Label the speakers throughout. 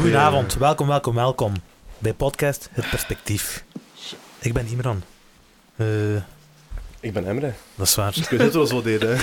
Speaker 1: Goedenavond, welkom, welkom, welkom bij podcast Het Perspectief. Ik ben Imran. Eh,
Speaker 2: Ik ben Emre.
Speaker 1: dat is waar.
Speaker 2: Ik weet het wel zo deden.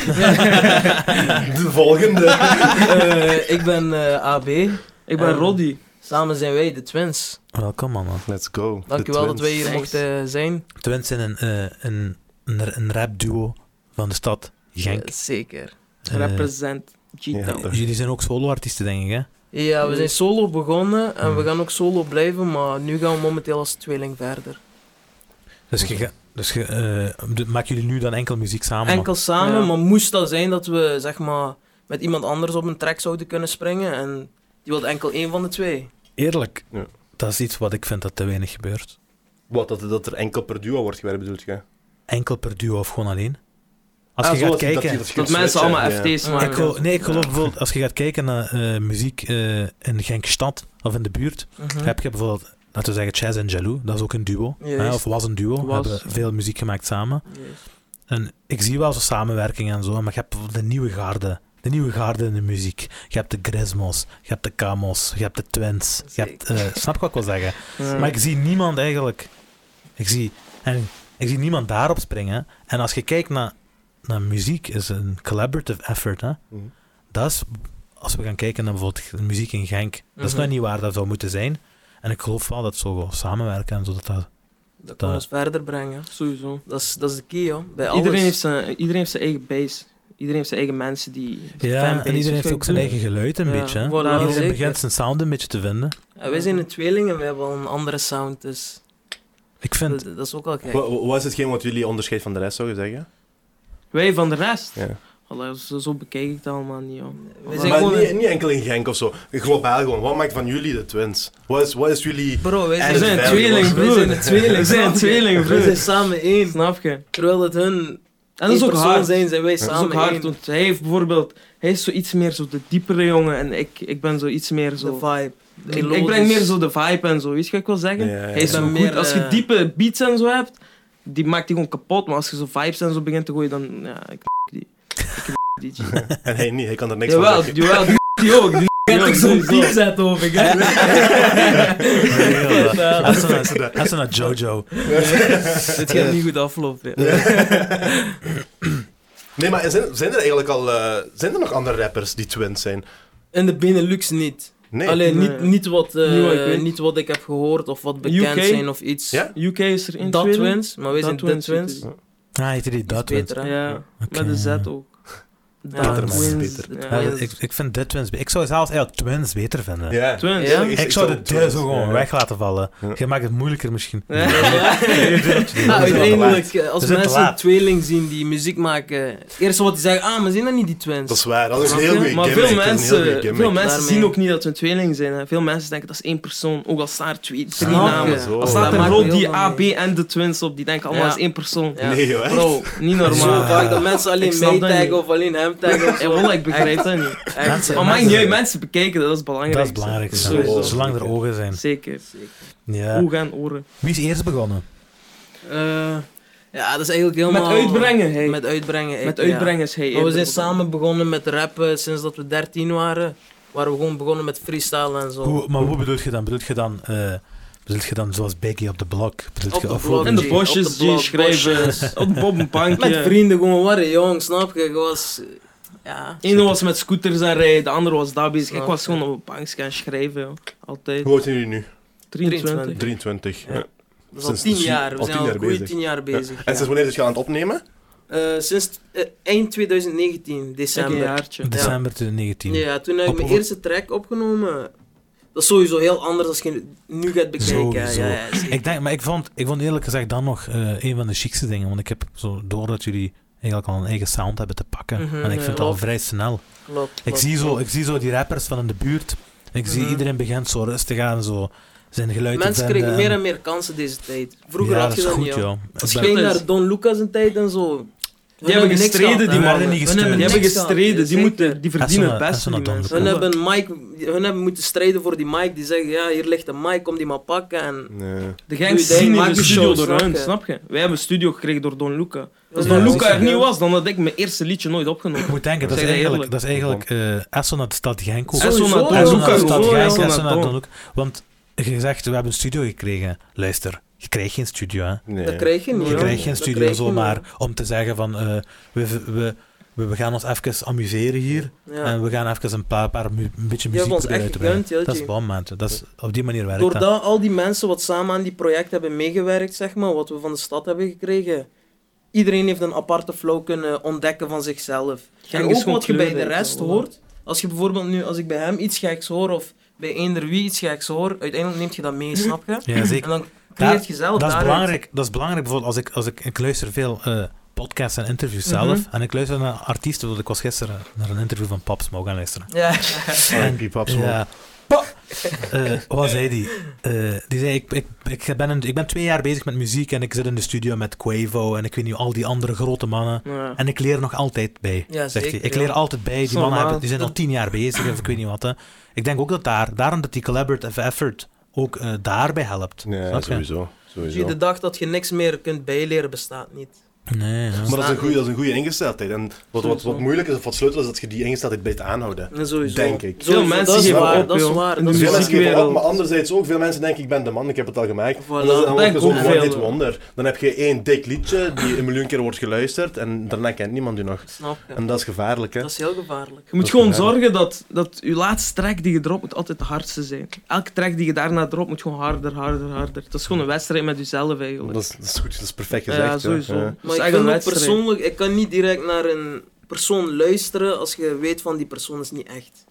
Speaker 2: De volgende.
Speaker 3: Eh, ik ben eh, AB.
Speaker 4: Ik ben
Speaker 3: Eh,
Speaker 4: Roddy.
Speaker 3: Samen zijn wij de Twins.
Speaker 1: Welkom, mannen.
Speaker 2: Let's go.
Speaker 3: Dankjewel dat wij hier
Speaker 4: Thanks.
Speaker 3: mochten eh, zijn.
Speaker 1: Twins zijn een, eh, een, een, een rapduo van de stad Genk.
Speaker 3: Eh, zeker.
Speaker 1: Eh,
Speaker 4: Represent G-Town.
Speaker 2: Ja.
Speaker 1: jullie zijn ook solo-artiesten, denk ik, hè?
Speaker 3: Ja, we zijn solo begonnen en we
Speaker 1: Hmm.
Speaker 3: gaan ook solo blijven, maar nu gaan we momenteel als tweeling verder.
Speaker 1: Dus, je, ga- dus je, eh, de- maken jullie nu dan enkel muziek samen? nog?
Speaker 3: Enkel samen,
Speaker 4: Ja.
Speaker 3: maar moest dat zijn dat we zeg maar met iemand anders op een track zouden kunnen springen en die wilde enkel één van de twee.
Speaker 1: Eerlijk,
Speaker 2: Ja.
Speaker 1: dat is iets wat ik vind dat te weinig gebeurt.
Speaker 2: Wat, dat, dat er enkel per duo wordt gewerkt, bedoelt je?
Speaker 1: Enkel per duo of gewoon alleen? Als
Speaker 2: Ah,
Speaker 1: je
Speaker 2: zo,
Speaker 1: gaat
Speaker 2: dat-
Speaker 1: kijken...
Speaker 2: je- je
Speaker 4: Dat
Speaker 2: kunt
Speaker 4: mensen allemaal
Speaker 2: switchen, ja.
Speaker 4: FT's maken.
Speaker 1: Ik geloof- nee, ik geloof bijvoorbeeld, als je gaat kijken naar eh, muziek eh, in Genkstad of in de buurt,
Speaker 3: Mhm.
Speaker 1: heb je bijvoorbeeld, laten we zeggen, Chaz en Jaloux, dat is ook een duo, hè,
Speaker 3: Juist.
Speaker 1: of was een duo,
Speaker 4: Was.
Speaker 1: hebben veel muziek gemaakt samen.
Speaker 3: Juist.
Speaker 1: En ik zie wel zo'n samenwerking en zo, maar je hebt bijvoorbeeld de nieuwe garde, de nieuwe garde in de muziek. Je hebt de Grismos, je hebt de Kamos, je hebt de Twins, je hebt, eh, snap je wat ik wil zeggen?
Speaker 3: Ja.
Speaker 1: Maar ik zie niemand eigenlijk. Ik zie, en ik zie niemand daarop springen. En als je kijkt naar, naar muziek, is een collaborative effort. Hè?
Speaker 2: Mhm.
Speaker 1: Dat is, als we gaan kijken naar bijvoorbeeld muziek in Genk, dat is
Speaker 3: Mhm.
Speaker 1: nou niet waar dat zou moeten zijn. En ik geloof wel dat zo wel samenwerken en zo. Dat dat,
Speaker 3: Dat kan
Speaker 1: dat-
Speaker 3: ons verder brengen.
Speaker 4: Sowieso.
Speaker 3: Dat is, dat is de key, hoor. Bij
Speaker 4: Iedereen
Speaker 3: alles.
Speaker 4: heeft, zijn, iedereen heeft zijn eigen base. Iedereen heeft zijn eigen mensen die...
Speaker 1: ja,
Speaker 4: fanbase,
Speaker 1: en iedereen
Speaker 4: weet je
Speaker 1: heeft ook
Speaker 4: wat
Speaker 1: zijn
Speaker 4: ik
Speaker 1: eigen geluid een
Speaker 3: Ja,
Speaker 1: beetje. Hè?
Speaker 3: voilà,
Speaker 1: iedereen
Speaker 3: zeker.
Speaker 1: begint zijn sound een beetje te vinden.
Speaker 3: Ja, wij zijn een tweeling en wij hebben al een andere sound, dus
Speaker 1: Ik vind,
Speaker 3: dat, dat is ook al gek.
Speaker 2: Wa- wa- Wat is hetgeen wat jullie onderscheidt van de rest, zou je zeggen?
Speaker 4: bedoel? Wij van de rest.
Speaker 2: Ja.
Speaker 4: Allee, zo, zo bekijk ik het allemaal niet, joh.
Speaker 3: Wij zijn
Speaker 2: Maar
Speaker 3: gewoon
Speaker 2: niet, niet enkel in Genk of zo. Globaal gewoon. Wat maakt van jullie de twins? Wat is, wat is jullie...
Speaker 3: Bro, wij zijn,
Speaker 2: En
Speaker 3: een
Speaker 2: het
Speaker 3: tweeling,
Speaker 2: veilig
Speaker 3: broer.
Speaker 2: was.
Speaker 3: Wij zijn een tweeling.
Speaker 4: We zijn een tweeling,
Speaker 3: We zijn
Speaker 4: broer.
Speaker 3: samen één.
Speaker 4: Snap je?
Speaker 3: Terwijl dat hun
Speaker 4: En dat is
Speaker 3: één
Speaker 4: ook
Speaker 3: persoon
Speaker 4: hard.
Speaker 3: zijn, zijn wij
Speaker 4: Dat is
Speaker 3: samen
Speaker 4: ook hard,
Speaker 3: één.
Speaker 4: want hij heeft bijvoorbeeld... Hij is zo iets meer zo de diepere jongen en ik, ik ben zo iets meer zo...
Speaker 3: De vibe.
Speaker 4: Ik, ik breng meer zo de vibe en zo, weet je wat ik wil zeggen?
Speaker 2: Ja, ja,
Speaker 4: Hij is
Speaker 2: ja.
Speaker 4: zo
Speaker 3: Meer,
Speaker 4: goed. Als je
Speaker 3: eh,
Speaker 4: diepe beats en zo hebt, die maakt die gewoon kapot. Maar als je zo vibes en zo begint te gooien, dan... Ja, ik die. Ik die. G.
Speaker 2: En hij niet, hij kan er niks van
Speaker 4: Jawel,
Speaker 2: zeggen.
Speaker 4: jawel, die die ook. Die
Speaker 3: heb ik zo'n diep zet over, hè?
Speaker 1: als ze naar- als ze naar Jojo.
Speaker 4: Dit gaat niet goed aflopen. hè.
Speaker 2: Nee, maar zijn, zijn er eigenlijk al... eh, zijn er nog andere rappers die twins zijn?
Speaker 3: In de Benelux niet.
Speaker 2: Nee.
Speaker 3: Alleen niet,
Speaker 4: Nee.
Speaker 3: niet, wat, eh,
Speaker 4: Niet wat ik weet.
Speaker 3: niet wat ik heb gehoord of wat bekend
Speaker 4: UK?
Speaker 3: zijn of iets.
Speaker 2: Ja?
Speaker 4: UK is er in
Speaker 3: Dat
Speaker 4: tweede.
Speaker 3: twins, maar wij
Speaker 4: Dat
Speaker 3: zijn de
Speaker 4: Twins,
Speaker 3: twins.
Speaker 4: dat
Speaker 3: Iets
Speaker 1: Ah, heette die dat Twins?
Speaker 3: beter, hè?
Speaker 4: Ja,
Speaker 1: Oké.
Speaker 4: met de Z ook.
Speaker 3: Ja,
Speaker 1: Beter,
Speaker 3: dat
Speaker 1: man.
Speaker 3: is-
Speaker 2: Beter.
Speaker 3: de
Speaker 1: Ja,
Speaker 3: twins.
Speaker 1: ik, ik vind de Twins... be- Ik zou zelfs eigenlijk Twins beter vinden.
Speaker 2: Ja.
Speaker 4: Twins.
Speaker 3: Ja?
Speaker 1: Ik, zou de
Speaker 2: twins
Speaker 1: deur zo gewoon weg laten vallen.
Speaker 2: Ja.
Speaker 1: Je maakt het moeilijker misschien.
Speaker 4: Ja.
Speaker 3: Ah, Ja,
Speaker 2: Dat is wel
Speaker 3: uiteindelijk, eh,
Speaker 1: We
Speaker 3: als
Speaker 1: zijn te
Speaker 3: mensen een
Speaker 1: laat.
Speaker 3: tweeling zien die muziek maken, het eerste wat die zeggen, ah, maar zijn dat niet die twins?
Speaker 2: Dat is waar, dat is een heel
Speaker 3: Maar
Speaker 2: goede
Speaker 4: Maar
Speaker 2: gimmick.
Speaker 4: veel
Speaker 2: dat is een heel goeie
Speaker 4: mensen,
Speaker 2: gimmick.
Speaker 4: veel mensen
Speaker 3: Daarmee.
Speaker 4: zien ook niet dat we een tweeling zijn. Hè. Veel mensen denken dat is één persoon, ook al staan er twee, drie
Speaker 3: Snap
Speaker 4: namen.
Speaker 3: je?
Speaker 2: zo.
Speaker 4: Al
Speaker 2: Oh.
Speaker 4: staat
Speaker 2: Dat
Speaker 4: er
Speaker 3: maakt
Speaker 4: Rod,
Speaker 3: heel
Speaker 4: die
Speaker 3: veel
Speaker 4: AB
Speaker 3: mee.
Speaker 4: en de twins op, die denken allemaal
Speaker 3: Ja.
Speaker 4: is één persoon.
Speaker 3: Ja.
Speaker 2: Nee, joh, echt?
Speaker 4: Bro, niet
Speaker 3: Zo
Speaker 4: normaal.
Speaker 3: vaak dat mensen alleen
Speaker 4: Ik snap
Speaker 3: mij
Speaker 4: dat
Speaker 3: taggen
Speaker 4: niet.
Speaker 3: of alleen hem taggen of
Speaker 4: Ja,
Speaker 3: zo.
Speaker 4: wallah, ik begrijp
Speaker 3: Echt,
Speaker 4: dat niet.
Speaker 1: Mensen-
Speaker 3: echt.
Speaker 4: Oh, Maar
Speaker 1: mensen-
Speaker 4: maakt niet uit, mensen bekijken, dat is belangrijk.
Speaker 1: Dat is belangrijk. ja.
Speaker 4: Sowieso.
Speaker 1: Zolang er ogen zijn.
Speaker 4: Zeker.
Speaker 1: Ja.
Speaker 4: Ogen en oren.
Speaker 1: Wie is eerst begonnen?
Speaker 3: Eh, ja, dat is eigenlijk helemaal...
Speaker 4: Met uitbrengen, hey. Met, eh,
Speaker 3: Met uitbrengen. ik, ja.
Speaker 4: uitbrengen is hij.
Speaker 3: Maar we zijn
Speaker 4: eerder
Speaker 3: samen begonnen met rappen sinds dat we 13 waren. Waren we gewoon begonnen met freestyle en zo.
Speaker 1: Hoe, maar hoe bedoel je dan? Bedoel je dan, eh, bedoel je dan zoals Becky op de blok? Bedoel
Speaker 3: Op
Speaker 1: je,
Speaker 3: de
Speaker 1: of-
Speaker 3: blok.
Speaker 4: In de
Speaker 3: Op
Speaker 4: bosjes,
Speaker 3: de blok,
Speaker 4: die schrijven.
Speaker 3: bosjes.
Speaker 4: Op Bob een bankje.
Speaker 3: Met vrienden gewoon waren, jong, snap je? Ik was... eh, Ja.
Speaker 4: Eén was met scooters aan rijden, de andere was daar bezig. Ik
Speaker 3: Snap
Speaker 4: was
Speaker 3: je.
Speaker 4: gewoon op een bankje gaan schrijven. joh. Altijd.
Speaker 2: Hoe oud zijn jullie nu?
Speaker 4: 23.
Speaker 2: 23.
Speaker 3: Ja.
Speaker 2: Ja.
Speaker 3: Dat is al
Speaker 2: Sinds
Speaker 3: 10
Speaker 2: tien-
Speaker 3: jaar. We
Speaker 2: al
Speaker 3: zijn
Speaker 2: tien
Speaker 3: al
Speaker 2: jaar
Speaker 3: goede
Speaker 2: bezig.
Speaker 3: 10 jaar bezig.
Speaker 2: En sinds wanneer is je aan het opnemen?
Speaker 3: Eh, sinds eh, eind 2019,
Speaker 4: Kijk, een
Speaker 3: december.
Speaker 4: jaartje.
Speaker 1: December 2019.
Speaker 3: Ja, toen heb
Speaker 1: Op
Speaker 3: ik mijn
Speaker 1: hoe-
Speaker 3: eerste track opgenomen. Dat is sowieso heel anders als je nu gaat bekijken. hè.
Speaker 1: Sowieso.
Speaker 3: Ja, ja, zeker.
Speaker 1: Ik denk, maar ik vond, ik vond eerlijk gezegd dan nog eh, een van de chicste dingen. Want ik heb zo door dat jullie eigenlijk al een eigen sound hebben te pakken.
Speaker 3: Mhm,
Speaker 1: en ik
Speaker 3: ja,
Speaker 1: vind het al
Speaker 3: klopt.
Speaker 1: vrij snel.
Speaker 3: Klopt,
Speaker 1: Ik
Speaker 3: klopt,
Speaker 1: zie, zo,
Speaker 3: klopt.
Speaker 1: ik zie zo die rappers van in de buurt. Ik zie
Speaker 3: Mhm.
Speaker 1: iedereen begint zo rustig aan, zo zijn geluid te
Speaker 3: Mensen
Speaker 1: vinden
Speaker 3: kregen meer
Speaker 1: en-
Speaker 3: en meer kansen deze tijd. Vroeger
Speaker 1: ja,
Speaker 3: had je
Speaker 1: dat
Speaker 3: dat
Speaker 1: is
Speaker 3: niet.
Speaker 1: goed,
Speaker 3: joh.
Speaker 1: joh.
Speaker 3: Als je
Speaker 1: Ik ben-
Speaker 3: ging
Speaker 4: Dat is-
Speaker 3: naar Don Lucas een tijd en zo. Hun
Speaker 4: hebben
Speaker 3: niks
Speaker 4: gestreden,
Speaker 3: gehad,
Speaker 4: die
Speaker 3: hè.
Speaker 1: werden
Speaker 4: mannen.
Speaker 1: niet
Speaker 3: Hun
Speaker 1: gesteund.
Speaker 4: Die
Speaker 1: Niks
Speaker 4: hebben
Speaker 3: niks gehad,
Speaker 4: gestreden, die,
Speaker 3: zeker.
Speaker 4: moeten, die verdienen
Speaker 1: Als
Speaker 4: het
Speaker 1: ze- als ze
Speaker 4: beste voor
Speaker 1: dat
Speaker 4: die
Speaker 1: dan
Speaker 4: mensen.
Speaker 1: doen.
Speaker 3: Hun
Speaker 1: Ja.
Speaker 3: hebben, Mike, hun hebben moeten strijden voor die Mike. Die zeggen, ja, hier ligt een Mike, kom die maar pakken. En
Speaker 2: Nee.
Speaker 4: De
Speaker 3: Doe je
Speaker 4: gangs
Speaker 3: ding,
Speaker 4: zien
Speaker 3: maak
Speaker 4: in de
Speaker 3: je
Speaker 4: studio
Speaker 3: shows,
Speaker 4: door
Speaker 3: snap
Speaker 4: hun,
Speaker 3: je?
Speaker 4: snap je? Wij hebben een studio gekregen door Don Luca. Als
Speaker 1: Ja,
Speaker 4: Don
Speaker 1: dat is
Speaker 4: Luca er
Speaker 1: waar.
Speaker 4: niet was, dan had ik mijn eerste liedje nooit opgenomen.
Speaker 1: Ik moet denken, dat is
Speaker 4: Zeg dat
Speaker 1: eigenlijk, dat is eigenlijk eh Esso naar de stad Genk ook.
Speaker 3: Sowieso,
Speaker 4: Esso naar
Speaker 1: Esso
Speaker 4: Don
Speaker 1: naar
Speaker 4: Luca,
Speaker 1: de stad
Speaker 4: gewoon,
Speaker 1: Genk,
Speaker 4: Esso
Speaker 1: Esso
Speaker 4: naar
Speaker 1: naar
Speaker 4: Don.
Speaker 1: Donk. Want je zegt, we hebben een studio gekregen. Luister, je krijgt geen studio, hè.
Speaker 2: Nee.
Speaker 3: dat krijg je niet.
Speaker 1: Je
Speaker 3: hoor.
Speaker 1: krijgt geen
Speaker 3: Dat
Speaker 1: studio
Speaker 3: krijg je
Speaker 1: zomaar om te zeggen van eh, we, we, we, we gaan ons even amuseren hier
Speaker 3: niet. Ja.
Speaker 1: en we gaan even een paar, paar mu- een beetje
Speaker 3: Je hebt
Speaker 1: muziek
Speaker 3: ons
Speaker 1: proberen
Speaker 3: echt
Speaker 1: uit te brengen.
Speaker 3: gegund, joh,
Speaker 1: Dat is
Speaker 3: G.
Speaker 1: bom, man. Dat is, op die manier werkt dat.
Speaker 3: Doordat al die mensen wat samen aan die project hebben meegewerkt, zeg maar, wat we van de stad hebben gekregen, iedereen heeft een aparte flow kunnen ontdekken van zichzelf.
Speaker 4: Genk
Speaker 3: en
Speaker 4: is
Speaker 3: ook
Speaker 4: gewoon
Speaker 3: wat je bij de
Speaker 4: kleurrijk,
Speaker 3: rest
Speaker 4: hoor.
Speaker 3: hoort, als je bijvoorbeeld nu, als ik bij hem iets geks hoor, of bij eender wie iets geks hoor, uiteindelijk neem je dat mee, snap je?
Speaker 1: Ja, zeker.
Speaker 3: En dan creëert
Speaker 1: Daar-
Speaker 3: je zelf
Speaker 1: Dat is,
Speaker 3: daaruit.
Speaker 1: belangrijk, dat is belangrijk bijvoorbeeld als ik, als ik, ik luister veel eh, podcasts en interviews zelf
Speaker 3: Mhm.
Speaker 1: en ik luister naar artiesten, want ik was gisteren naar een interview van Pap Smoke gaan luisteren.
Speaker 3: Ja,
Speaker 2: R.I.P. Pop Smoke.
Speaker 1: Ja. Eh, wat zei die? Eh, die zei, ik, ik, ik, ben een- ik ben twee jaar bezig met muziek en ik zit in de studio met Quavo en ik weet niet, al die andere grote mannen.
Speaker 4: Ja.
Speaker 1: En ik leer nog altijd bij,
Speaker 3: Ja,
Speaker 1: zegt hij.
Speaker 3: zeker,
Speaker 1: Ik
Speaker 3: ja.
Speaker 1: leer altijd bij. Die
Speaker 4: Normaal.
Speaker 1: mannen hebben, die zijn al
Speaker 3: Dat-
Speaker 1: tien jaar bezig, of ik weet niet wat. Hè. Ik denk ook dat daar, daarom dat die collaborative effort ook eh, daarbij helpt.
Speaker 2: Nee,
Speaker 1: Snap je?
Speaker 2: sowieso. sowieso.
Speaker 3: de dag dat je niks meer kunt bijleren bestaat niet.
Speaker 1: Nee, ja.
Speaker 2: Maar dat is een goede, dat is een goede ingesteldheid. En wat, wat, wat
Speaker 4: Sowieso.
Speaker 2: moeilijk is, of wat sleutel is, dat je die ingesteldheid blijft aanhouden.
Speaker 3: En sowieso.
Speaker 2: Denk ik.
Speaker 3: Sowieso,
Speaker 4: Veel mensen
Speaker 3: dat is
Speaker 2: geven
Speaker 3: waar,
Speaker 4: op,
Speaker 3: dat is
Speaker 4: joh.
Speaker 3: waar.
Speaker 4: In
Speaker 3: Dat
Speaker 4: de
Speaker 3: is
Speaker 2: Veel
Speaker 3: waar.
Speaker 2: mensen geven op,
Speaker 4: muziekwereld.
Speaker 2: maar anderzijds ook veel mensen denken, ik ben de man, ik heb het al gemaakt. En
Speaker 3: Voilà.
Speaker 2: dat is dan ook
Speaker 4: Denk
Speaker 2: gezond
Speaker 4: ook
Speaker 2: van
Speaker 4: veel.
Speaker 2: dit wonder. Dan heb je één dik liedje, die een miljoen keer wordt geluisterd, en daarna kent niemand je nog.
Speaker 3: Snap je?
Speaker 2: En dat is gevaarlijk, hè.
Speaker 3: Dat is heel gevaarlijk.
Speaker 4: Je moet
Speaker 2: is
Speaker 4: gewoon
Speaker 2: gevaarlijk.
Speaker 4: zorgen dat, dat je laatste track die je dropt moet altijd de hardste zijn. Elke track die je daarna dropt moet gewoon harder, harder, harder. Dat is gewoon een wedstrijd met jezelf eigenlijk.
Speaker 2: Dat is, dat is goed, dat is perfect gezegd.
Speaker 4: ja, sowieso.
Speaker 2: ja.
Speaker 4: Dat is
Speaker 3: Maar ik
Speaker 4: echt een
Speaker 3: vind ook
Speaker 4: wedstrijd.
Speaker 3: persoonlijk, ik kan niet direct naar een persoon luisteren als je weet van die persoon is niet echt.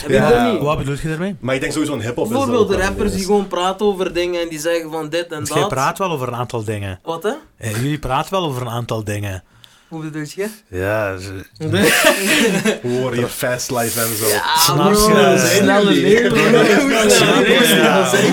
Speaker 3: Heb je
Speaker 2: Ja.
Speaker 3: dat niet?
Speaker 1: Wat bedoel je daarmee?
Speaker 2: Maar ik denk sowieso een hip-hop is dat
Speaker 3: Bijvoorbeeld
Speaker 2: ook wel
Speaker 3: rappers
Speaker 2: een
Speaker 3: die
Speaker 2: ding.
Speaker 3: gewoon praten over dingen en die zeggen van dit en
Speaker 1: Want
Speaker 3: dat.
Speaker 1: jij praat wel over een aantal dingen.
Speaker 3: Wat hè?
Speaker 1: Eh, jullie praten wel over een aantal dingen.
Speaker 3: Hoe bedoel je?
Speaker 1: Ja, ze-
Speaker 2: We horen hier fast life en zo.
Speaker 1: Snap je?
Speaker 4: Snelle
Speaker 1: Snap je?
Speaker 4: leeuw.
Speaker 1: Ja.
Speaker 4: Broer,
Speaker 1: snel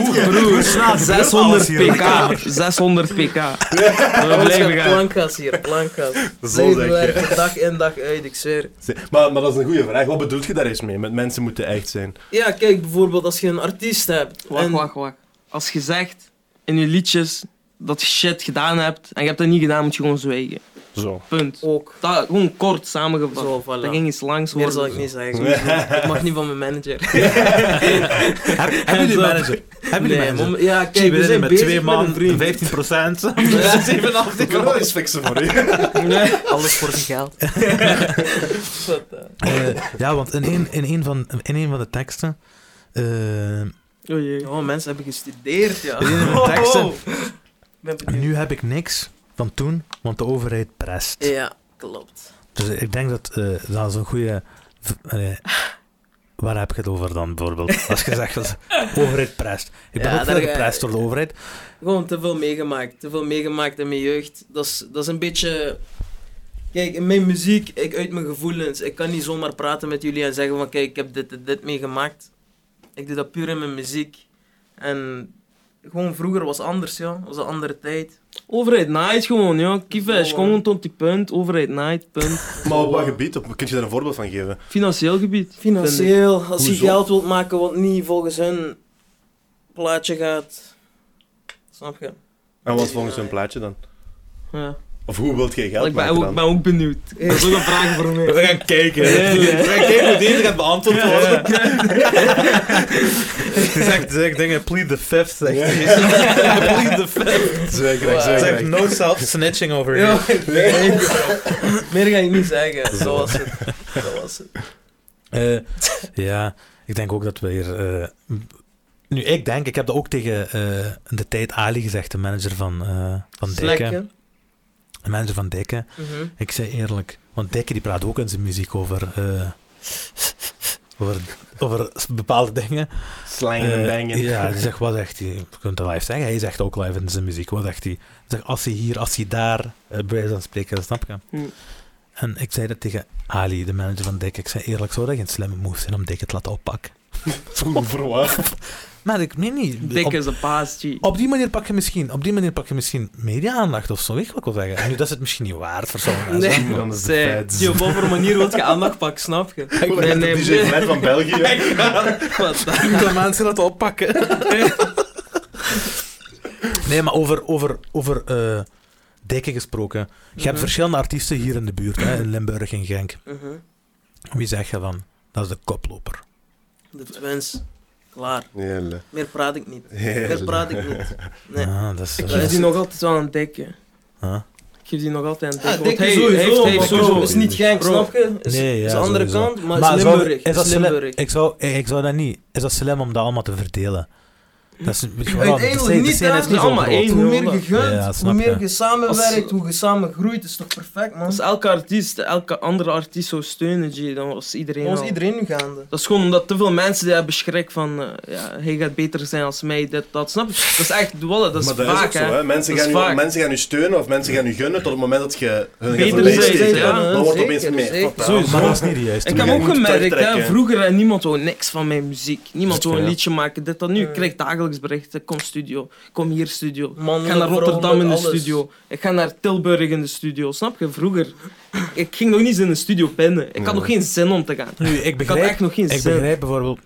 Speaker 1: gebeurt alles
Speaker 4: 600
Speaker 1: hier.
Speaker 4: pk. 600 pk. We blijven gaan.
Speaker 3: Plankas hier, plankas.
Speaker 2: Zo
Speaker 3: Blijven
Speaker 2: denk je.
Speaker 3: werken, dag in dag uit, ik zweer.
Speaker 2: Maar, maar dat is een goede vraag. Wat bedoelt je daar eens mee? Met mensen moeten echt zijn.
Speaker 3: Ja, kijk bijvoorbeeld als je een artiest hebt.
Speaker 4: Wacht,
Speaker 3: en-
Speaker 4: wacht, wacht. Als je zegt in je liedjes dat je shit gedaan hebt en je hebt dat niet gedaan, moet je gewoon zwijgen.
Speaker 2: Zo.
Speaker 4: Punt.
Speaker 3: Ook.
Speaker 4: Dat, gewoon kort samengevat.
Speaker 3: Zo, voilà.
Speaker 4: Dat ging eens langs
Speaker 3: Meer
Speaker 4: worden.
Speaker 3: zal ik niet zeggen. Ik mag niet van mijn manager.
Speaker 1: Heb- Hebben jullie een manager? Hebben jullie een manager?
Speaker 3: mom- ja,
Speaker 1: Zie,
Speaker 3: kijk,
Speaker 1: we
Speaker 3: we
Speaker 1: zijn
Speaker 3: zijn
Speaker 1: met
Speaker 3: bezig
Speaker 1: twee man,
Speaker 3: een vriend.
Speaker 1: 15
Speaker 3: Ja.
Speaker 2: Ik kan wel eens fixen voor je.
Speaker 3: Alles voor zijn geld.
Speaker 1: Eh, ja, want in een, in een, van, in een van de teksten. eh,
Speaker 4: Oh jee.
Speaker 3: Oh, mensen hebben gestudeerd, ja.
Speaker 1: in een van de teksten.
Speaker 3: Oh, Ik ben benieuwd.
Speaker 1: Nu heb ik niks van toen, want de overheid prest.
Speaker 3: Ja, klopt.
Speaker 1: Dus ik denk dat eh, dat is een goede. v- eh, waar heb je het over dan bijvoorbeeld? Als je zegt dat de overheid prest. Ik ben
Speaker 3: Ja,
Speaker 1: ook veel
Speaker 3: daar-
Speaker 1: geprest door de overheid.
Speaker 3: Gewoon te veel meegemaakt. Te veel meegemaakt in mijn jeugd. Dat is, dat is een beetje... Kijk, in mijn muziek, ik uit mijn gevoelens. Ik kan niet zomaar praten met jullie en zeggen van... Kijk, ik heb dit en dit meegemaakt. Ik doe dat puur in mijn muziek. En gewoon vroeger was anders, ja. was een andere tijd.
Speaker 4: Overheid night gewoon, joh. Kieven is
Speaker 3: Zo,
Speaker 4: gewoon tot die punt. Overheid night, punt.
Speaker 2: Maar op wat gebied? Op, kun je daar een voorbeeld van geven?
Speaker 4: Financieel gebied. vind ik.
Speaker 3: Financieel, als je
Speaker 2: Hoezo?
Speaker 3: geld wilt maken wat niet volgens hun plaatje gaat... Snap je?
Speaker 2: En wat is volgens hun plaatje dan?
Speaker 4: Ja.
Speaker 2: Of hoe wilt jij geld
Speaker 4: Ik ben
Speaker 2: maken
Speaker 4: ook,
Speaker 2: dan?
Speaker 4: ben ook benieuwd. Dat is ook een vraag voor mij.
Speaker 1: We gaan kijken.
Speaker 4: Ja, ja.
Speaker 1: We gaan kijken hoe deze gaat beantwoord worden. Die zegt, zegt dingen, plead the fifth. Zegt
Speaker 2: Ja.
Speaker 1: hij. plead the fifth.
Speaker 2: Zeker,
Speaker 3: Wow.
Speaker 1: Zegt,
Speaker 2: zeker.
Speaker 1: no self-snitching over
Speaker 3: Ja,
Speaker 1: here.
Speaker 3: nee, meer ga ik niet zeggen. Dat was het. Dat was het.
Speaker 1: Eh, ja, ik denk ook dat we hier. eh, m- nu, ik denk, ik heb dat ook tegen eh, de tijd Ali gezegd, de manager van, eh van Dijken.
Speaker 3: Slekken.
Speaker 1: De manager van Dijken.
Speaker 3: Mhm.
Speaker 1: Ik zei eerlijk, want Dijken die praat ook in zijn muziek over. eh, over, over s- bepaalde dingen.
Speaker 2: Slangen en
Speaker 1: Eh,
Speaker 2: bangen.
Speaker 1: ja, die zegt, wat zegt hij? Je kunt het live zeggen. Hij zegt ook live in zijn muziek. Wat zegt hij? Hij zegt, als hij hier, als hij daar, eh, bij wijze van spreken, snap je?
Speaker 4: Hm.
Speaker 1: En ik zei dat tegen Ali, de manager van Dijken. Ik zei eerlijk, zou dat geen slimme move zijn om Dijken te laten oppakken?
Speaker 2: Voor wat?
Speaker 1: Maar ik meen niet.
Speaker 4: Dik
Speaker 1: Op,
Speaker 4: is een paas, G.
Speaker 1: op die manier pak je misschien, op die manier pak je misschien media-aandacht of zo, weet je wat ik wil zeggen. En nu, dat is het misschien niet waard voor sommige mensen.
Speaker 3: Nee.
Speaker 1: maar-
Speaker 2: Dan is het de
Speaker 3: Zij,
Speaker 2: feit.
Speaker 3: die op wat voor manier wil je aandacht pakken, snap je?
Speaker 2: Ik ben
Speaker 4: nee,
Speaker 2: de DJ
Speaker 4: nee.
Speaker 2: Fred van België.
Speaker 3: Wat dan?
Speaker 1: Ik moet de mensen dat oppakken. Nee, maar over, over, over eh, dijken gesproken. Je hebt
Speaker 3: Mhm.
Speaker 1: verschillende artiesten hier in de buurt, hè, in Limburg en Genk.
Speaker 3: Mhm.
Speaker 1: Wie zeg je van? Dat is de koploper.
Speaker 3: De mens, klaar.
Speaker 2: Hele.
Speaker 3: Meer praat ik niet. Meer
Speaker 2: Hele.
Speaker 3: praat ik niet. Nee.
Speaker 1: Ah, dat is,
Speaker 4: Ik
Speaker 1: eh,
Speaker 4: geef die nog altijd wel een dikke.
Speaker 1: huh?
Speaker 4: Ik geef die nog altijd een dikke.
Speaker 3: Ja,
Speaker 4: want
Speaker 3: dik
Speaker 4: hij
Speaker 3: is Ah, sowieso,
Speaker 4: heeft, heeft
Speaker 3: maar
Speaker 2: bro,
Speaker 4: sowieso...
Speaker 3: is niet gek,
Speaker 4: Bro.
Speaker 3: snap je? Is,
Speaker 1: Nee, ja,
Speaker 3: is de andere
Speaker 1: sowieso.
Speaker 3: kant, maar, het is
Speaker 1: zou-
Speaker 3: Limburg.
Speaker 1: is dat
Speaker 3: is
Speaker 1: slim-
Speaker 3: Limburg.
Speaker 1: Ik zou, eh, ik ik zou dat niet... Is dat slim om dat allemaal te verdelen? Dat is, weet je wel, de
Speaker 3: Uiteindelijk
Speaker 1: scene- de
Speaker 3: niet,
Speaker 1: scene
Speaker 3: hè.
Speaker 1: is niet zo
Speaker 4: Allemaal
Speaker 1: groot.
Speaker 4: één.
Speaker 3: Hoe meer je
Speaker 1: Ja, ja,
Speaker 3: gunt,
Speaker 1: snap
Speaker 3: hoe meer
Speaker 1: je.
Speaker 3: je samenwerkt,
Speaker 4: Als-
Speaker 3: hoe je samen groeit, is toch perfect, man?
Speaker 4: Als elke artiest, elke andere artiest zou steunen, G, dan was iedereen
Speaker 3: Ons
Speaker 4: al-
Speaker 3: iedereen nu gaande.
Speaker 4: Dat is gewoon omdat te veel mensen die hebben schrik van, eh, ja, hij gaat beter zijn als mij, dit, dat, snap je? Dat is echt, voilà, dat is
Speaker 2: maar dat
Speaker 4: vaak,
Speaker 2: is ook zo, hè. Mensen,
Speaker 4: Dat
Speaker 2: gaan
Speaker 4: is
Speaker 2: je,
Speaker 4: vaak.
Speaker 2: mensen gaan je steunen of mensen gaan je gunnen tot het moment dat je hun gaat
Speaker 4: Beter
Speaker 2: voorbijsteken.
Speaker 4: zijn, ja.
Speaker 2: Dan wordt het opeens
Speaker 3: Zeker,
Speaker 2: meer.
Speaker 3: zeker.
Speaker 2: fuck that.
Speaker 1: Sowieso, maar dat is niet de juiste.
Speaker 4: Ik
Speaker 2: Toen
Speaker 4: heb
Speaker 2: jij
Speaker 4: ook
Speaker 2: moet
Speaker 4: gemerkt, hè,
Speaker 2: terugtrekken.
Speaker 4: vroeger hè, niemand wou niks van mijn muziek. Niemand wou een
Speaker 1: Ja.
Speaker 4: liedje maken, dit, dat. Nu
Speaker 3: Ja.
Speaker 4: ik krijg dagelijks berichten, kom studio, kom hier studio.
Speaker 3: Mm. Man,
Speaker 4: Ik ga naar
Speaker 3: vooral
Speaker 4: Rotterdam in de
Speaker 3: met alles.
Speaker 4: studio. Ik ga naar Tilburg in de studio. Snap je? Vroeger, ik ging nog niet eens in de studio pinnen. Ik had
Speaker 2: Nee.
Speaker 4: nog geen zin om te gaan.
Speaker 1: Nu, ik
Speaker 4: Ik had
Speaker 1: begrijp,
Speaker 4: echt nog geen
Speaker 1: ik
Speaker 4: zin.
Speaker 1: begrijp bijvoorbeeld...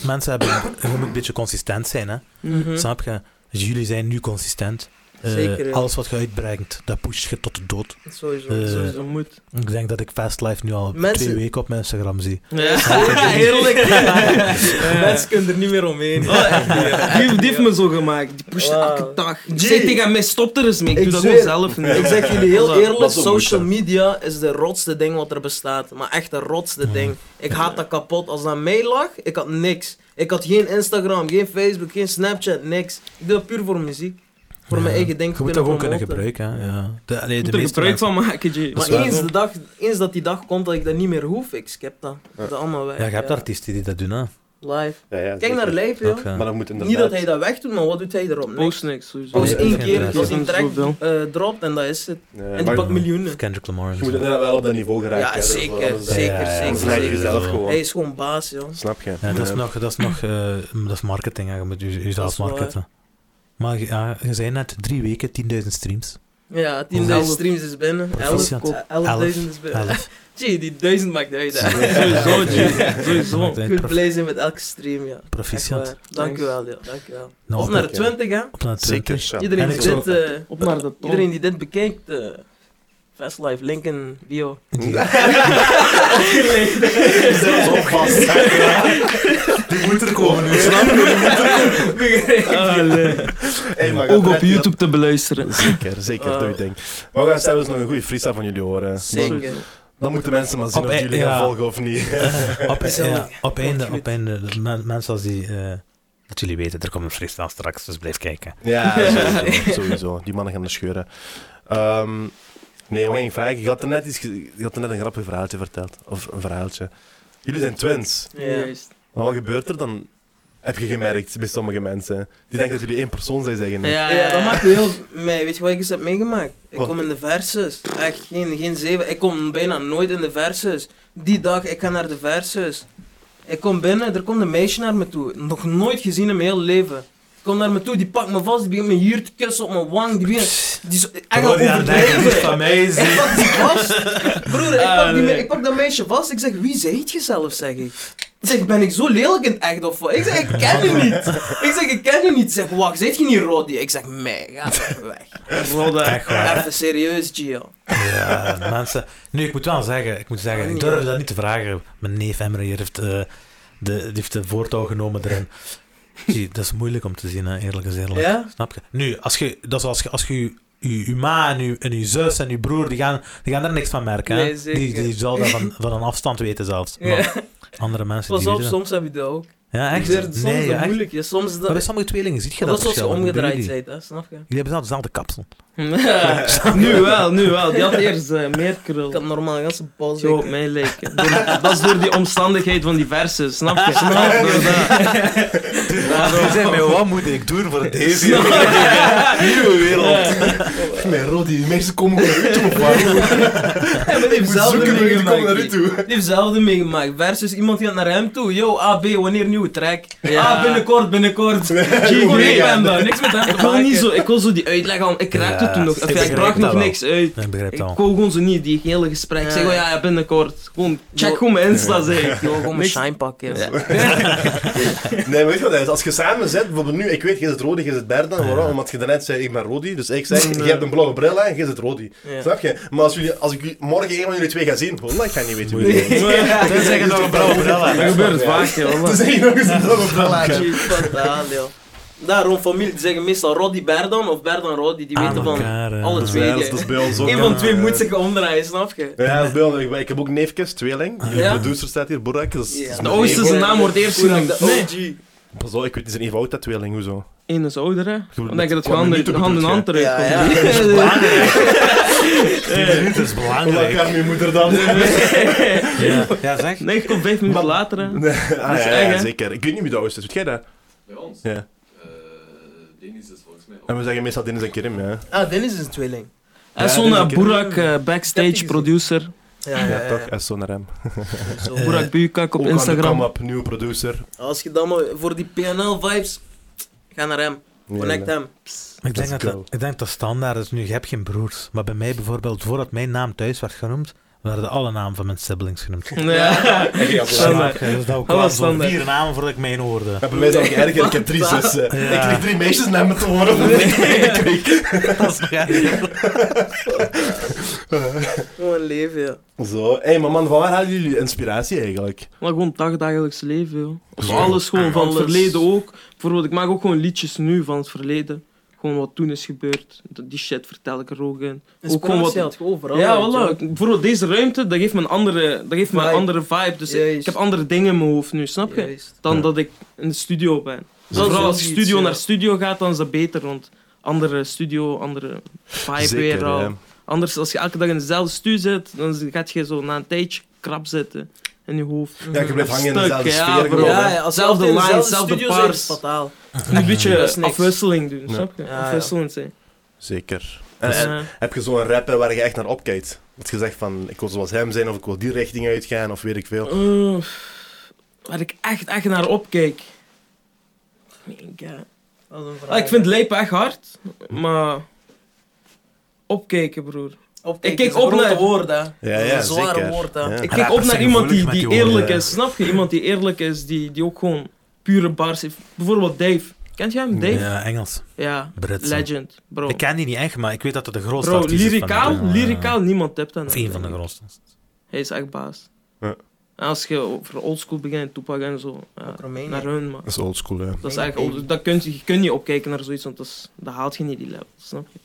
Speaker 1: Mensen hebben... Je moet een beetje consistent zijn, hè.
Speaker 4: Mhm.
Speaker 1: Snap je? Dus jullie zijn nu consistent. Eh,
Speaker 3: Hm. Zeker, ja.
Speaker 1: Alles wat je uitbrengt, dat pusht je tot de dood.
Speaker 3: Sowieso.
Speaker 1: Eh,
Speaker 3: sowieso.
Speaker 4: Sowieso moet.
Speaker 1: Ik denk dat ik Fastlife nu al
Speaker 3: Mensen-
Speaker 1: twee weken op mijn Instagram zie.
Speaker 4: Ja,
Speaker 3: heerlijk.
Speaker 4: Ja.
Speaker 3: Mensen kunnen er niet meer omheen.
Speaker 4: Oh, echt niet, hè. die, heeft- die heeft me zo gemaakt. Die pusht
Speaker 3: Wauw.
Speaker 4: elke dag. Ik
Speaker 3: Jee.
Speaker 4: zei tegen mij, stop er eens mee. Ik,
Speaker 3: Ik
Speaker 4: doe dat
Speaker 3: zweer.
Speaker 4: gewoon zelf nu.
Speaker 3: Ik zeg jullie heel
Speaker 4: Dat
Speaker 2: dat
Speaker 3: eerlijk,
Speaker 4: is-
Speaker 2: is ook moeilijk,
Speaker 3: social
Speaker 2: hè.
Speaker 3: media is de rotste ding wat er bestaat. Maar echt de rotste ding. Ik haat dat kapot. Als dat mij lag, ik had niks. Ik had geen Instagram, geen Facebook, geen Snapchat, niks. Ik doe dat puur voor muziek. Voor
Speaker 1: Ja.
Speaker 3: mijn eigen ding.
Speaker 1: Je moet dat gewoon kunnen gebruiken, hè. Ja. De, allee,
Speaker 4: Je
Speaker 1: de
Speaker 4: moet er
Speaker 1: meeste
Speaker 4: gebruik
Speaker 1: mensen-
Speaker 4: van maken, Jay.
Speaker 1: Dat
Speaker 3: Maar
Speaker 1: is waar,
Speaker 3: eens,
Speaker 1: hoor.
Speaker 3: de dag, eens dat die dag komt dat ik dat niet meer hoef, ik skip dat. Dat is allemaal weg.
Speaker 1: Ja, je hebt artiesten die dat doen, hè.
Speaker 3: Live.
Speaker 2: Ja, ja,
Speaker 3: Kijk
Speaker 2: zeker.
Speaker 3: naar Lijp, joh.
Speaker 1: Snap je?
Speaker 2: Maar dat moet inderdaad...
Speaker 3: Niet dat hij dat wegdoet, maar wat doet hij erop? Niks.
Speaker 4: Post niks, sowieso.
Speaker 1: Post
Speaker 3: Als
Speaker 1: Nee,
Speaker 3: één
Speaker 1: dat is
Speaker 3: keer
Speaker 1: geen
Speaker 3: dat
Speaker 1: interesse.
Speaker 3: hij een track
Speaker 4: Zoveel.
Speaker 3: eh, dropt en dat is het.
Speaker 2: Ja,
Speaker 3: En die
Speaker 2: maar
Speaker 3: pakt miljoenen.
Speaker 1: Kendrick Lamar en
Speaker 2: je moet
Speaker 1: zo.
Speaker 2: inderdaad wel op dat niveau geraken.
Speaker 3: Ja,
Speaker 2: hè. Dat is wel-
Speaker 3: zeker,
Speaker 2: dat is-
Speaker 3: zeker,
Speaker 1: Ja, ja,
Speaker 2: Dan
Speaker 3: zeker,
Speaker 2: snap je
Speaker 3: zeker.
Speaker 2: jezelf gewoon.
Speaker 3: Hij is gewoon baas, joh.
Speaker 2: Snap je?
Speaker 1: Ja, dat is nog, dat is nog eh, dat is marketing, hè. je moet je- jezelf
Speaker 3: is waar.
Speaker 1: marketen. Maar je- ja, je zei net drie weken 10.000 streams.
Speaker 3: Ja, 10.000
Speaker 1: Elf.
Speaker 3: streams is binnen.
Speaker 1: Precies,
Speaker 3: 11
Speaker 1: ja.
Speaker 3: eh, 11.000 is binnen.
Speaker 1: Elf.
Speaker 3: Gee, die 1000 maakt uit. hè.
Speaker 4: Sowieso,
Speaker 1: Ja.
Speaker 4: Jay. Sowieso.
Speaker 1: Maakt uit,
Speaker 3: Ik ben
Speaker 1: prof-
Speaker 3: blij zijn met elke stream, ja. Echt
Speaker 1: Proficiat.
Speaker 3: waar. Dank u
Speaker 4: Nice.
Speaker 3: wel, ja. Dank u wel.
Speaker 1: Nou,
Speaker 3: Of
Speaker 1: op
Speaker 3: naar de
Speaker 2: oké.
Speaker 3: 20, hè.
Speaker 1: op naar de
Speaker 2: Zeker,
Speaker 1: 20.
Speaker 2: ja.
Speaker 3: Iedereen
Speaker 1: En
Speaker 3: die
Speaker 1: ik zou-
Speaker 3: dit, eh,
Speaker 4: Op naar de top.
Speaker 3: iedereen die dit bekijkt, eh Fastlife, link in bio.
Speaker 2: Zo vast.
Speaker 1: Die moet er komen nu.
Speaker 2: Hey, maar
Speaker 4: Ook
Speaker 2: gaat
Speaker 4: op
Speaker 2: Fred-
Speaker 4: YouTube te beluisteren.
Speaker 2: Zeker, zeker,
Speaker 3: Ah.
Speaker 2: doe je ding. Maar Eh, we gaan zelfs nog een goede freestyle van jullie horen. Dan,
Speaker 3: Zeker.
Speaker 2: dan moeten mensen maar zien
Speaker 1: Op
Speaker 2: of
Speaker 1: e-
Speaker 2: jullie
Speaker 1: ja.
Speaker 2: gaan volgen of niet.
Speaker 1: Op, e- ja,
Speaker 3: Gezellig.
Speaker 1: op einde,
Speaker 3: Goed.
Speaker 1: op einde. de men- Mensen als die... eh, dat jullie weten, er komt een freestyle straks, dus blijf kijken.
Speaker 2: Ja, sowieso, sowieso. Die mannen gaan de scheuren. Ehm, nee, wat ging ik vragen? Je had er net, iets, ge- je had er net een grappig verhaaltje verteld. Of een verhaaltje. Jullie zijn twins.
Speaker 3: Ja.
Speaker 4: Juist.
Speaker 2: Maar wat gebeurt er dan? Heb je gemerkt bij sommige mensen? Die denken dat jullie één persoon zijn, zeggen.
Speaker 4: Ja,
Speaker 3: Ja, dat
Speaker 4: maakt
Speaker 3: maakt heel... Mij, weet je wat ik eens heb meegemaakt? Ik
Speaker 2: Wat?
Speaker 3: kom in de versus. Echt, geen, geen zeven. Ik kom bijna nooit in de versus. Die dag, ik ga naar de versus. Ik kom binnen, er komt een meisje naar me toe. Nog nooit gezien in mijn hele leven. Ik kom naar me toe, die pakt me vast, die begint me hier te kussen op mijn wang. Die begint... Die is echt al
Speaker 1: Terwijl die aan denken, die is
Speaker 3: overdreven.
Speaker 1: van mij is
Speaker 3: Ik
Speaker 1: die.
Speaker 3: pak die vast. Broer, ik
Speaker 4: Ah,
Speaker 3: pak, die, me-
Speaker 4: nee.
Speaker 3: ik pak dat meisje vast. Ik zeg, wie zijt je zelf, zeg ik. Ik zeg, ben ik zo lelijk in het echt of wat? Ik zeg, ik ken je niet. Ik zeg, ik ken je niet. Ik zeg, wacht, zijt je niet Roddy? Ik zeg, mij, ga weg.
Speaker 1: Echt waar.
Speaker 3: Even serieus, Gio.
Speaker 1: Ja, mensen. Nu, ik moet wel zeggen, ik moet zeggen,
Speaker 3: Oh,
Speaker 1: ik durf dat niet te vragen. Mijn neef Emre hier heeft, eh, de, die heeft de voortouw genomen erin. Zie, dat is moeilijk om te zien, hè, eerlijk is eerlijk.
Speaker 3: Ja?
Speaker 1: Snap je? Nu, als je, dat is als je, als je, je, je ma en je, en je zus en je broer, die gaan, die gaan er niks van merken. Hè?
Speaker 3: Nee, zeker.
Speaker 1: Die, die zal dat van, van een afstand weten zelfs.
Speaker 3: Ja.
Speaker 1: Maar andere mensen
Speaker 3: Pas
Speaker 1: die
Speaker 3: op,
Speaker 1: doen.
Speaker 3: soms heb je dat ook.
Speaker 1: Ja,
Speaker 3: Ik
Speaker 1: echt?
Speaker 3: zeg, het is soms
Speaker 1: Nee,
Speaker 3: dat
Speaker 1: ja, echt.
Speaker 3: moeilijk. Ja, soms is
Speaker 1: Maar bij
Speaker 3: dat...
Speaker 1: sommige tweelingen zie je
Speaker 3: Dat
Speaker 1: dat
Speaker 3: is als je
Speaker 1: verschil, wat bedoelen
Speaker 3: omgedraaid
Speaker 1: jullie?
Speaker 3: bent, hè, snap je?
Speaker 1: Jullie hebben zelf dezelfde kapsel.
Speaker 4: Nu wel, nu wel. Die had eerst eh, meer
Speaker 3: Ik
Speaker 4: krul.
Speaker 3: had normaal een ganse bal
Speaker 4: Zo op mij lijken. Door- dat is door die omstandigheid van die versen, snap je? Snap je? Door dat.
Speaker 1: doen?
Speaker 3: Waarom?
Speaker 1: Je zei mij, wat moet ik doen voor deze
Speaker 3: Snap
Speaker 2: Nieuwe wereld. Mijn rol, die mensen komen gewoon uit op
Speaker 3: Hij heeft
Speaker 2: Ik moet
Speaker 3: hetzelfde
Speaker 2: zoeken, maar die komen naar u
Speaker 3: meegemaakt.
Speaker 2: toe.
Speaker 3: Die heeft hetzelfde meegemaakt. Versus iemand die gaat naar hem toe. Yo, AB, wanneer nieuwe track?
Speaker 4: Ja.
Speaker 3: Ah, binnenkort, binnenkort. Gewoon
Speaker 2: nee,
Speaker 3: ik
Speaker 2: ja.
Speaker 3: ben daar, niks met hem
Speaker 4: Ik
Speaker 3: te
Speaker 4: wil
Speaker 3: maken.
Speaker 4: niet zo, ik wil zo die uitleg aan. Ik raakte
Speaker 1: Ja,
Speaker 4: toen nog.
Speaker 1: ik
Speaker 4: Of ja, ik
Speaker 1: begrijp
Speaker 4: bracht
Speaker 1: dat
Speaker 4: nog
Speaker 1: wel.
Speaker 4: niks uit.
Speaker 1: Ik begrijp
Speaker 4: Ik
Speaker 1: het al.
Speaker 4: kon gewoon zo niet die hele gesprek.
Speaker 3: Ja.
Speaker 4: Ik zeg gewoon ja, ja, binnenkort. Gewoon
Speaker 3: Ja.
Speaker 4: check gewoon mijn Insta zeg.
Speaker 3: Yo, gewoon mijn
Speaker 4: Niks-
Speaker 3: shine pakken.
Speaker 2: Nee, weet je wat, het is? als je samen zit, bijvoorbeeld nu, ik weet, je zit Rodi, je zit Berdan, waarom? Omdat je daarnet zei, ik ben Rodi, dus ik zeg, je hebt een blauwe bril aan, je zit Rodi.
Speaker 3: Ja.
Speaker 2: Snap je? Maar als, jullie, als ik jullie- morgen een van jullie twee ga zien, voilà, ik ga niet weten wie
Speaker 1: Moeilijk.
Speaker 2: het is.
Speaker 1: Dan zeggen nog een blauwe bril aan.
Speaker 4: Dat gebeurt
Speaker 2: Ja.
Speaker 4: vaak, joh.
Speaker 2: Dus zeg je nog eens een blauwe bril aan.
Speaker 3: Jeez, vandaan, joh. Daarom, familie die zeggen meestal Roddy Berdan of Berdan Roddy. Die
Speaker 1: Aan
Speaker 3: weten van...
Speaker 1: elkaar, eh.
Speaker 3: alle twee.
Speaker 2: Ja, dat is- dat is bij ons ook.
Speaker 3: Een
Speaker 2: hè.
Speaker 3: van twee moet zich omdraaien, snap je?
Speaker 2: Ja, dat is bij ons. Ik- Ik heb ook neefjes, tweeling. De
Speaker 3: Ja.
Speaker 2: producer staat hier, Borak. Dat is- dat is
Speaker 4: De
Speaker 2: mijn
Speaker 4: oosterse
Speaker 2: neef.
Speaker 4: zijn naam wordt eerst genoemd.
Speaker 3: De
Speaker 4: Nee.
Speaker 3: OG.
Speaker 2: Pas op, ik weet niet zijn even oud, dat tweeling, hoezo?
Speaker 4: Eén is ouder, hè. Dan denk je dat
Speaker 2: Kwam
Speaker 4: gewoon
Speaker 2: niet
Speaker 4: hand
Speaker 2: toe,
Speaker 4: hand in
Speaker 2: bedoel
Speaker 4: hand
Speaker 3: Ja,
Speaker 4: eruit
Speaker 3: ja.
Speaker 1: Het is belangrijk.
Speaker 2: Laat je moeder dan.
Speaker 1: Ja, ja zeg.
Speaker 4: Nee, ik kom vijf minuten later, hè.
Speaker 2: Nee, ah, ja, ja,
Speaker 4: erg, hè?
Speaker 2: zeker. Ik weet niet wie de oudste is. Weet jij dat?
Speaker 5: Bij ons?
Speaker 2: Ja.
Speaker 5: Eh, Denis is volgens mij ook.
Speaker 2: En we zeggen meestal Dennis en Kirim, ja.
Speaker 3: Ah, Dennis is een tweeling.
Speaker 4: Hij is
Speaker 2: Ja, dus
Speaker 4: zo'n
Speaker 2: dat is
Speaker 4: eh,
Speaker 2: oké.
Speaker 4: Boerak eh, backstage producer.
Speaker 3: Ja,
Speaker 2: Ja,
Speaker 3: ja,
Speaker 2: toch?
Speaker 3: ja.
Speaker 2: Hij is zo naar hem.
Speaker 3: Zo.
Speaker 1: Eh,
Speaker 4: Boerak Bukak op
Speaker 2: Ook aan de
Speaker 4: Instagram.
Speaker 2: come-up, nieuwe producer.
Speaker 3: Als je dan maar voor die PNL-vibes... Ga naar hem. Connect hem.
Speaker 1: Ik denk,
Speaker 2: Let's
Speaker 1: dat,
Speaker 2: go.
Speaker 1: dat- ik denk dat standaard is nu, je hebt geen broers. Maar bij mij bijvoorbeeld, voordat mijn naam thuis werd genoemd, werden alle namen van mijn siblings genoemd.
Speaker 4: Ja. Standaard.
Speaker 1: Ja, dus dat ook wel
Speaker 4: Dat was
Speaker 1: zo'n
Speaker 4: standaard.
Speaker 1: vier namen voordat ik mijn hoorde.
Speaker 2: Ja, bij mij is dat ook erger. Ik heb drie zussen. Ik
Speaker 1: Ja.
Speaker 2: kreeg drie meisjes naar me te horen. Ik weet-
Speaker 1: Dat is nog erger.
Speaker 3: Gewoon leven, ja.
Speaker 2: Zo. Hé, maar man, van waar halen jullie inspiratie eigenlijk?
Speaker 4: Maar gewoon het dagdagelijks leven, joh. Dus
Speaker 2: Zo.
Speaker 4: alles gewoon, van het
Speaker 3: Alles.
Speaker 4: verleden ook. Bijvoorbeeld, ik maak ook gewoon liedjes nu van het verleden. Gewoon wat toen is gebeurd. Dat- Die shit vertel ik er ook in. Ook gewoon wat...
Speaker 3: Inspiratie had je overal.
Speaker 4: Ja,
Speaker 3: weet je
Speaker 4: voilà.
Speaker 3: wel.
Speaker 4: Ik- Bijvoorbeeld deze ruimte, dat geeft me een andere, dat geeft me een
Speaker 3: Vibe.
Speaker 4: andere vibe. Dus ik,
Speaker 3: Juist.
Speaker 4: ik heb andere dingen in mijn hoofd nu, snap je?
Speaker 3: Juist.
Speaker 4: Dan
Speaker 2: Ja.
Speaker 4: dat ik in de studio ben. Dus
Speaker 3: Dat is
Speaker 4: vooral
Speaker 3: wel
Speaker 4: als je
Speaker 3: iets,
Speaker 4: studio
Speaker 3: ja.
Speaker 4: naar studio gaat, dan is dat beter. Want andere studio, andere vibe weer al.
Speaker 2: hè.
Speaker 4: Anders, als je elke dag in dezelfde studio zit, dan gaat je zo na een tijdje krap zitten in je hoofd.
Speaker 2: Ja, je blijft
Speaker 4: Of
Speaker 2: hangen in dezelfde
Speaker 4: stuk,
Speaker 2: sfeer gewoon,
Speaker 4: bro.
Speaker 2: hè.
Speaker 3: Ja, ja, als je
Speaker 4: Zelfde
Speaker 3: altijd in
Speaker 4: lijn,
Speaker 3: dezelfde
Speaker 4: zelfde
Speaker 3: studio zit, is
Speaker 4: paars.
Speaker 3: het fataal.
Speaker 4: Een
Speaker 3: Dat
Speaker 4: beetje
Speaker 3: is niks.
Speaker 4: afwisseling doen,
Speaker 2: Ja.
Speaker 4: snap je?
Speaker 3: Ja, ja.
Speaker 4: Afwisselend zijn.
Speaker 2: Zeker. En-
Speaker 4: Dus,
Speaker 2: en-
Speaker 4: eh,
Speaker 2: Heb je zo'n rapper waar je echt naar opkijkt? Dat je zegt van, ik wil zoals hem zijn, of ik wil die richting uitgaan, of weet ik veel.
Speaker 4: Eh, waar ik echt, echt naar opkijk. Ik, eh,
Speaker 3: Dat is een vraag.
Speaker 4: ah, ik vind lijpen echt hard, maar opkijken, broer.
Speaker 3: Opkijken
Speaker 4: ik kijk
Speaker 3: is een
Speaker 4: op
Speaker 3: grote
Speaker 4: naar-
Speaker 3: woord, hè.
Speaker 2: Ja,
Speaker 3: Dat is
Speaker 2: ja,
Speaker 3: een zware
Speaker 2: zeker.
Speaker 3: woord, hè.
Speaker 2: Ja.
Speaker 4: Ik
Speaker 1: Rappers
Speaker 4: kijk op naar
Speaker 1: zijn
Speaker 4: iemand die,
Speaker 1: gevoelig
Speaker 4: die
Speaker 1: met die woorden,
Speaker 4: eerlijk
Speaker 2: ja.
Speaker 4: is, snap je? Iemand die eerlijk is, die, die ook gewoon pure bars heeft. Bijvoorbeeld Dave. Kent jij hem, Dave? Ja,
Speaker 1: Ja, Engels. Brits.
Speaker 4: legend, bro.
Speaker 1: Ik ken die niet echt, maar ik weet dat dat de grootste
Speaker 4: Bro,
Speaker 1: artiest is van
Speaker 4: lyricaal,
Speaker 1: Nederland.
Speaker 4: lyricaal, niemand tipt aan
Speaker 1: Of
Speaker 4: hem.
Speaker 1: één van de grootste.
Speaker 4: Hij is echt baas.
Speaker 2: Ja.
Speaker 4: En als je over oldschool begint, Tupac en zo, ja,
Speaker 3: Ook Romeinen.
Speaker 4: naar hun, man.
Speaker 2: Dat is oldschool, hè.
Speaker 4: Dat is eigenlijk, old- dat kun je, je kunt niet opkijken naar zoiets, want dat, is, dat haalt je niet die level, snap je?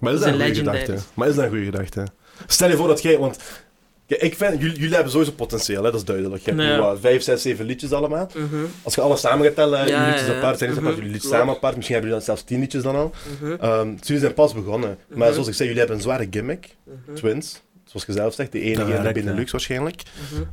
Speaker 2: Maar is
Speaker 4: Dat
Speaker 2: dat een
Speaker 4: zijn
Speaker 2: goede
Speaker 4: legendaries.
Speaker 2: gedachte? Maar is dat een goede gedachte? Stel je voor dat jij, want ja, ik vind, jullie, jullie hebben sowieso potentieel, hè, dat is duidelijk. Je hebt
Speaker 4: Nee.
Speaker 2: nu, wat, vijf, zes, zeven liedjes allemaal.
Speaker 3: Mhm,
Speaker 2: Als je alles samen gaat tellen,
Speaker 4: Ja,
Speaker 2: jullie liedjes
Speaker 4: ja, ja.
Speaker 2: apart, zijn
Speaker 4: Mhm,
Speaker 2: apart, jullie liedjes
Speaker 4: klopt.
Speaker 2: samen apart, misschien hebben jullie dan zelfs tien liedjes dan al.
Speaker 3: mhm,
Speaker 2: Ehm, dus jullie zijn pas begonnen. Maar
Speaker 4: Mhm.
Speaker 2: zoals ik zei, jullie hebben een zware gimmick,
Speaker 3: mhm.
Speaker 2: twins. Zoals je zelf zegt, de enige
Speaker 1: Dat
Speaker 2: in de
Speaker 1: werkt,
Speaker 2: Benelux waarschijnlijk.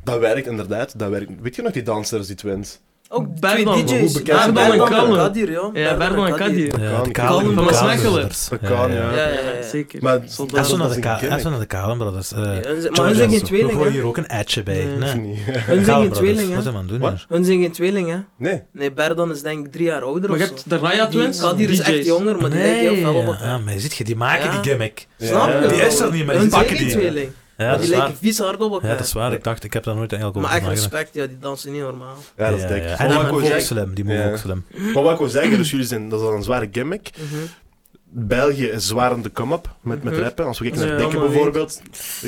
Speaker 2: Dat werkt inderdaad, dat werkt. Weet je nog die dansers, die twins?
Speaker 3: Ook
Speaker 4: Berdan.
Speaker 3: twee
Speaker 4: Hoe
Speaker 3: DJ's.
Speaker 2: bekend zijn
Speaker 3: Berdan
Speaker 4: Berdan?
Speaker 3: en Kadir, joh.
Speaker 4: Ja, Berdan en Kadir.
Speaker 1: Ja,
Speaker 2: Kalm,
Speaker 1: de
Speaker 2: Kalm,
Speaker 1: Kalm
Speaker 4: Van
Speaker 1: Brothers.
Speaker 4: Smekkelen.
Speaker 2: Dat kan, ja.
Speaker 1: Ja,
Speaker 3: Ja,
Speaker 1: ja.
Speaker 3: ja, ja.
Speaker 4: zeker.
Speaker 2: Maar
Speaker 4: Zonder-
Speaker 1: Dat is zo
Speaker 2: dat
Speaker 1: naar de
Speaker 2: is een
Speaker 1: Ka-
Speaker 2: gimmick.
Speaker 1: dat is zo naar de Kalm Brothers. eh.
Speaker 3: Ja, ze- Maar
Speaker 1: Charles
Speaker 3: hun zijn geen
Speaker 1: Johnson. We
Speaker 3: tweeling,
Speaker 1: gooien
Speaker 3: hè.
Speaker 1: hier ook een etje bij.
Speaker 4: Nee.
Speaker 1: Nee.
Speaker 2: Of niet?
Speaker 3: Hun
Speaker 1: Kalm
Speaker 3: zijn geen
Speaker 1: Brothers,
Speaker 3: tweeling,
Speaker 1: Wat
Speaker 3: hè.
Speaker 1: zijn we aan het doen
Speaker 2: Wat?
Speaker 1: hier?
Speaker 3: Hun zijn geen tweeling, hè.
Speaker 2: Nee.
Speaker 3: Nee, Berdan is denk ik drie jaar ouder
Speaker 4: Maar
Speaker 3: of
Speaker 4: je
Speaker 3: zo.
Speaker 4: hebt de Raya Twins,
Speaker 3: Kadir is echt
Speaker 4: DJ's.
Speaker 3: jonger, maar die lijken heel
Speaker 1: ja,
Speaker 3: veel op elkaar.
Speaker 1: ja, maar ziet je, die maken
Speaker 3: Ja.
Speaker 1: die gimmick.
Speaker 3: Snap je?
Speaker 2: Ja.
Speaker 1: Die is er niet, maar die
Speaker 3: Hun
Speaker 1: pakken
Speaker 3: zijn geen
Speaker 1: die.
Speaker 3: tweeling.
Speaker 1: Ja,
Speaker 3: Maar
Speaker 1: dat
Speaker 3: die
Speaker 1: is waar.
Speaker 3: lijken vies hard op
Speaker 1: Ja,
Speaker 3: elkaar.
Speaker 1: dat is waar. Ik dacht, ik heb daar nooit eigenlijk over
Speaker 3: Maar echt
Speaker 1: nagedacht.
Speaker 3: respect, ja, die dansen niet normaal.
Speaker 2: Ja, dat is
Speaker 1: Ja,
Speaker 2: dik.
Speaker 1: ja.
Speaker 2: Maar
Speaker 1: En die
Speaker 2: wat ik wou
Speaker 1: move ook
Speaker 2: zeggen-
Speaker 1: slim. Die move
Speaker 2: Ja.
Speaker 1: ook slim.
Speaker 2: Maar wat ik wil zeggen, dus jullie zijn, dat is al een zware gimmick.
Speaker 3: Mhm.
Speaker 2: België is zwaar aan de come-up met, met
Speaker 4: Mhm.
Speaker 2: rappen. Als we kijken
Speaker 4: Ja,
Speaker 2: naar Dikke
Speaker 4: maar
Speaker 2: bijvoorbeeld.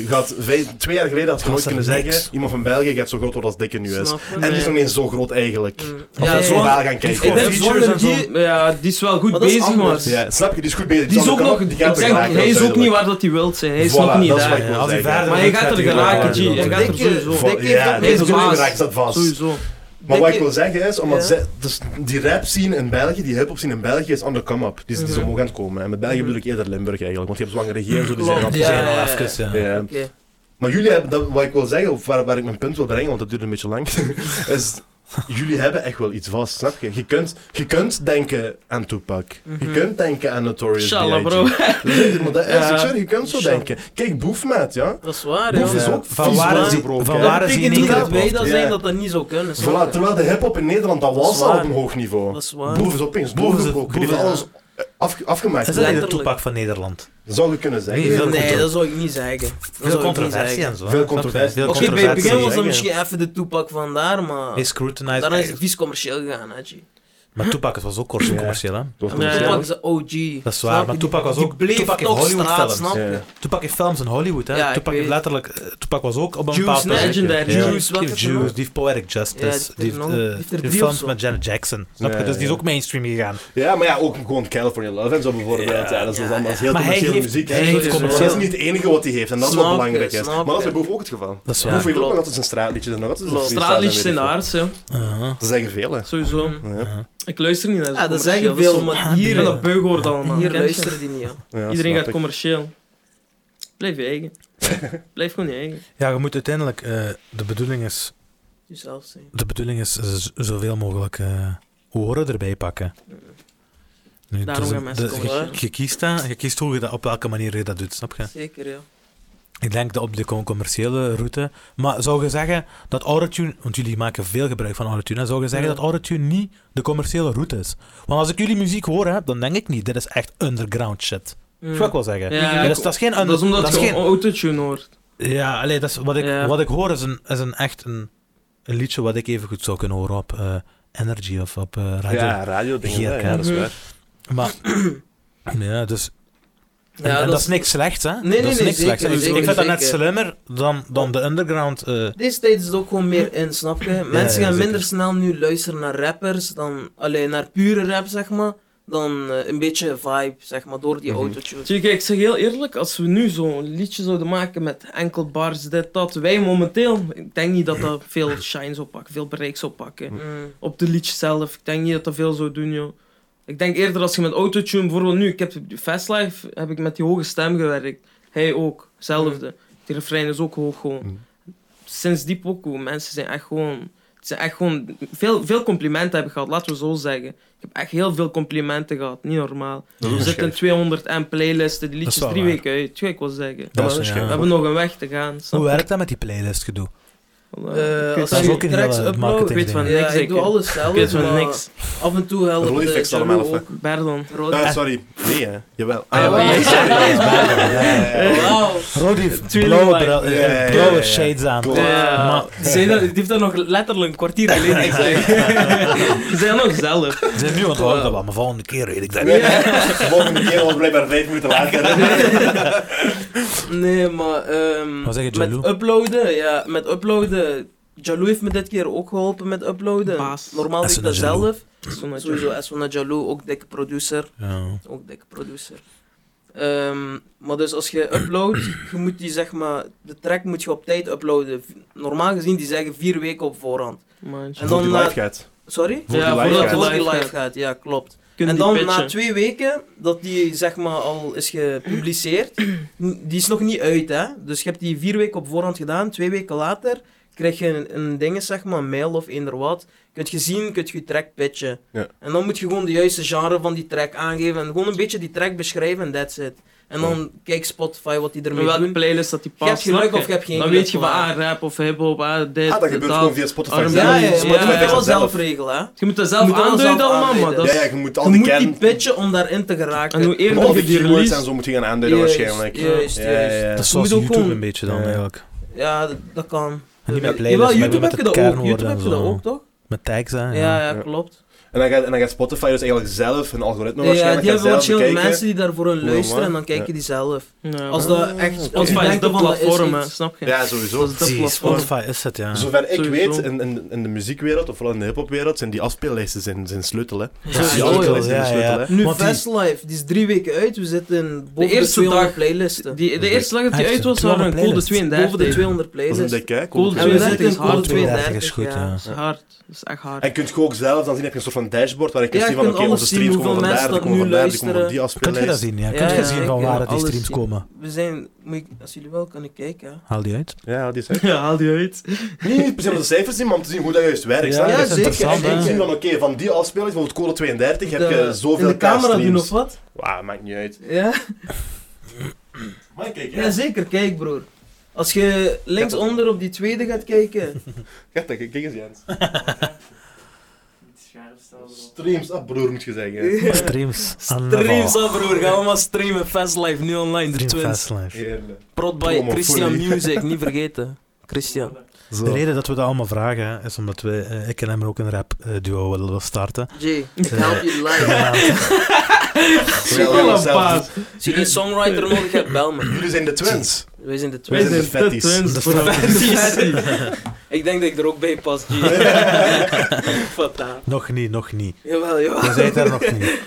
Speaker 2: Gaat, vij- twee jaar geleden had je
Speaker 1: Dat
Speaker 2: nooit
Speaker 1: is er
Speaker 2: kunnen
Speaker 1: niks.
Speaker 2: zeggen, iemand van België gaat zo groot worden als Dikke nu is.
Speaker 4: Snap je?
Speaker 2: En die is
Speaker 4: Nee.
Speaker 2: nog niet eens zo groot eigenlijk.
Speaker 3: Mm.
Speaker 2: Als
Speaker 4: Ja,
Speaker 2: we
Speaker 4: ja,
Speaker 2: zo
Speaker 4: ja.
Speaker 2: naar gaan kijken.
Speaker 4: Ik denk
Speaker 1: Features en
Speaker 4: zonder
Speaker 1: zo.
Speaker 4: die, ja, die is wel goed
Speaker 3: Maar dat is
Speaker 4: bezig, maar
Speaker 3: anders.
Speaker 2: Ja, snap je? Die is goed bezig.
Speaker 4: die is
Speaker 2: aan
Speaker 4: ook
Speaker 2: de
Speaker 4: nog,
Speaker 2: come-up,
Speaker 4: ik
Speaker 2: die gaat
Speaker 4: denk,
Speaker 2: er geraken,
Speaker 4: hij is ook
Speaker 2: duidelijk.
Speaker 4: niet waar dat hij wilt zijn. Hij is
Speaker 2: Voilà,
Speaker 4: nog niet
Speaker 2: dat is wat
Speaker 4: daar.
Speaker 2: ik wil
Speaker 1: als die
Speaker 2: zeggen.
Speaker 1: verder
Speaker 4: Maar je gaat
Speaker 1: gaat
Speaker 4: er
Speaker 1: die wel
Speaker 4: geraken, G.
Speaker 1: worden.
Speaker 4: Je gaat er
Speaker 3: Dikke-
Speaker 4: sowieso.
Speaker 2: Vol-
Speaker 3: Dikke heeft
Speaker 2: Ja,
Speaker 3: ook
Speaker 2: deze
Speaker 4: nog
Speaker 2: is
Speaker 4: baas.
Speaker 2: geraakt, dat vast.
Speaker 4: Sowieso.
Speaker 2: Maar wat ik
Speaker 3: Dikke-
Speaker 2: wil zeggen is, omdat
Speaker 3: Ja.
Speaker 2: zij, dus die rap scene in België, die hip-hop scene in België is on the come-up. Die is, die is
Speaker 4: Mhm.
Speaker 2: omhoog aan het komen. En met België bedoel ik eerder Limburg eigenlijk, want je hebt zwangere regio en zo, die zijn
Speaker 3: Klopt,
Speaker 2: rap-
Speaker 1: Die zijn
Speaker 3: Ja,
Speaker 1: al
Speaker 3: ja,
Speaker 1: even, ja.
Speaker 2: Ja.
Speaker 3: Oké.
Speaker 2: Maar jullie hebben, dat, wat ik wil zeggen, of waar, waar ik mijn punt wil brengen, want dat duurde een beetje lang, is jullie hebben echt wel iets vast, snap je? Je kunt, je kunt denken aan Tupac. Je
Speaker 3: Mhm.
Speaker 2: kunt denken aan Notorious
Speaker 4: Inshallah,
Speaker 2: B.I.G.
Speaker 4: bro.
Speaker 2: Dat is echt- maar dat-
Speaker 3: Ja.
Speaker 2: ik zweer, je kunt zo
Speaker 3: Inshallah.
Speaker 2: denken. Kijk, Boefmaat, ja?
Speaker 3: Dat is waar,
Speaker 2: Boef
Speaker 3: ja.
Speaker 2: is
Speaker 1: Ja.
Speaker 2: ook
Speaker 1: Van
Speaker 2: vies
Speaker 1: waar
Speaker 2: waar
Speaker 1: is die-
Speaker 2: gebroken,
Speaker 1: van
Speaker 2: hè?
Speaker 1: waar
Speaker 3: Dat
Speaker 1: is die
Speaker 3: betekent
Speaker 1: in
Speaker 3: niet dat
Speaker 1: Nederland?
Speaker 3: wij dat
Speaker 2: Ja.
Speaker 3: zijn, dat dat niet zou kunnen. snap
Speaker 2: Voilà,
Speaker 3: je?
Speaker 2: terwijl de hip-hop in Nederland, dat
Speaker 3: Dat is
Speaker 2: was al op
Speaker 3: waar.
Speaker 2: een hoog niveau.
Speaker 3: Dat is waar.
Speaker 2: Boef is opeens
Speaker 1: Boef is-
Speaker 2: doorgebroken. Die
Speaker 1: Boef
Speaker 2: heeft
Speaker 1: is-
Speaker 2: alles eh, afge- afgemaakt.
Speaker 1: Is dat niet de
Speaker 3: Letterlijk.
Speaker 1: toepak van Nederland?
Speaker 2: Zou je kunnen zeggen.
Speaker 1: Nee,
Speaker 2: Ja.
Speaker 1: veel
Speaker 3: Nee,
Speaker 1: contro-
Speaker 3: dat zou ik niet zeggen. Dat
Speaker 1: Veel
Speaker 3: zou ik niet
Speaker 1: controversie
Speaker 3: zeggen.
Speaker 1: en zo.
Speaker 2: Veel
Speaker 1: hè?
Speaker 2: controversie.
Speaker 1: Veel
Speaker 3: Oké, bij het
Speaker 1: controversie.
Speaker 3: begin was
Speaker 2: zeggen.
Speaker 3: dat misschien even de toepak vandaar,
Speaker 4: Ah.
Speaker 3: maar
Speaker 1: Is scrutinized.
Speaker 3: daarna is het vies commercieel gegaan, hè, G.
Speaker 1: Maar Tupac was ook cor-
Speaker 2: Ja.
Speaker 1: commercieel, hè?
Speaker 2: Dat was
Speaker 3: En
Speaker 4: Ja,
Speaker 2: niet
Speaker 4: ja.
Speaker 3: Tupac
Speaker 2: zo.
Speaker 3: is een OG.
Speaker 1: Dat is waar,
Speaker 3: snap
Speaker 1: maar
Speaker 3: je?
Speaker 1: Tupac was
Speaker 3: Die
Speaker 1: ook-
Speaker 3: bleef
Speaker 1: Tupac heeft
Speaker 3: nog
Speaker 1: Hollywood
Speaker 3: straat,
Speaker 1: films.
Speaker 3: snap je?
Speaker 2: Ja.
Speaker 1: Tupac heeft films in Hollywood, hè?
Speaker 3: Ja, ik
Speaker 1: Tupac, heeft
Speaker 3: weet.
Speaker 1: letterlijk, eh, Tupac was ook op een
Speaker 3: Juice,
Speaker 1: bepaald
Speaker 3: nee,
Speaker 1: moment-
Speaker 3: Legendary.
Speaker 1: Ja.
Speaker 3: Juice,
Speaker 1: Die
Speaker 3: wat
Speaker 1: heeft
Speaker 3: is er nog?
Speaker 1: Juice, die heeft Poetic
Speaker 3: Ja,
Speaker 1: Justice,
Speaker 3: die
Speaker 1: die
Speaker 3: heeft
Speaker 1: heeft,
Speaker 3: er nog-
Speaker 1: eh,
Speaker 3: die heeft
Speaker 1: die
Speaker 3: er
Speaker 1: heeft
Speaker 3: drie of
Speaker 1: films
Speaker 3: zo.
Speaker 1: met Janet Jackson. Snap je?
Speaker 2: Ja,
Speaker 1: Dus die is
Speaker 2: ja.
Speaker 1: ook mainstream gegaan.
Speaker 2: Ja, maar ja, ook gewoon California Love en zo bijvoorbeeld.
Speaker 1: Ja,
Speaker 2: Ja, dat is,
Speaker 3: ja,
Speaker 2: allemaal dat is heel
Speaker 1: Maar hij
Speaker 2: commerciële
Speaker 1: heeft-
Speaker 2: muziek.
Speaker 1: hij
Speaker 2: hè.
Speaker 1: heeft
Speaker 2: Dat is-
Speaker 1: commercieel-
Speaker 2: Dat is niet het enige wat hij heeft en dat is wat
Speaker 3: Snap je,
Speaker 2: belangrijk is.
Speaker 3: snap
Speaker 2: Maar dat is bij
Speaker 3: je.
Speaker 2: Boef ook het geval.
Speaker 1: Dat is
Speaker 2: Boef
Speaker 1: waar.
Speaker 2: heeft ook nog altijd zijn straatliedjes en nog altijd zijn freestyles
Speaker 4: Straatliedjes
Speaker 2: en
Speaker 4: zijn de
Speaker 2: weet ik
Speaker 4: aardse,
Speaker 1: Uh-huh.
Speaker 2: veel. Ze zeggen veel, hè.
Speaker 4: sowieso.
Speaker 2: Ja.
Speaker 4: Ik luister niet naar
Speaker 3: Ja, dat
Speaker 4: commercieel,
Speaker 3: zeggen
Speaker 4: is
Speaker 3: veel,
Speaker 4: zo-
Speaker 3: maar
Speaker 4: Hier in
Speaker 3: hier,
Speaker 4: dat beug hoort allemaal.
Speaker 3: hier
Speaker 4: Kent je?
Speaker 3: luisteren die niet, ja.
Speaker 2: Ja,
Speaker 4: Iedereen
Speaker 2: snap
Speaker 4: gaat
Speaker 2: ik.
Speaker 4: commercieel. Blijf je eigen. Blijf gewoon je eigen.
Speaker 1: Ja, je moet uiteindelijk, eh, de bedoeling is,
Speaker 3: Jezelf zijn.
Speaker 1: de bedoeling is eh, z- zoveel mogelijk eh, horen erbij pakken. Nu,
Speaker 4: Daarom gaan mensen
Speaker 1: de-
Speaker 4: komen,
Speaker 1: je-
Speaker 3: hè?
Speaker 1: je, kiest dat, je kiest hoe je dat, op welke manier je dat doet, snap je?
Speaker 3: Zeker, ja.
Speaker 1: Ik denk dat op de com- commerciële route. Maar zou je zeggen dat Autotune. Want jullie maken veel gebruik van Autotune. hè, Zou je zeggen
Speaker 4: Ja.
Speaker 1: dat Autotune niet de commerciële route is? Want als ik jullie muziek hoor, hè, dan denk ik niet. Dit is echt underground shit. Dat zou ik wel zeggen.
Speaker 4: Ja,
Speaker 1: Ja,
Speaker 4: ik-
Speaker 1: dat, is, dat is geen
Speaker 4: Mm. dat is
Speaker 1: under-
Speaker 4: omdat
Speaker 1: dat
Speaker 4: je
Speaker 1: is
Speaker 4: geen...
Speaker 1: geen-
Speaker 4: autotune hoort.
Speaker 1: Ja, allee, dat is wat, ik,
Speaker 4: Ja.
Speaker 1: wat ik hoor is, een, is een echt een, een liedje wat ik even goed zou kunnen horen op eh, Energy of op eh, radio.
Speaker 2: Ja, radio dingen.
Speaker 1: Geert,
Speaker 2: Ja,
Speaker 1: hè.
Speaker 2: ja, dat is waar.
Speaker 1: Maar. Ja, dus, en,
Speaker 3: Ja,
Speaker 1: en dat
Speaker 3: dat
Speaker 1: is
Speaker 3: is-
Speaker 1: niks slechts, hè?
Speaker 3: nee,
Speaker 1: dat is
Speaker 3: nee,
Speaker 1: niks
Speaker 3: zeker,
Speaker 1: slechts. hè. Dus
Speaker 3: zeker,
Speaker 1: ik vind dat net
Speaker 3: zeker.
Speaker 1: slimmer dan, dan de underground. eh,
Speaker 3: Deze tijd is het ook gewoon meer in, snap je? Mensen
Speaker 1: ja, zeker.
Speaker 3: gaan minder snel nu luisteren naar rappers, dan alleen naar pure rap, zeg maar, dan eh, een beetje vibe, zeg maar, door die
Speaker 2: Mhm.
Speaker 3: autotune.
Speaker 4: Zie je, kijk, ik zeg heel eerlijk, als we nu zo'n liedje zouden maken met enkel bars, dit, dat, wij momenteel, ik denk niet dat dat veel shine zou pakken, veel bereik zou pakken.
Speaker 3: Mm.
Speaker 4: Op de liedjes zelf, ik denk niet dat dat veel zou doen, joh. Ik denk eerder als je met autotune, bijvoorbeeld nu, ik heb Fastlife, heb ik met die hoge stem gewerkt. Hij ook, hetzelfde. Die refrein is ook hoog gewoon.
Speaker 2: Mm.
Speaker 4: Sinds die pokoe, mensen zijn echt gewoon... Het zijn echt gewoon veel, veel complimenten hebben gehad, laten we zo zeggen. Ik heb echt heel veel complimenten gehad, niet normaal.
Speaker 2: Dat is
Speaker 4: Er
Speaker 2: ook
Speaker 4: zitten
Speaker 2: een
Speaker 4: 200 en playlists, die liedjes
Speaker 1: wel
Speaker 4: drie
Speaker 1: waar.
Speaker 4: weken uit. Twee, ik wil zeggen.
Speaker 1: dat
Speaker 2: maar
Speaker 1: is-
Speaker 2: dat is
Speaker 1: ja.
Speaker 2: geen-
Speaker 4: We hebben nog een weg te gaan. snap
Speaker 1: Hoe
Speaker 4: je?
Speaker 1: werkt dat met die playlist gedoe?
Speaker 4: Voilà.
Speaker 3: Eh,
Speaker 4: Ik weet
Speaker 1: dat
Speaker 3: als
Speaker 4: het
Speaker 1: is
Speaker 3: je
Speaker 1: ook een
Speaker 3: tracks
Speaker 1: hele
Speaker 3: upload,
Speaker 1: marketing
Speaker 4: weet van-
Speaker 1: ding.
Speaker 3: Ja,
Speaker 4: Niks,
Speaker 3: ik
Speaker 4: ik-
Speaker 3: doe alles
Speaker 4: Ik weet
Speaker 3: zelf,
Speaker 4: van
Speaker 3: maar
Speaker 4: niks.
Speaker 3: af en toe helpt
Speaker 2: Rolly
Speaker 3: eh,
Speaker 2: fixt
Speaker 3: Jaru
Speaker 2: allemaal, of
Speaker 3: ook.
Speaker 4: Pardon.
Speaker 3: Rod-
Speaker 2: Eh, sorry. Nee, hè. Jawel.
Speaker 4: Ah,
Speaker 2: Ah,
Speaker 4: ja,
Speaker 2: ja,
Speaker 4: ja,
Speaker 2: ja, ja, ja.
Speaker 3: Wauw.
Speaker 1: Rodi
Speaker 4: Tweeling
Speaker 1: blauwe,
Speaker 4: like.
Speaker 1: bra- eh,
Speaker 2: Ja, ja, ja,
Speaker 1: blauwe
Speaker 2: ja.
Speaker 1: shades aan.
Speaker 2: Klopt.
Speaker 4: Ja.
Speaker 1: Maar
Speaker 4: Ze zijn dat- die heeft dat nog letterlijk een kwartier geleden gezegd. Ze zijn nog zelf.
Speaker 1: ze zijn nu aan het houden, maar volgende keer weet ik dat niet.
Speaker 2: Nee, eh, Volgende keer was blijkbaar vijf minuten later.
Speaker 3: Nee, maar ehm,
Speaker 1: Wat zeg je,
Speaker 3: met
Speaker 1: Jalou?
Speaker 3: uploaden, ja, met uploaden. Jalou heeft me dit keer ook geholpen met uploaden.
Speaker 4: Baas.
Speaker 3: Normaal doe ik
Speaker 1: Eswena
Speaker 3: dat
Speaker 1: Jalou.
Speaker 3: zelf.
Speaker 4: Zo'n
Speaker 3: Sowieso Eswona Jalou, ook dikke producer.
Speaker 1: Ja.
Speaker 3: Ook dikke producer. Ehm, maar dus als je uploadt, je moet die zeg maar, de track moet je op tijd uploaden. V- Normaal gezien, die zeggen vier weken op voorhand.
Speaker 4: Maandje.
Speaker 3: En
Speaker 2: Voor die
Speaker 3: dan,
Speaker 2: live
Speaker 3: eh,
Speaker 2: gaat.
Speaker 3: Sorry?
Speaker 2: Voor die
Speaker 4: Ja,
Speaker 2: live
Speaker 4: voordat
Speaker 2: gaat.
Speaker 4: de
Speaker 3: Voordat die
Speaker 4: live
Speaker 3: live gaat, ja, klopt.
Speaker 4: Kunnen
Speaker 3: En
Speaker 4: die
Speaker 3: dan
Speaker 4: pitchen.
Speaker 3: na twee weken dat die zeg maar al is gepubliceerd, n- die is nog niet uit hè. Dus je hebt die vier weken op voorhand gedaan, twee weken later krijg je een, een ding, zeg maar, een mail of eender wat. Kunt je zien, kunt je je track pitchen.
Speaker 2: Ja.
Speaker 3: En dan moet je gewoon de juiste genre van die track aangeven en gewoon een beetje die track beschrijven en that's it. En dan kijkt Spotify wat die
Speaker 4: Met
Speaker 3: ermee
Speaker 4: welke
Speaker 3: doet.
Speaker 4: playlist dat die past.
Speaker 3: hebt geluk
Speaker 4: snap
Speaker 3: of je hebt geen
Speaker 4: Dan
Speaker 3: geluk,
Speaker 4: weet je van,
Speaker 3: voilà.
Speaker 4: ah, rap of hiphop, ah, dit,
Speaker 2: Ah, dat gebeurt gewoon via Spotify.
Speaker 4: Ja,
Speaker 2: zelf.
Speaker 3: Ja, ja, ja, maar
Speaker 2: Spotify
Speaker 3: dat moet je
Speaker 2: gaat
Speaker 3: wel
Speaker 2: dat
Speaker 3: zelf regelen hè.
Speaker 4: Je moet dat
Speaker 3: Je
Speaker 4: zelf
Speaker 3: moet alles
Speaker 4: aanduiden
Speaker 3: zelf
Speaker 4: allemaal, maar
Speaker 3: aanduiden.
Speaker 4: dat
Speaker 2: Ja,
Speaker 4: is...
Speaker 2: ja, je moet
Speaker 3: Je
Speaker 2: al die
Speaker 3: moet die
Speaker 2: kern...
Speaker 3: pitchen om daarin te geraken.
Speaker 4: En hoe eerder
Speaker 2: Al
Speaker 4: je
Speaker 2: die
Speaker 4: die
Speaker 2: keywords en
Speaker 4: release...
Speaker 2: zo moet je gaan aanduiden
Speaker 3: Juist,
Speaker 2: waarschijnlijk.
Speaker 3: juist,
Speaker 2: Ja, ja, ja.
Speaker 3: juist.
Speaker 1: Dat is
Speaker 3: Je moet
Speaker 1: zoals
Speaker 3: ook
Speaker 1: YouTube
Speaker 3: gewoon-
Speaker 1: een beetje dan
Speaker 2: Ja.
Speaker 1: eigenlijk.
Speaker 3: Ja, dat, dat kan.
Speaker 1: Niet met
Speaker 3: Ja,
Speaker 1: playlists, maar
Speaker 3: YouTube
Speaker 1: met
Speaker 3: heb je
Speaker 1: het
Speaker 3: dat ook.
Speaker 1: kernwoord
Speaker 3: YouTube
Speaker 1: en
Speaker 3: heb je dat
Speaker 1: zo.
Speaker 3: ook, toch?
Speaker 1: Met tags aan. Ja.
Speaker 3: Ja, ja,
Speaker 2: Ja.
Speaker 3: klopt.
Speaker 2: En, dan gaat, en dan gaat Spotify dus eigenlijk zelf een algoritme
Speaker 3: Ja, die
Speaker 2: Nou, waarschijnlijk gaan
Speaker 3: hebben
Speaker 2: zelf
Speaker 3: waarschijnlijk
Speaker 2: bekijken.
Speaker 3: mensen die daarvoor hun
Speaker 2: Hoe
Speaker 3: luisteren
Speaker 2: dan
Speaker 3: en dan kijken
Speaker 2: Ja.
Speaker 3: die zelf.
Speaker 4: Ja,
Speaker 3: Als
Speaker 4: maar-
Speaker 3: dat echt...
Speaker 2: Spotify
Speaker 3: als je
Speaker 4: Spotify is
Speaker 3: denkt
Speaker 4: dat
Speaker 3: van, dat is
Speaker 4: platform, hè,
Speaker 3: iets-
Speaker 4: snap je?
Speaker 2: Ja,
Speaker 4: Dat
Speaker 2: sowieso.
Speaker 4: is dat
Speaker 1: Zie,
Speaker 4: platform.
Speaker 1: Spotify is het, ja.
Speaker 2: Zover ik
Speaker 4: Sowieso.
Speaker 2: weet, in, in, in de muziekwereld, of vooral in de hiphopwereld, zijn die afspeellijsten zijn, zijn sleutel, hè.
Speaker 3: Ja,
Speaker 2: die
Speaker 3: ja,
Speaker 2: algoritmes
Speaker 1: ja,
Speaker 2: zijn
Speaker 1: ja.
Speaker 2: sleutel, hè.
Speaker 3: Nu
Speaker 1: Want die-
Speaker 3: Festlife, die is drie weken uit. We zitten boven de,
Speaker 4: eerste
Speaker 3: 200
Speaker 4: dag-
Speaker 3: playlisten.
Speaker 4: Die, de eerste slag dat die
Speaker 1: Echt,
Speaker 4: uit was, waren we cool de
Speaker 1: playlist.
Speaker 4: 32.
Speaker 3: boven de 200
Speaker 2: Dat is een
Speaker 3: playlists.
Speaker 2: dikke, hè.
Speaker 4: Cool,
Speaker 2: Cool.
Speaker 3: en we
Speaker 4: Ja,
Speaker 3: zitten in
Speaker 4: dat is
Speaker 3: code
Speaker 4: hard.
Speaker 3: 32.
Speaker 1: is goed, ja.
Speaker 4: Dat is hard. Dat is echt hard.
Speaker 2: En kun je ook zelf, dan zien heb je een soort van dashboard waar ik kan
Speaker 3: Ja,
Speaker 2: zien
Speaker 3: je
Speaker 2: van oké,
Speaker 3: kunt alles
Speaker 2: onze streams
Speaker 3: zien,
Speaker 2: komen van
Speaker 3: hoeveel
Speaker 2: daar, die
Speaker 3: mensen
Speaker 2: komen
Speaker 3: dat
Speaker 2: van
Speaker 3: nu
Speaker 2: daar, die komen van die
Speaker 1: Kun je dat
Speaker 2: afspeellijst.
Speaker 1: zien? Ja,
Speaker 3: Ja,
Speaker 1: kun je
Speaker 3: ja,
Speaker 1: zien
Speaker 3: ik
Speaker 1: van
Speaker 3: kan
Speaker 1: waar die
Speaker 3: alles
Speaker 1: streams
Speaker 3: zien.
Speaker 1: komen?
Speaker 3: We zijn, moet ik, als jullie wel kunnen kijken.
Speaker 1: Haal die uit.
Speaker 2: Ja, die zijn.
Speaker 4: Ja, haal die uit.
Speaker 2: Niet niet per se om de cijfers zien, maar om te zien hoe dat juist werkt.
Speaker 1: Ja,
Speaker 2: snap je?
Speaker 1: ja,
Speaker 2: Dat is
Speaker 1: zeker,
Speaker 2: interessant,
Speaker 1: zeker.
Speaker 2: hè? zien van oké, van die afspeellijst, bijvoorbeeld code 32, heb je eh,
Speaker 3: De-
Speaker 2: zoveel
Speaker 3: in de camera doen
Speaker 2: K-streams.
Speaker 3: of wat?
Speaker 2: Wauw, maakt niet uit.
Speaker 3: Ja?
Speaker 2: Maar kijk,
Speaker 3: ja,
Speaker 2: ja.
Speaker 3: zeker. Kijk, broer. Als je linksonder op die tweede gaat kijken.
Speaker 2: Kijk, kijk eens Jens.
Speaker 5: scherpstel.
Speaker 2: Streams af, broer, moet je zeggen.
Speaker 1: Streams.
Speaker 3: Streams af, broer. Gaan we maar streamen. Fastlife, nu online. De Twins.
Speaker 1: Fastlife.
Speaker 2: Heerlijk.
Speaker 3: Prod by
Speaker 2: Promo
Speaker 3: Christian
Speaker 2: fully.
Speaker 3: Music. Niet vergeten. Christian.
Speaker 1: De reden dat we dat allemaal vragen hè, is omdat we, eh, ik en hem ook een rap eh, duo willen starten.
Speaker 3: Jay, ik help je live.
Speaker 2: Wel, wel, zelf-
Speaker 3: Als je een songwriter nodig hebt, bel me.
Speaker 2: Jullie zijn de twins.
Speaker 3: Wij zijn de
Speaker 2: Wij zijn
Speaker 3: Twins.
Speaker 2: de fetties.
Speaker 1: De
Speaker 4: voor
Speaker 3: Ik denk dat ik er ook bij pas, G. Fata.
Speaker 1: nog niet, nog niet.
Speaker 3: Jawel, jawel.
Speaker 1: We zijn daar nog niet.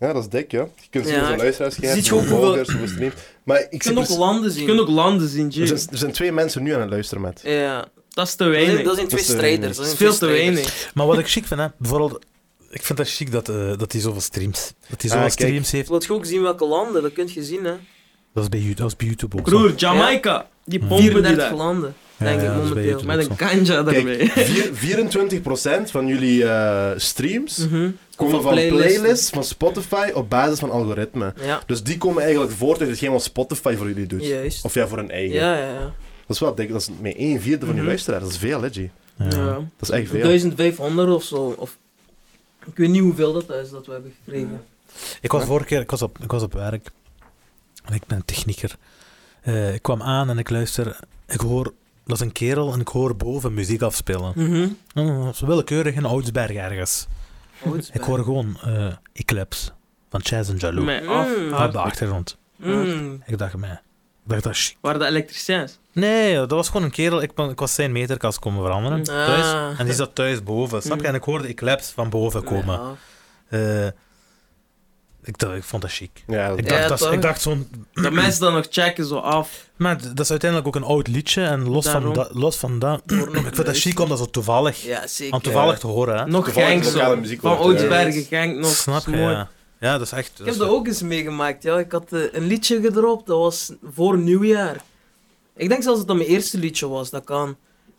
Speaker 2: Ja, dat is dik, ja. Je kunt zien
Speaker 3: Ja.
Speaker 2: hoeveel luisteraars je
Speaker 3: Ziet
Speaker 2: hebt,
Speaker 3: je ook
Speaker 2: hoeveel
Speaker 3: hoeveel-
Speaker 2: volgers, hoeveel streams. Maar ik
Speaker 3: Je
Speaker 2: zie
Speaker 3: kunt ook
Speaker 2: precies-
Speaker 3: landen
Speaker 4: Je
Speaker 3: zien.
Speaker 4: kunt ook landen zien,
Speaker 2: er
Speaker 4: Jay.
Speaker 2: zijn, er zijn twee mensen nu aan het luisteren met.
Speaker 3: Ja.
Speaker 4: Dat is te
Speaker 3: Dat zijn, dat
Speaker 4: weinig.
Speaker 3: zijn twee
Speaker 2: is te weinig.
Speaker 3: strijders.
Speaker 4: Dat
Speaker 3: Dat
Speaker 4: is
Speaker 3: zijn
Speaker 4: veel te
Speaker 3: twee strijders.
Speaker 4: weinig.
Speaker 1: Maar wat ik chic vind, hè, bijvoorbeeld, ik vind dat chic dat, eh, dat hij zoveel streams. Dat hij zoveel
Speaker 2: Ah, kijk.
Speaker 1: streams heeft.
Speaker 3: Wilt je ook zien welke landen? Dat kun je zien, hè.
Speaker 1: Dat is bij, You- dat is bij YouTube ook. zo.
Speaker 4: Broer, Jamaica. Die
Speaker 1: Ja.
Speaker 4: pompen die
Speaker 3: 34
Speaker 4: daar.
Speaker 3: landen,
Speaker 1: Ja,
Speaker 3: denk
Speaker 1: ja,
Speaker 3: ik
Speaker 1: dat is bij
Speaker 3: momenteel.
Speaker 1: YouTube.
Speaker 4: Met een kanja
Speaker 2: Kijk,
Speaker 4: daarbij.
Speaker 2: vier- 24% van jullie eh, streams
Speaker 3: Mhm.
Speaker 2: komen
Speaker 3: Van
Speaker 2: van
Speaker 3: playlists.
Speaker 2: playlists van Spotify op basis van algoritme.
Speaker 3: Ja,
Speaker 2: Dus die komen eigenlijk voort uit hetgeen wat Spotify voor jullie doet.
Speaker 3: juist.
Speaker 2: Of ja, voor hun eigen.
Speaker 3: Ja, ja, ja.
Speaker 2: Dat is wel dik. Dat is met 1 vierde van je
Speaker 3: Mhm.
Speaker 2: luisteraar. Dat is veel, hè, G.
Speaker 1: Ja.
Speaker 3: Ja.
Speaker 2: Dat is echt veel.
Speaker 3: 1500 of zo. Of, ik weet niet hoeveel dat is dat we hebben gekregen.
Speaker 1: Ik was vorige keer, ik was op, ik was op werk. En ik ben technieker. Eh, ik kwam aan en ik luister. Ik hoor, dat is een kerel en ik hoor boven muziek afspelen.
Speaker 3: Mhm.
Speaker 1: Mm, dat is willekeurig in Oudsberg ergens.
Speaker 3: Oh, het is
Speaker 1: Ik
Speaker 3: bij-
Speaker 1: hoor gewoon eh, Eclipse van Chaz en Jaloux.
Speaker 4: Mij af.
Speaker 3: Mm.
Speaker 1: Op
Speaker 4: hard.
Speaker 1: de achtergrond.
Speaker 3: Mm.
Speaker 1: Ik dacht, mij. Ik dacht, dat is chic.
Speaker 4: Waar de elektriciens.
Speaker 1: Nee, dat was gewoon een kerel. Ik, ben- ik was zijn meterkast komen veranderen.
Speaker 4: Mm.
Speaker 1: Thuis. En die zat thuis boven. Snap je?
Speaker 3: Ah. Mm.
Speaker 1: En ik hoorde Eclipse van boven komen.
Speaker 3: Ja.
Speaker 1: Eh, ik, dacht, ik vond dat chic.
Speaker 2: Ja, dat-
Speaker 1: Ik dacht,
Speaker 3: Ja,
Speaker 1: dat is-
Speaker 3: toch?
Speaker 1: ik dacht zo'n
Speaker 4: Dat mensen dan nog checken, zo af.
Speaker 1: Maar d- dat is uiteindelijk ook een oud liedje. En los van,
Speaker 4: Daarom.
Speaker 1: da- los van dat.
Speaker 3: Door nog
Speaker 1: Ik vind dat
Speaker 3: luisteren.
Speaker 1: chic om dat zo toevallig.
Speaker 3: Ja, eh, zeker.
Speaker 1: Om toevallig te horen. Hè.
Speaker 4: Nog
Speaker 2: Toevallig
Speaker 4: gang
Speaker 2: lokale
Speaker 4: zo.
Speaker 2: muziek eh,
Speaker 4: Van
Speaker 2: hoort, ja.
Speaker 4: Oudsbergen gang nog.
Speaker 1: Snap
Speaker 4: Snap
Speaker 1: je?
Speaker 4: mooi.
Speaker 1: Ja. ja, dat is echt.
Speaker 3: Ik heb dat ook eens meegemaakt, ja. Ik had eh, een liedje gedropt, dat was voor nieuwjaar. Ik denk zelfs dat dat mijn eerste liedje was, dat kan.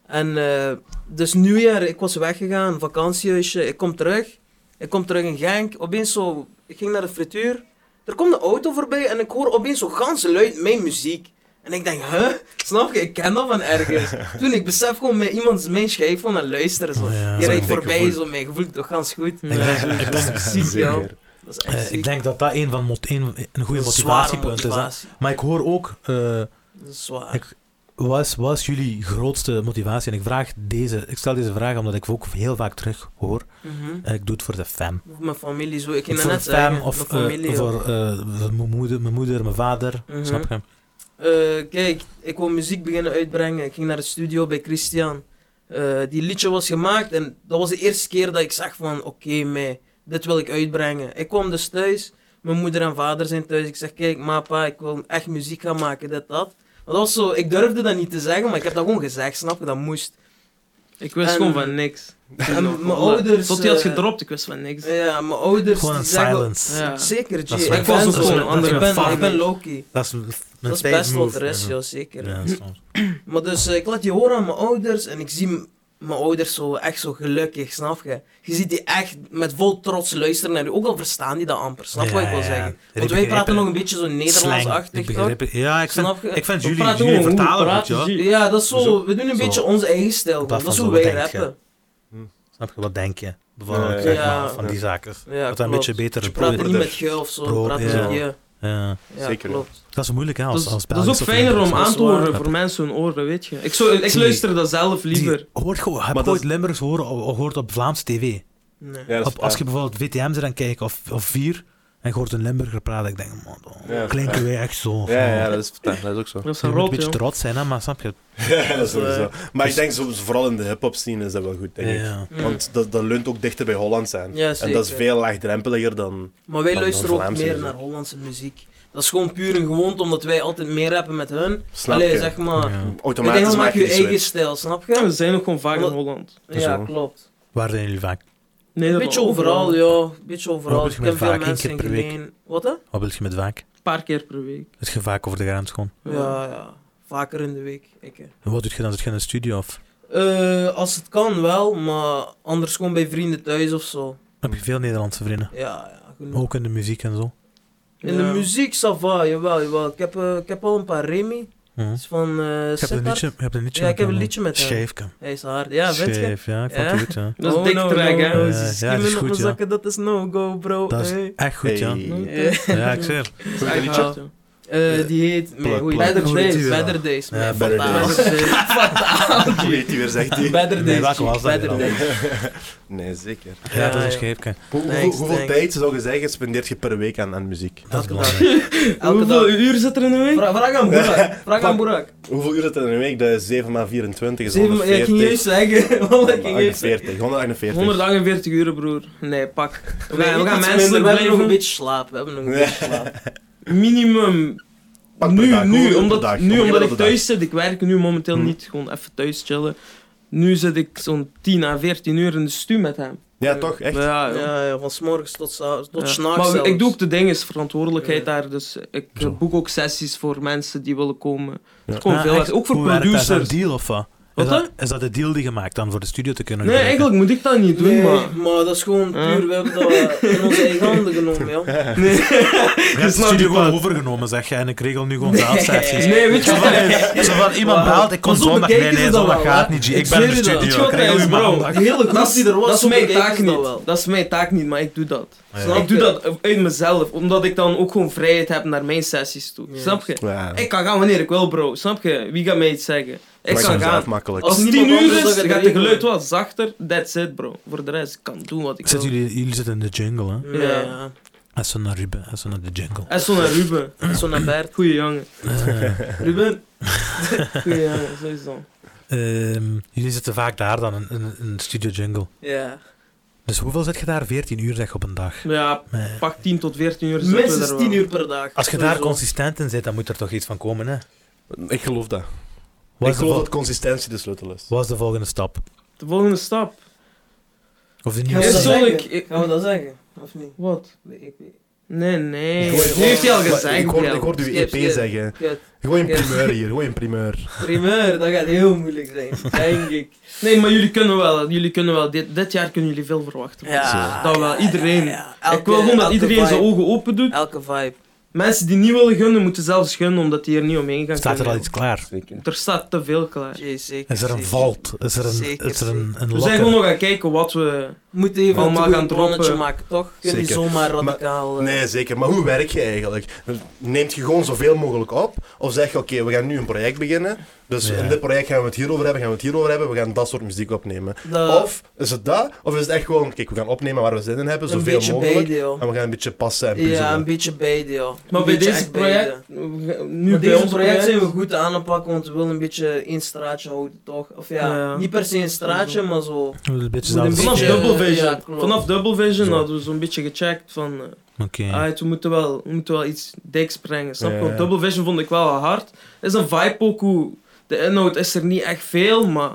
Speaker 3: En eh, dus nieuwjaar, ik was weggegaan, vakantiehuisje, ik kom terug. Ik kom terug in Genk, opeens zo, ik ging naar de frituur. Er komt een auto voorbij en ik hoor opeens zo gans luid mijn muziek. En ik denk, huh? Snap je? Ik ken dat van ergens. Toen ik besef gewoon, met iemand mijn schijf van en luisteren.
Speaker 1: Ja.
Speaker 3: Zo.
Speaker 1: Dat
Speaker 3: Je
Speaker 1: is een
Speaker 2: dikke
Speaker 3: rijdt voorbij,
Speaker 2: voet.
Speaker 3: zo, mijn gevoel toch gans
Speaker 1: Ik
Speaker 3: goed.
Speaker 1: denk-
Speaker 3: Ja,
Speaker 1: ik
Speaker 3: dat
Speaker 1: denk-
Speaker 3: is precies, ja.
Speaker 2: Zeker.
Speaker 3: Dat is
Speaker 1: eh,
Speaker 3: echt ziek.
Speaker 1: ik denk dat dat een, van mot- een, een goede
Speaker 3: Dat is een zware
Speaker 1: motivatiepunt is. Hè.
Speaker 3: motivatie.
Speaker 1: Maar ik hoor ook. eh,
Speaker 3: Dat is zwaar.
Speaker 1: Ik- wat was jullie grootste motivatie? En ik, vraag deze, ik stel deze vraag omdat ik ook heel vaak terug hoor.
Speaker 3: Mhm.
Speaker 1: Eh, ik doe het voor de fam.
Speaker 3: Of mijn familie zo. Ik ging dat
Speaker 1: Voor de
Speaker 3: net
Speaker 1: fam
Speaker 3: zeggen.
Speaker 1: of
Speaker 3: mijn
Speaker 1: eh,
Speaker 3: familie.
Speaker 1: voor eh, voor mijn moeder, mijn moeder, mijn vader.
Speaker 3: Mhm.
Speaker 1: Snap je?
Speaker 3: Eh, kijk, ik wou muziek beginnen uitbrengen. Ik ging naar de studio bij Christian. Eh, die liedje was gemaakt en dat was de eerste keer dat ik zag van oké mei, dit wil ik uitbrengen. Ik kwam dus thuis, mijn moeder en vader zijn thuis. Ik zeg kijk ma, pa, ik wil echt muziek gaan maken, dit, dat. Maar dat was zo, ik durfde dat niet te zeggen, maar ik heb dat gewoon gezegd, snap je, dat moest.
Speaker 4: Ik wist
Speaker 3: En-
Speaker 4: gewoon van niks.
Speaker 3: En mijn Ehm, ouders...
Speaker 4: Tot hij had
Speaker 3: eh,
Speaker 4: gedropt, ik wist van niks.
Speaker 3: Ja, mijn ouders
Speaker 1: Gewoon
Speaker 3: Dus die
Speaker 1: een
Speaker 3: zeggen-
Speaker 1: silence.
Speaker 4: Ja.
Speaker 3: Zeker, G.
Speaker 1: Dat is
Speaker 3: Ik
Speaker 1: wel-
Speaker 3: was
Speaker 4: dat is
Speaker 3: ook gewoon
Speaker 4: wel- dat is
Speaker 3: anders. Ik
Speaker 4: wel
Speaker 3: ben,
Speaker 4: fuck.
Speaker 3: ik ben Loki.
Speaker 1: Dat is mijn
Speaker 3: Dat is
Speaker 1: stage
Speaker 3: best wel
Speaker 1: move.
Speaker 3: de rest,
Speaker 1: Mhm.
Speaker 3: ja, zeker.
Speaker 1: Ja, dat is wel-
Speaker 3: Maar dus, eh, ik laat die horen aan mijn ouders en ik zie m- mijn ouders zo echt zo gelukkig, snap je? Je ziet die echt met vol trots luisteren naar die. Ook al verstaan die dat amper, snap je wat ik wil
Speaker 1: Ja, ja, ja.
Speaker 3: zeggen?
Speaker 1: Ik
Speaker 3: Want wij
Speaker 1: begrijp
Speaker 3: praten
Speaker 1: het.
Speaker 3: nog een beetje zo
Speaker 1: Ik
Speaker 3: Nederlands-achtig, toch?
Speaker 1: begrijp het. Ja, ik vind,
Speaker 3: Snap je?
Speaker 1: ik vind
Speaker 4: We
Speaker 1: jullie,
Speaker 4: praten
Speaker 1: jullie
Speaker 4: gewoon goed,
Speaker 1: vertalen goed,
Speaker 4: praten
Speaker 1: ja.
Speaker 4: zie-
Speaker 3: Ja, dat is zo.
Speaker 1: Zo-
Speaker 3: we doen een
Speaker 1: zo.
Speaker 3: beetje onze eigen stijl.
Speaker 1: Dat
Speaker 3: Dat,
Speaker 1: van
Speaker 3: is
Speaker 1: zo
Speaker 3: hoe wij
Speaker 1: denk je.
Speaker 3: rappen.
Speaker 1: Snap je, wat denk je? Bijvoorbeeld,
Speaker 2: Ja,
Speaker 1: zeg
Speaker 3: ja.
Speaker 1: maar, van die zaken.
Speaker 3: Ja,
Speaker 1: dat dat een
Speaker 3: klopt.
Speaker 1: beetje beter
Speaker 3: We praten niet
Speaker 1: proberen.
Speaker 3: met je of zo, we
Speaker 1: Bro-
Speaker 3: praten
Speaker 1: ja.
Speaker 3: met je.
Speaker 1: Ja.
Speaker 3: Ja,
Speaker 2: Zeker.
Speaker 3: klopt.
Speaker 1: Dat is moeilijk, hè, als,
Speaker 4: dat,
Speaker 1: als
Speaker 4: is, dat is ook
Speaker 1: Belgisch of
Speaker 4: fijner om
Speaker 1: Limburgs.
Speaker 4: aan te horen
Speaker 1: Ja.
Speaker 4: voor mensen hun oren, weet je. Ik, zou, ik
Speaker 1: Zie.
Speaker 4: luister dat zelf liever.
Speaker 1: Die- Hoort gewoon, heb
Speaker 2: Maar
Speaker 1: je
Speaker 2: dat
Speaker 1: ooit Limburgs horen, o- o- hoort op Vlaamse tv?
Speaker 3: Nee.
Speaker 2: Ja, dat is-
Speaker 1: Op, als je bijvoorbeeld VTM er aan kijkt, of, of vier, en je hoort een Limburger praten, ik denk, man, dan
Speaker 2: Ja,
Speaker 1: klinken
Speaker 2: ja.
Speaker 1: wij echt zo. van-
Speaker 2: ja, ja, dat is, dat is ook zo.
Speaker 4: Dat is
Speaker 1: je moet een
Speaker 4: rot,
Speaker 1: beetje
Speaker 4: joh.
Speaker 1: trots zijn, hè, maar snap je?
Speaker 2: Ja, dat is sowieso. Maar ik denk, zo- vooral in de hip-hop scene is dat wel goed, denk ik.
Speaker 1: Ja.
Speaker 3: Mm.
Speaker 2: Want dat, dat leunt ook dichter bij Holland zijn.
Speaker 3: Ja,
Speaker 2: en dat is
Speaker 3: zeker.
Speaker 2: veel laagdrempeliger dan.
Speaker 3: Maar wij
Speaker 2: Dan-
Speaker 3: luisteren
Speaker 2: dan
Speaker 3: ook
Speaker 2: Vlaamse
Speaker 3: meer
Speaker 2: muziek.
Speaker 3: naar Hollandse muziek. Dat is gewoon puur een gewoonte, omdat wij altijd meer rappen met hun.
Speaker 2: Snap
Speaker 3: Allee,
Speaker 2: je?
Speaker 3: zeg maar.
Speaker 1: Ja.
Speaker 3: Ik denk,
Speaker 2: Automatisch
Speaker 3: dan
Speaker 2: maak
Speaker 3: maak je je eigen
Speaker 2: switch.
Speaker 3: stijl, snap
Speaker 4: Ja, we
Speaker 3: je?
Speaker 4: zijn ook gewoon vaak in
Speaker 3: Wat-
Speaker 4: Holland.
Speaker 2: Zo.
Speaker 3: Ja, klopt.
Speaker 1: Waar zijn jullie vaak?
Speaker 3: Een
Speaker 4: Nederland.
Speaker 3: beetje overal, ja. Een beetje overal.
Speaker 1: Wat
Speaker 3: Ik
Speaker 1: doe je
Speaker 3: ken
Speaker 1: met
Speaker 3: veel
Speaker 1: vaak? Eén
Speaker 3: mensen in
Speaker 1: keer per week?
Speaker 3: Geleen. Wat hè?
Speaker 1: Wat wil je met vaak?
Speaker 4: Een paar keer per week.
Speaker 1: Is je vaak over de grens gewoon?
Speaker 3: Ja, ja. Vaker in de week. Ik, hè.
Speaker 1: En wat doet je dan? Zit je in de studio of?
Speaker 3: Eh, als het kan wel, maar anders gewoon bij vrienden thuis of zo.
Speaker 1: Heb je veel Nederlandse vrienden?
Speaker 3: Ja, ja. genoeg.
Speaker 1: Ook in de muziek en zo.
Speaker 3: In
Speaker 4: Ja.
Speaker 3: de muziek, Sava, jawel, jawel. Ik heb, eh, ik heb al een paar Remy.
Speaker 1: Mhm.
Speaker 3: Dat is van
Speaker 1: Ik
Speaker 3: eh
Speaker 1: heb een
Speaker 3: Sittard.
Speaker 1: liedje, ik heb een liedje
Speaker 3: Ja,
Speaker 1: met
Speaker 3: ik heb
Speaker 1: hem,
Speaker 3: een
Speaker 1: hè.
Speaker 3: liedje met hem.
Speaker 1: Scheefke.
Speaker 3: Hij is hard. Ja, vind je?
Speaker 1: Scheef, ja, ik vond
Speaker 3: Ja?
Speaker 1: het goed, ja.
Speaker 4: Dat is dik track, hè?
Speaker 1: Ja,
Speaker 3: Ze
Speaker 1: ja, dat is
Speaker 3: schimmen op
Speaker 1: goed,
Speaker 3: mijn
Speaker 1: ja.
Speaker 3: zakken, dat is no-go, bro.
Speaker 1: Dat
Speaker 3: Oh, Hey.
Speaker 1: is echt goed, ja.
Speaker 3: Hm?
Speaker 1: Ja, ik zeg. het.
Speaker 2: Hoe heet dat liedje?
Speaker 4: Ja.
Speaker 3: Eh, die heet...
Speaker 2: Plak,
Speaker 3: Nee, hoe heet
Speaker 2: plak.
Speaker 3: Better
Speaker 1: Hoe heet
Speaker 3: Days.
Speaker 1: die wel?
Speaker 3: Better Days.
Speaker 1: Ja,
Speaker 3: man.
Speaker 2: Better
Speaker 3: Fataal.
Speaker 2: Days. Hoe heet die weer, zegt die?
Speaker 1: Nee,
Speaker 3: Better Days.
Speaker 1: welke
Speaker 3: chick.
Speaker 1: was dat
Speaker 3: Better
Speaker 1: dan?
Speaker 3: Days.
Speaker 2: Nee, zeker.
Speaker 1: Ja, dat is een
Speaker 3: ja.
Speaker 1: scheefke.
Speaker 2: Hoe- hoe-
Speaker 3: Thanks,
Speaker 2: hoeveel
Speaker 3: thanks.
Speaker 2: tijd zou je zeggen spendeert je per week aan, aan muziek?
Speaker 1: Dat is
Speaker 3: Elke dag.
Speaker 1: belangrijk.
Speaker 3: Elke
Speaker 4: Hoeveel
Speaker 3: dag.
Speaker 4: uur zit er in de week?
Speaker 3: Vra- Vraag aan Burak. Vraag aan Burak.
Speaker 2: Hoeveel uur zit er in een week? Dat is 7 maal 24 is
Speaker 3: Zeven, ja, ik ging juist
Speaker 2: 140.
Speaker 3: zeggen. want ik ging juist zeggen.
Speaker 2: 148, 148.
Speaker 4: 148 uur, broer. Nee, pak. We
Speaker 3: We
Speaker 4: gaan, we gaan
Speaker 3: iets
Speaker 4: mensen
Speaker 3: minder, we hebben nog een
Speaker 4: blijven.
Speaker 3: beetje slaap. We hebben nog een
Speaker 2: Ja.
Speaker 3: beetje slaap.
Speaker 4: Minimum.
Speaker 2: Pak per
Speaker 4: nu,
Speaker 2: dag, hoeveel uur
Speaker 4: nu,
Speaker 2: per
Speaker 4: omdat,
Speaker 2: dag?
Speaker 4: nu
Speaker 2: Hoeveel
Speaker 4: omdat
Speaker 2: uur
Speaker 4: ik
Speaker 2: per
Speaker 4: thuis zit. Ik werk nu momenteel
Speaker 2: Hm.
Speaker 4: niet. Gewoon even thuis chillen. Nu zit ik zo'n 10 à 14 uur in de stu met hem.
Speaker 2: Ja, toch? Echt?
Speaker 4: Ja, ja.
Speaker 3: Ja, ja, van 's morgens tot, sa- tot
Speaker 4: Ja.
Speaker 3: s'nachts
Speaker 4: Maar
Speaker 3: zelfs.
Speaker 4: ik doe ook de dingen, verantwoordelijkheid daar. Dus ik eh,
Speaker 1: Zo.
Speaker 4: boek ook sessies voor mensen die willen komen. Het is
Speaker 1: Ah,
Speaker 4: gewoon veel
Speaker 1: echt?
Speaker 4: werk. Ook voor
Speaker 1: Hoe werkt dat? Is dat
Speaker 4: producers.
Speaker 1: een deal of wat?
Speaker 4: Wat
Speaker 1: is, dat, is dat de deal die je maakt dan voor de studio te kunnen
Speaker 4: Nee,
Speaker 1: gebruiken?
Speaker 4: eigenlijk moet ik dat niet doen,
Speaker 3: Nee,
Speaker 4: maar...
Speaker 3: maar. dat is gewoon
Speaker 4: Huh?
Speaker 3: puur. We hebben dat in onze eigen handen genomen, joh.
Speaker 1: Je hebt de
Speaker 4: snap
Speaker 1: studio
Speaker 4: je
Speaker 1: gewoon
Speaker 4: wat?
Speaker 1: overgenomen, zeg jij. En ik regel nu gewoon zaalsessies.
Speaker 4: Nee, weet je
Speaker 1: Zo
Speaker 4: wat?
Speaker 1: van, zo van, iemand
Speaker 3: Maar-
Speaker 1: haalt, ik kon
Speaker 3: maar zo
Speaker 1: zondag. Nee,
Speaker 3: bekijken
Speaker 1: nee,
Speaker 3: ze dat
Speaker 1: zondag
Speaker 3: wel,
Speaker 1: gaat
Speaker 3: hè?
Speaker 1: niet. G. Ik,
Speaker 3: Ik
Speaker 1: ben in de
Speaker 3: zweer je dat.
Speaker 1: studio.
Speaker 4: Ik zweer
Speaker 1: Ik regel
Speaker 4: het,
Speaker 1: u
Speaker 4: bro.
Speaker 1: maandag.
Speaker 3: De hele
Speaker 4: Dat
Speaker 3: groep
Speaker 4: is-
Speaker 3: die er was,
Speaker 4: dat is
Speaker 3: zo
Speaker 4: mijn
Speaker 3: bekijken
Speaker 4: taak
Speaker 3: ze dat
Speaker 4: niet.
Speaker 3: wel.
Speaker 4: Dat is mijn taak niet, maar ik doe dat.
Speaker 1: Ja.
Speaker 4: Ik doe dat uit mezelf, omdat ik dan ook gewoon vrijheid heb naar mijn sessies toe.
Speaker 3: Ja.
Speaker 4: Snap je?
Speaker 2: Ja.
Speaker 4: Ik kan gaan wanneer ik wil, bro. Snap je? Wie gaat mij iets zeggen? Ik
Speaker 2: Maakt
Speaker 4: kan
Speaker 2: mezelf
Speaker 4: gaan.
Speaker 2: makkelijk.
Speaker 4: Als het
Speaker 3: Niemand
Speaker 4: 10 uur
Speaker 3: anders
Speaker 4: is,
Speaker 3: dat je het
Speaker 4: gaat het
Speaker 3: regelt.
Speaker 4: geluid wat zachter. That's it, bro. Voor de rest, ik kan doen wat ik
Speaker 1: Zitten
Speaker 4: wil.
Speaker 1: jullie, jullie zitten in de jungle, hè?
Speaker 3: Ja,
Speaker 4: Ja.
Speaker 3: ja.
Speaker 1: Als ze naar Ruben, als ze naar de jungle.
Speaker 4: En zo naar Ruben.
Speaker 3: Zo'n Bert.
Speaker 4: Goeie jongen.
Speaker 1: Eh,
Speaker 4: Ruben. Goeie jongen, zo is dat.
Speaker 1: ehm, jullie zitten vaak daar dan, in, in, in de studio jungle.
Speaker 3: Ja.
Speaker 1: Dus hoeveel zit je daar? 14 uur zeg op een dag.
Speaker 4: Ja,
Speaker 1: Nee.
Speaker 4: pak 10 tot 14 uur zitten we daar
Speaker 3: Minstens
Speaker 4: wel.
Speaker 3: 10 uur per dag.
Speaker 1: Als je daar
Speaker 3: sowieso.
Speaker 1: consistent in zit, dan moet er toch iets van komen, hè?
Speaker 3: Oh.
Speaker 2: Ik geloof dat.
Speaker 1: Wat
Speaker 2: Ik
Speaker 1: is, de,
Speaker 2: geloof
Speaker 1: vol-
Speaker 2: dat consistentie de sleutel is.
Speaker 1: wat is de volgende stap?
Speaker 4: De volgende stap.
Speaker 1: Of de
Speaker 3: Gaan
Speaker 1: nieuwe
Speaker 3: we dat
Speaker 1: single?
Speaker 4: Persoonlijk-
Speaker 3: zeggen? Gaan we dat zeggen? Of niet?
Speaker 4: Wat?
Speaker 3: De EP.
Speaker 4: Nee, nee.
Speaker 2: Ik hoor-
Speaker 4: Nu heeft hij al
Speaker 2: Maar
Speaker 4: gezegd,
Speaker 2: Ik hoorde,
Speaker 4: Bjel.
Speaker 2: ik hoorde uw
Speaker 3: Skip,
Speaker 2: EP
Speaker 3: skip.
Speaker 2: E zeggen.
Speaker 3: Kut.
Speaker 2: Gewoon in
Speaker 3: Ja.
Speaker 2: primeur hier, gewoon in primeur.
Speaker 3: Primeur, dat gaat heel moeilijk zijn, denk ik.
Speaker 4: Nee, maar jullie kunnen wel. Jullie kunnen wel. Dit, dit jaar kunnen jullie veel
Speaker 3: Eh,
Speaker 4: verwachten. Dat wel, iedereen. ik wil gewoon dat iedereen zijn
Speaker 3: ogen.
Speaker 4: ogen open doet.
Speaker 3: Elke vibe.
Speaker 4: Mensen die niet willen gunnen, moeten zelfs gunnen, omdat die er niet omheen gaan
Speaker 1: Staat er al
Speaker 4: kunnen.
Speaker 1: iets klaar?
Speaker 4: Er staat te veel klaar.
Speaker 3: Jee, zeker,
Speaker 1: Is er een
Speaker 3: zeker.
Speaker 1: vault? Is er een,
Speaker 3: Zeker,
Speaker 1: is er een, een
Speaker 4: We zijn
Speaker 1: locker?
Speaker 4: gewoon nog aan kijken wat we...
Speaker 3: We moeten even
Speaker 4: Allemaal
Speaker 3: een
Speaker 4: gaan
Speaker 3: goed plannetje
Speaker 4: droppen.
Speaker 3: maken, toch? Kun je niet
Speaker 2: Zeker.
Speaker 3: zomaar
Speaker 2: Maar-
Speaker 3: radicaal... eh,
Speaker 2: Nee, zeker. Maar hoe werk je eigenlijk? Neemt je gewoon zoveel mogelijk op? Of zeg je, oké, we gaan nu een project beginnen. Dus
Speaker 1: Ja.
Speaker 2: in dit project gaan we het hierover hebben, gaan we het hierover hebben. We gaan dat soort muziek opnemen.
Speaker 4: Eh.
Speaker 3: dat-
Speaker 2: Of is het dat? Of is het echt gewoon, kijk, we gaan opnemen waar we zin in hebben,
Speaker 3: een
Speaker 2: zoveel
Speaker 3: beetje
Speaker 2: mogelijk.
Speaker 3: beide, joh.
Speaker 2: En we gaan een beetje passen en puzzelen.
Speaker 3: Ja, een beetje beide, joh.
Speaker 4: Maar
Speaker 3: Een
Speaker 4: bij
Speaker 3: beetje
Speaker 4: deze
Speaker 3: echt beide.
Speaker 4: project... we gaan- Nu
Speaker 3: Maar
Speaker 4: bij
Speaker 3: eh. deze
Speaker 4: ons
Speaker 3: project zijn we goed aan het pakken, want we willen een beetje één straatje houden, toch? Of ja,
Speaker 4: Ja.
Speaker 3: niet per se een straatje, maar zo.
Speaker 1: Een beetje
Speaker 4: Vanaf
Speaker 1: zelfs.
Speaker 3: beetje-
Speaker 1: Oké.
Speaker 4: Double Vision,
Speaker 3: Ja, klopt.
Speaker 4: vanaf Double Vision
Speaker 2: Zo.
Speaker 4: hadden we zo'n beetje gecheckt van... eh, Alright, we moeten wel, we moeten wel iets diks brengen. Snap je?
Speaker 2: Ja,
Speaker 4: Want
Speaker 2: ja.
Speaker 4: Double Vision vond ik wel hard. Het is een vibe ook hoe. De inhoud is er niet echt veel, maar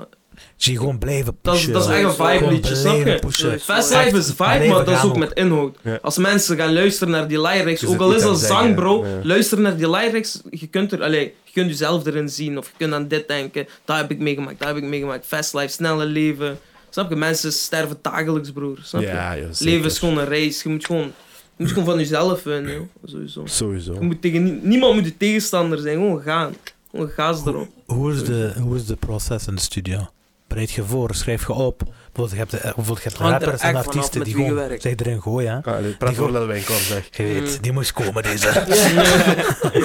Speaker 1: Zie gewoon blijven
Speaker 4: dat is,
Speaker 1: pushen.
Speaker 4: dat is echt een
Speaker 3: Gewoon
Speaker 4: vibe
Speaker 1: Gewoon
Speaker 4: liedje, snap
Speaker 1: blijven
Speaker 4: je?
Speaker 1: pushen.
Speaker 3: Echt
Speaker 4: Fastlife is vibe,
Speaker 2: Ah,
Speaker 1: blijven
Speaker 4: maar dat is
Speaker 1: gaan
Speaker 4: ook
Speaker 1: ook.
Speaker 4: met inhoud.
Speaker 2: Ja.
Speaker 4: Als mensen gaan luisteren naar die lyrics,
Speaker 2: Dus
Speaker 4: ook
Speaker 2: het
Speaker 4: al
Speaker 2: niet
Speaker 4: is dat
Speaker 2: aan zeggen,
Speaker 4: zang bro,
Speaker 2: ja.
Speaker 4: luister naar die lyrics, je kunt, er, allee, je kunt jezelf erin zien of je kunt aan dit denken. Dat heb ik meegemaakt, dat heb ik meegemaakt. Fastlife, snelle leven. Snap je? Mensen sterven dagelijks broer, snap je?
Speaker 2: Ja, joh, zeker.
Speaker 4: Leven is gewoon een race, je moet gewoon, je moet gewoon van jezelf winnen, joh. sowieso.
Speaker 2: Sowieso.
Speaker 4: Je moet tegen, nie- niemand moet je tegenstander zijn, gewoon gaan. Gewoon gas erop.
Speaker 1: Hoe is, de, hoe is de proces in de studio? Bereid je voor, schrijf je op. Bijvoorbeeld, je hebt, de, bijvoorbeeld, je hebt
Speaker 3: Hangt er
Speaker 1: rappers en
Speaker 3: echt vanaf
Speaker 1: artiesten
Speaker 3: met
Speaker 1: die
Speaker 3: wie je
Speaker 1: gewoon
Speaker 3: werkt.
Speaker 1: zich erin gooien. hè.
Speaker 2: Ah, dit- praat
Speaker 1: Die
Speaker 2: voor
Speaker 1: gewoon-
Speaker 2: dat wijn kwam, zeg.
Speaker 1: Je weet,
Speaker 3: Mm.
Speaker 1: die moest komen deze.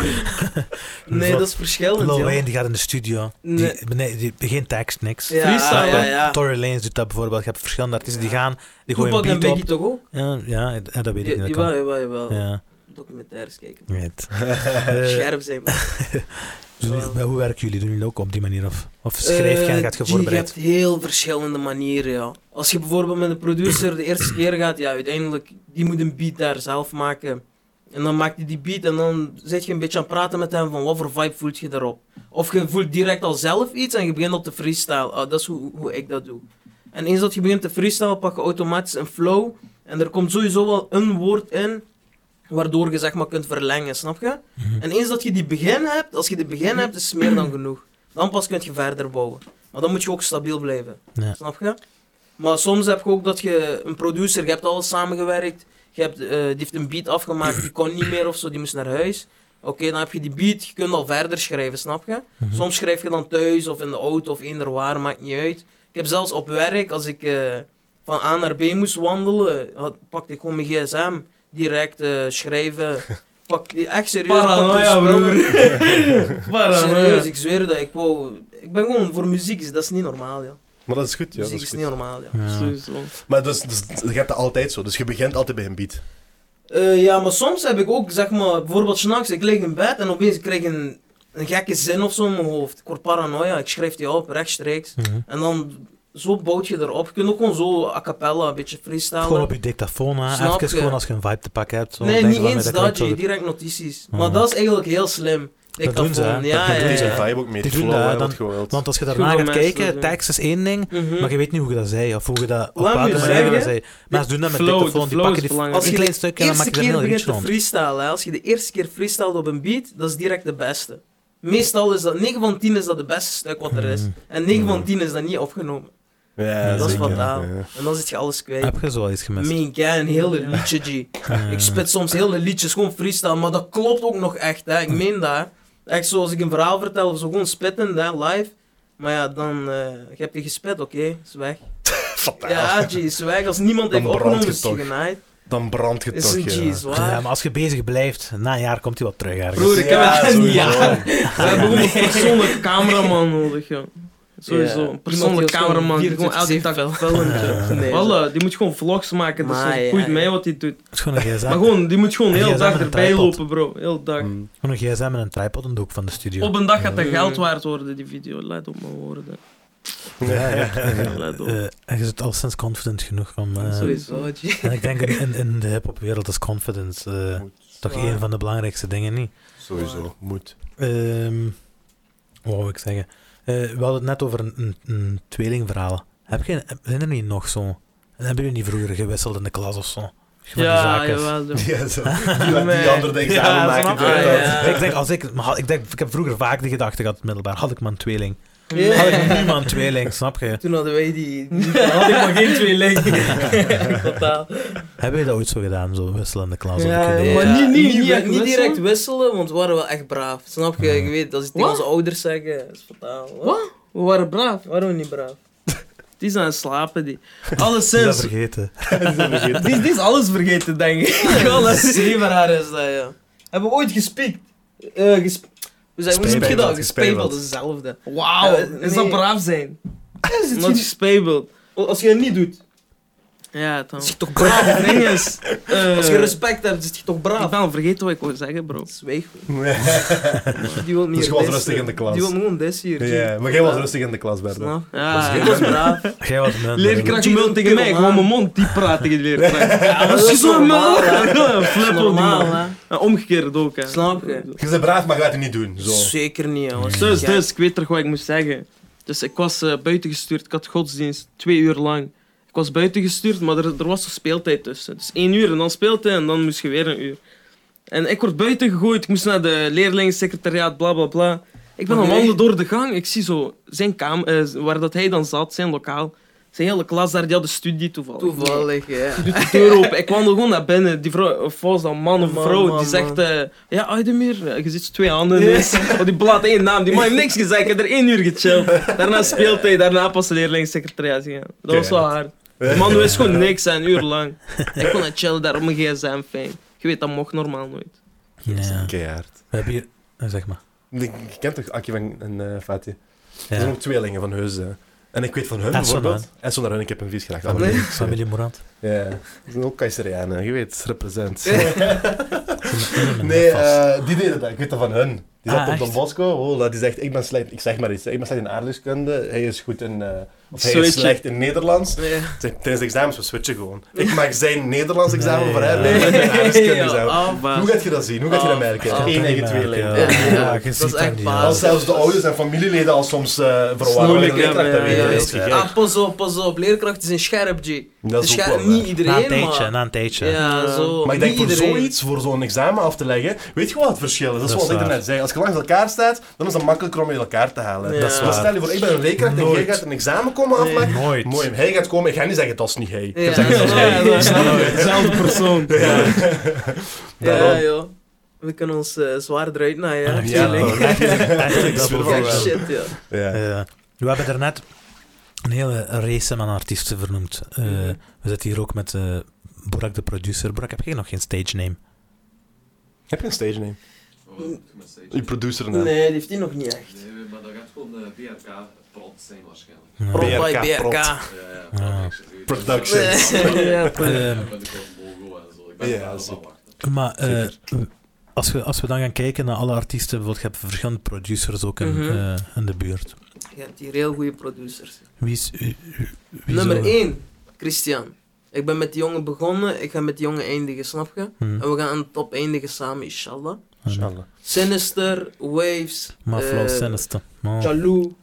Speaker 3: Nee, dat is verschillend,
Speaker 1: Lil
Speaker 3: joh.
Speaker 1: Wayne die gaat in de studio.
Speaker 3: Nee.
Speaker 1: Die, nee, die, geen tekst, niks.
Speaker 3: Ja, Ah,
Speaker 4: Freestyle,
Speaker 3: ja, ja.
Speaker 1: Tory Lanez doet dat bijvoorbeeld. Je hebt verschillende artiesten die gaan, die gooien
Speaker 3: Toepak
Speaker 1: een
Speaker 3: en
Speaker 1: beat
Speaker 3: Biggie
Speaker 1: op.
Speaker 3: toch ook?
Speaker 1: Ja, ja, eh, dat weet ik
Speaker 3: Ja,
Speaker 1: niet. dat
Speaker 3: Jawel,
Speaker 1: kan.
Speaker 3: jawel, jawel.
Speaker 1: Ja,
Speaker 3: Documentaires kijken.
Speaker 1: ik weet. Eh,
Speaker 3: Scherp zijn, man.
Speaker 1: dus jullie- maar hoe werken jullie? Doen jullie ook op die manier? Of, of schrijf je en
Speaker 3: Eh,
Speaker 1: gaat je
Speaker 3: G,
Speaker 1: voorbereid?
Speaker 3: Je hebt heel verschillende manieren, ja. Als je bijvoorbeeld met een producer de eerste keer gaat, ja, uiteindelijk, die moet een beat daar zelf maken. En dan maakt hij die beat en dan zit je een beetje aan het praten met hem van wat voor vibe voelt je daarop. Of je voelt direct al zelf iets en je begint op te freestyle. Ah, dat is hoe, hoe ik dat doe. En eens dat je begint te freestylen, pak je automatisch een flow. En er komt sowieso wel een woord in, waardoor je zeg maar kunt verlengen, snap je?
Speaker 1: Mhm.
Speaker 3: En eens dat je die begin hebt, als je die begin hebt, is het meer dan genoeg. Dan pas kun je verder bouwen. Maar dan moet je ook stabiel blijven.
Speaker 1: Ja.
Speaker 3: Snap je? Maar soms heb je ook dat je een producer, je hebt alles samengewerkt. Je hebt, eh, die heeft een beat afgemaakt, die kon niet meer of zo, die moest naar huis. Oké, dan heb je die beat, je kunt al verder schrijven, snap je?
Speaker 1: Mhm.
Speaker 3: Soms schrijf je dan thuis of in de auto of eender waar, maakt niet uit. Ik heb zelfs op werk, als ik eh, van A naar B moest wandelen, had, pakte ik gewoon mijn gsm, direct eh, schrijven. Pak, echt serieus.
Speaker 4: Paranoia,
Speaker 3: pakte een spul.
Speaker 4: broer. Paranoia.
Speaker 3: Serieus, ik zweer dat ik wou... Ik ben gewoon voor muziek, is- dat is niet normaal, ja.
Speaker 2: Maar dat is goed, ja. Dat
Speaker 3: muziek
Speaker 2: is
Speaker 3: is
Speaker 2: goed.
Speaker 3: niet normaal, ja.
Speaker 1: Ja.
Speaker 4: Sowieso.
Speaker 2: Maar dus, dus, je hebt dat altijd zo. Dus je begint altijd bij een beat.
Speaker 3: Eh, ja, maar soms heb ik ook, zeg maar, bijvoorbeeld s'nachts, ik lig in bed en opeens krijg ik een, een gekke zin of zo in mijn hoofd. Ik word paranoia, ik schrijf die op, rechtstreeks.
Speaker 1: Mhm.
Speaker 3: En dan, zo bouwt je erop. Je kunt ook gewoon zo a cappella een beetje
Speaker 1: Gewoon
Speaker 3: freestylen.
Speaker 1: op je dictafoon, hè.
Speaker 3: Snap
Speaker 1: Even
Speaker 3: je?
Speaker 1: gewoon als je een vibe te pakken hebt. Zo,
Speaker 3: Nee,
Speaker 1: denk
Speaker 3: niet
Speaker 1: van,
Speaker 3: eens
Speaker 1: kan ik
Speaker 3: dat,
Speaker 1: zo-
Speaker 3: je direct notities.
Speaker 1: Mhm.
Speaker 3: Maar dat is eigenlijk heel slim.
Speaker 1: doen ze, hè?
Speaker 3: Dictafoon,
Speaker 1: Dat
Speaker 3: Ja,
Speaker 1: doen
Speaker 3: ja,
Speaker 2: Die
Speaker 1: ze.
Speaker 2: zijn
Speaker 3: ja.
Speaker 2: vibe ook mee.
Speaker 1: Die
Speaker 2: Het
Speaker 1: doen
Speaker 2: flow,
Speaker 1: dat,
Speaker 2: hè,
Speaker 1: dan-
Speaker 2: wat je wilt.
Speaker 1: Want als je
Speaker 4: Goed
Speaker 1: daarna
Speaker 4: om
Speaker 1: gaat
Speaker 4: mensen te
Speaker 1: kijken,
Speaker 4: doen.
Speaker 1: tekst is één ding,
Speaker 3: Mhm.
Speaker 1: maar je weet niet hoe je dat zei. Of hoe je dat, op
Speaker 3: Laat
Speaker 1: welke
Speaker 3: me
Speaker 1: manier je dat
Speaker 3: zeggen,
Speaker 1: zei. Mensen doen dat met
Speaker 4: flow, de
Speaker 1: dictafoon, die
Speaker 4: flow
Speaker 1: pakken
Speaker 4: is
Speaker 1: die
Speaker 4: belangrijk.
Speaker 1: een
Speaker 3: Als je
Speaker 1: klein stukje en dan
Speaker 3: eerste
Speaker 1: maak je er
Speaker 3: keer
Speaker 1: een heel
Speaker 3: begint
Speaker 1: liedje
Speaker 3: te
Speaker 1: rond.
Speaker 3: freestylen, hè, als je de eerste keer freestylt op een beat, dat is direct de beste. Meestal is dat, 9 van 10 is dat de beste stuk wat er is.
Speaker 1: Mhm.
Speaker 3: En 9 van
Speaker 2: Mhm.
Speaker 3: 10 is dat niet opgenomen.
Speaker 2: Ja,
Speaker 1: Dat is
Speaker 2: zeker.
Speaker 3: fataal.
Speaker 2: Ja.
Speaker 3: En dan zit je alles kwijt.
Speaker 1: Heb je zo wel iets gemist?
Speaker 3: Meen ik, hè, een hele liedje, G.
Speaker 1: Ah, Ja.
Speaker 3: Ik spit soms hele liedjes, gewoon freestyle, maar dat klopt ook nog echt, hè. Ik meen dat, hè. Echt zoals ik een verhaal vertel of zo, gewoon spitten, hè, live. Maar ja, dan eh, heb je gespit, oké, is weg.
Speaker 2: Fataal.
Speaker 3: Ja, G, is weg. Als niemand heeft
Speaker 2: Dan brandt
Speaker 3: opgenomen,
Speaker 2: je
Speaker 3: is je
Speaker 2: toch.
Speaker 3: genaaid.
Speaker 2: Dan brandt je
Speaker 3: Is
Speaker 2: toch.
Speaker 3: een
Speaker 2: ja.
Speaker 3: G, zwaar.
Speaker 1: Ja, maar als je bezig blijft, na een jaar komt hij wel terug ergens.
Speaker 4: Broer, ik heb
Speaker 2: Ja,
Speaker 4: echt een
Speaker 2: sowieso.
Speaker 4: jaar. We hebben gewoon een persoonlijke cameraman nodig, ja. Sowieso, een persoonlijke cameraman die gewoon elke dag filmt. ja.
Speaker 3: Nee,
Speaker 4: Voilà, die moet gewoon vlogs maken, dus
Speaker 3: Maar
Speaker 4: het
Speaker 3: ja,
Speaker 4: boeit
Speaker 3: ja.
Speaker 4: mij wat hij doet.
Speaker 1: Het is gewoon een gsm.
Speaker 4: Maar gewoon, die moet gewoon
Speaker 1: En
Speaker 4: heel
Speaker 1: jij
Speaker 4: dag
Speaker 1: bent een
Speaker 4: erbij
Speaker 1: tripod.
Speaker 4: lopen, bro. Heel dag.
Speaker 2: Mm.
Speaker 1: Gewoon een gsm en een tripod in de hoek van de studio.
Speaker 4: Op een dag gaat dat
Speaker 3: Ja.
Speaker 4: geld waard worden, die video. Let op mijn woorden.
Speaker 1: Ja, ja.
Speaker 4: Let op.
Speaker 1: Eh, en je zit al sinds confident genoeg om... eh,
Speaker 4: Sowieso.
Speaker 1: en ik denk in, in de hip-hop wereld is confidence eh, toch
Speaker 3: Zwaar.
Speaker 1: een van de belangrijkste dingen, niet?
Speaker 2: Sowieso. Moet.
Speaker 1: Ehm wat wou ik zeggen? Eh, we hadden het net over een, een, een tweelingverhaal. Heb je, heb- zijn er niet nog zo? Hebben jullie niet vroeger gewisseld in de klas of zo? Van die
Speaker 4: Ja,
Speaker 1: zaken.
Speaker 4: jawel. ja.
Speaker 2: Ja, zo. Die,
Speaker 4: Nee.
Speaker 2: die andere de examen
Speaker 4: Ja,
Speaker 2: maken.
Speaker 4: snap
Speaker 3: je?
Speaker 2: ja,
Speaker 3: Ah,
Speaker 2: dat-
Speaker 3: ja.
Speaker 1: Ik, denk, als ik, maar had- ik, denk, ik heb vroeger vaak die gedachte gehad, in het middelbaar. Had ik maar een tweeling?
Speaker 3: Ja.
Speaker 1: Had ik nu maar een tweeling, snap je?
Speaker 3: Toen hadden wij die. die- dan had ik maar geen twee liggen. Totaal.
Speaker 1: Hebben jullie dat ooit zo gedaan, zo wisselen in de klas?
Speaker 4: Ja,
Speaker 1: of een keer?
Speaker 4: Maar niet- niet- niet echt
Speaker 3: niet
Speaker 4: wisselen?
Speaker 3: direct wisselen, want we waren wel echt braaf. Snap je?
Speaker 1: Ja.
Speaker 3: Ik weet, als ik tegen
Speaker 4: Wat?
Speaker 3: onze ouders zeggen, dat is fataal. Wat?
Speaker 4: Wat? We waren braaf.
Speaker 3: Waarom niet braaf?
Speaker 4: Die is aan het slapen, die.
Speaker 1: Ik ben dat
Speaker 4: Alleszins.
Speaker 1: vergeten.
Speaker 4: Die, die is alles vergeten, denk ik.
Speaker 3: Zeeveraar is dat, ja. Hebben we ooit gespiekt? Eh gesp- we zijn hoe noem je
Speaker 2: Gespijbeld,
Speaker 3: dat?
Speaker 2: gespijbeld.
Speaker 3: Gespijbeld is hetzelfde.
Speaker 4: Wauw,
Speaker 3: Eh,
Speaker 4: is dat
Speaker 3: nee.
Speaker 4: braaf zijn?
Speaker 3: Is het
Speaker 4: Omdat je
Speaker 3: niet-
Speaker 4: speelt.
Speaker 3: Als je het niet doet,
Speaker 4: Ja, dan.
Speaker 3: is je toch braaf?
Speaker 4: Het ding is, eh,
Speaker 3: Als je respect hebt, is je toch
Speaker 4: Ik
Speaker 3: braaf?
Speaker 4: ben al vergeten wat ik wou zeggen, bro.
Speaker 3: Zweeg. Dus Die wil niet
Speaker 2: Dus je was
Speaker 3: dis,
Speaker 2: rustig in de
Speaker 3: eh.
Speaker 2: klas.
Speaker 3: Die wil gewoon des hier.
Speaker 2: Ja, maar jij was rustig in de klas, Bert.
Speaker 3: Snap?
Speaker 4: Ja,
Speaker 3: Ik was braaf.
Speaker 1: Jij was mijn
Speaker 4: leerkracht mult tegen mij, gewoon mijn mond diep praten tegen de leerkracht. Ja,
Speaker 3: dat is normaal, hè.
Speaker 4: Flip op die
Speaker 3: Normaal,
Speaker 4: man.
Speaker 3: hè?
Speaker 4: En omgekeerd ook, hè.
Speaker 3: Snap je?
Speaker 2: Je bent braaf, maar je gaat het niet doen. Zo.
Speaker 3: Zeker niet, jongens.
Speaker 4: Dus, dus, ik weet toch wat ik moest zeggen. Dus ik was eh, buiten gestuurd, ik had godsdienst, twee uur lang. Ik was buiten gestuurd, maar er, er was een speeltijd tussen. Dus één uur en dan speeltijd en dan moest je weer een uur. En ik word buiten gegooid, ik moest naar de leerlingensecretariaat, bla bla bla. Ik ben aan
Speaker 3: Oké.
Speaker 4: het wandelen door de gang, ik zie zo zijn kamer, eh, waar dat hij dan zat, zijn lokaal. Zijn hele klas daar, die had een studie toevallig.
Speaker 3: Toevallig, ja.
Speaker 4: Ik doe de deur open. Ik wandel gewoon naar binnen. Die vrouw, of was dat man of
Speaker 3: Man,
Speaker 4: vrouw,
Speaker 3: man,
Speaker 4: die zegt...
Speaker 3: man.
Speaker 4: eh, ja, Aydemir, eh, je zit twee handen ineens. Oh, die blaad één naam. Die man heeft niks gezegd. Ik heb er één uur gechilld. Daarna speeltijd, daarna pas leerlingssecretariaat gegaan. Dat was wel hard. Die man wist gewoon niks, hè, een uur lang. Ik kon het chillen daar op mijn gsm, fijn. Je weet, dat mocht normaal nooit.
Speaker 1: Ja.
Speaker 2: Keihard.
Speaker 1: We hebben hier... eh, Zeg maar.
Speaker 2: Ik- Je kent toch Akje van- en eh Fatih? Dat zijn
Speaker 1: Ja.
Speaker 2: ook tweelingen van Heus. hè. En ik weet van hun
Speaker 1: Edson,
Speaker 2: bijvoorbeeld. En zo naar hun, ik heb een vies geraakt.
Speaker 1: Familie,
Speaker 2: Allemaal
Speaker 1: familie Morant.
Speaker 2: Ja, dat zijn ook Kayserianen, je weet, represent.
Speaker 1: Ze hebben- ze hebben
Speaker 2: Nee,
Speaker 1: vast.
Speaker 2: eh, die deden dat, ik weet dat van hun. Die zat
Speaker 1: Ah,
Speaker 2: op Don
Speaker 1: echt?
Speaker 2: Bosco. Oh, dat is echt, ik ben slecht, ik zeg maar iets, hè. ik ben slecht in aardrijkskunde. Hij is goed in, eh, of hij is
Speaker 4: Switchen.
Speaker 2: slecht in Nederlands.
Speaker 3: Nee.
Speaker 2: Zeg, Tijdens de examens, we switchen gewoon. Ik maak zijn Nederlands examen
Speaker 1: Nee,
Speaker 2: voor hem,
Speaker 1: ja.
Speaker 2: nee, maar zijn aardrijkskunde
Speaker 3: Ja,
Speaker 2: examen.
Speaker 3: ah, baas.
Speaker 2: Hoe gaat je dat zien? Hoe gaat je dat
Speaker 3: Ah,
Speaker 2: merken?
Speaker 3: ah.
Speaker 2: Eén eigen twee
Speaker 1: Ja,
Speaker 2: lijn.
Speaker 1: ja,
Speaker 3: Ja,
Speaker 1: ja,
Speaker 3: dat
Speaker 1: je
Speaker 3: is
Speaker 1: ziet
Speaker 3: echt
Speaker 1: niet,
Speaker 3: baas.
Speaker 1: ja.
Speaker 2: Als zelfs de ouders en familieleden al soms eh verwarren.
Speaker 4: Snoelik,
Speaker 2: met de leerkracht,
Speaker 4: ja,
Speaker 2: dat weet
Speaker 4: ja,
Speaker 2: je,
Speaker 4: ja.
Speaker 2: dat is
Speaker 3: Ah,
Speaker 2: gek.
Speaker 3: pas op, pas op. Leerkracht is een scherp, G.
Speaker 2: Dat
Speaker 3: Dus
Speaker 2: is ook
Speaker 3: ga-
Speaker 2: wel waar.
Speaker 3: niet
Speaker 1: Na een
Speaker 3: iedereen,
Speaker 1: tijdje,
Speaker 3: maar...
Speaker 1: na een tijdje.
Speaker 3: Ja, zo.
Speaker 2: Maar ik denk
Speaker 3: niet
Speaker 2: voor
Speaker 3: iedereen.
Speaker 2: zoiets, voor zo'n examen af te leggen, weet je wat het verschil is? Dat is
Speaker 1: Dat is
Speaker 2: wat ik er
Speaker 1: waar.
Speaker 2: net zei. Als je langs elkaar staat, dan is het makkelijker om je elkaar te halen.
Speaker 3: Ja. Dat is
Speaker 2: Maar
Speaker 1: waar.
Speaker 2: stel je voor, ik ben een leerkracht en jij
Speaker 1: Nooit.
Speaker 2: gaat een examen komen afleggen.
Speaker 1: Nooit.
Speaker 2: Mooi, hij gaat komen, ik ga niet zeggen dat is niet hij.
Speaker 3: Ja,
Speaker 2: Ik zeg, dat is
Speaker 3: ja,
Speaker 2: hij.
Speaker 3: ja, ja.
Speaker 4: Dezelfde persoon.
Speaker 3: Ja, joh. We kunnen ons eh, zwaar eruit naaien. Ja,
Speaker 1: Ja,
Speaker 3: tuurlijk.
Speaker 1: dat- eigenlijk- eigenlijk
Speaker 2: Dat
Speaker 1: dat
Speaker 2: is
Speaker 1: wel.
Speaker 2: wel
Speaker 3: Ja,
Speaker 2: waar.
Speaker 3: shit, ja.
Speaker 2: Ja.
Speaker 1: Eh, we hebben daarnet een hele race aan artiesten vernoemd. Eh,
Speaker 3: Mhm.
Speaker 1: We zitten hier ook met eh, Borak de producer. Borak, heb jij nog geen stage name?
Speaker 2: Heb je een stage name?
Speaker 5: Wat doe ik met stage?
Speaker 2: Je producer naam.
Speaker 3: Nee, die heeft die nog niet echt.
Speaker 5: Nee, maar dat gaat gewoon eh, BRK prot zijn waarschijnlijk.
Speaker 1: Ja.
Speaker 3: Prop
Speaker 2: BRK,
Speaker 3: by BRK.
Speaker 2: prot.
Speaker 5: Ja, ja,
Speaker 1: Ah.
Speaker 5: production.
Speaker 2: Production.
Speaker 3: Ja,
Speaker 5: Ja,
Speaker 1: Eh,
Speaker 5: ik ben ik gewoon logo en zo. Ik ben
Speaker 2: Ja,
Speaker 5: daar wel
Speaker 2: zeker.
Speaker 5: aan wachten.
Speaker 1: maar eh, als, we, als we dan gaan kijken naar alle artiesten, bijvoorbeeld, je hebt verschillende producers ook in,
Speaker 3: Mhm.
Speaker 1: eh, in de buurt.
Speaker 3: Je hebt hier heel goede producers.
Speaker 1: Wie is... wie- wie
Speaker 3: Nummer
Speaker 1: zou-
Speaker 3: 1, Christian. Ik ben met die jongen begonnen, ik ga met die jongen eindigen, snap je?
Speaker 1: Hm,
Speaker 3: En we gaan aan de top eindigen samen, inshallah.
Speaker 1: eh,
Speaker 2: Inshallah.
Speaker 3: Sinister, Waves,
Speaker 1: Maar
Speaker 3: eh,
Speaker 1: Flow Sinister. Oh.
Speaker 3: Jaloux.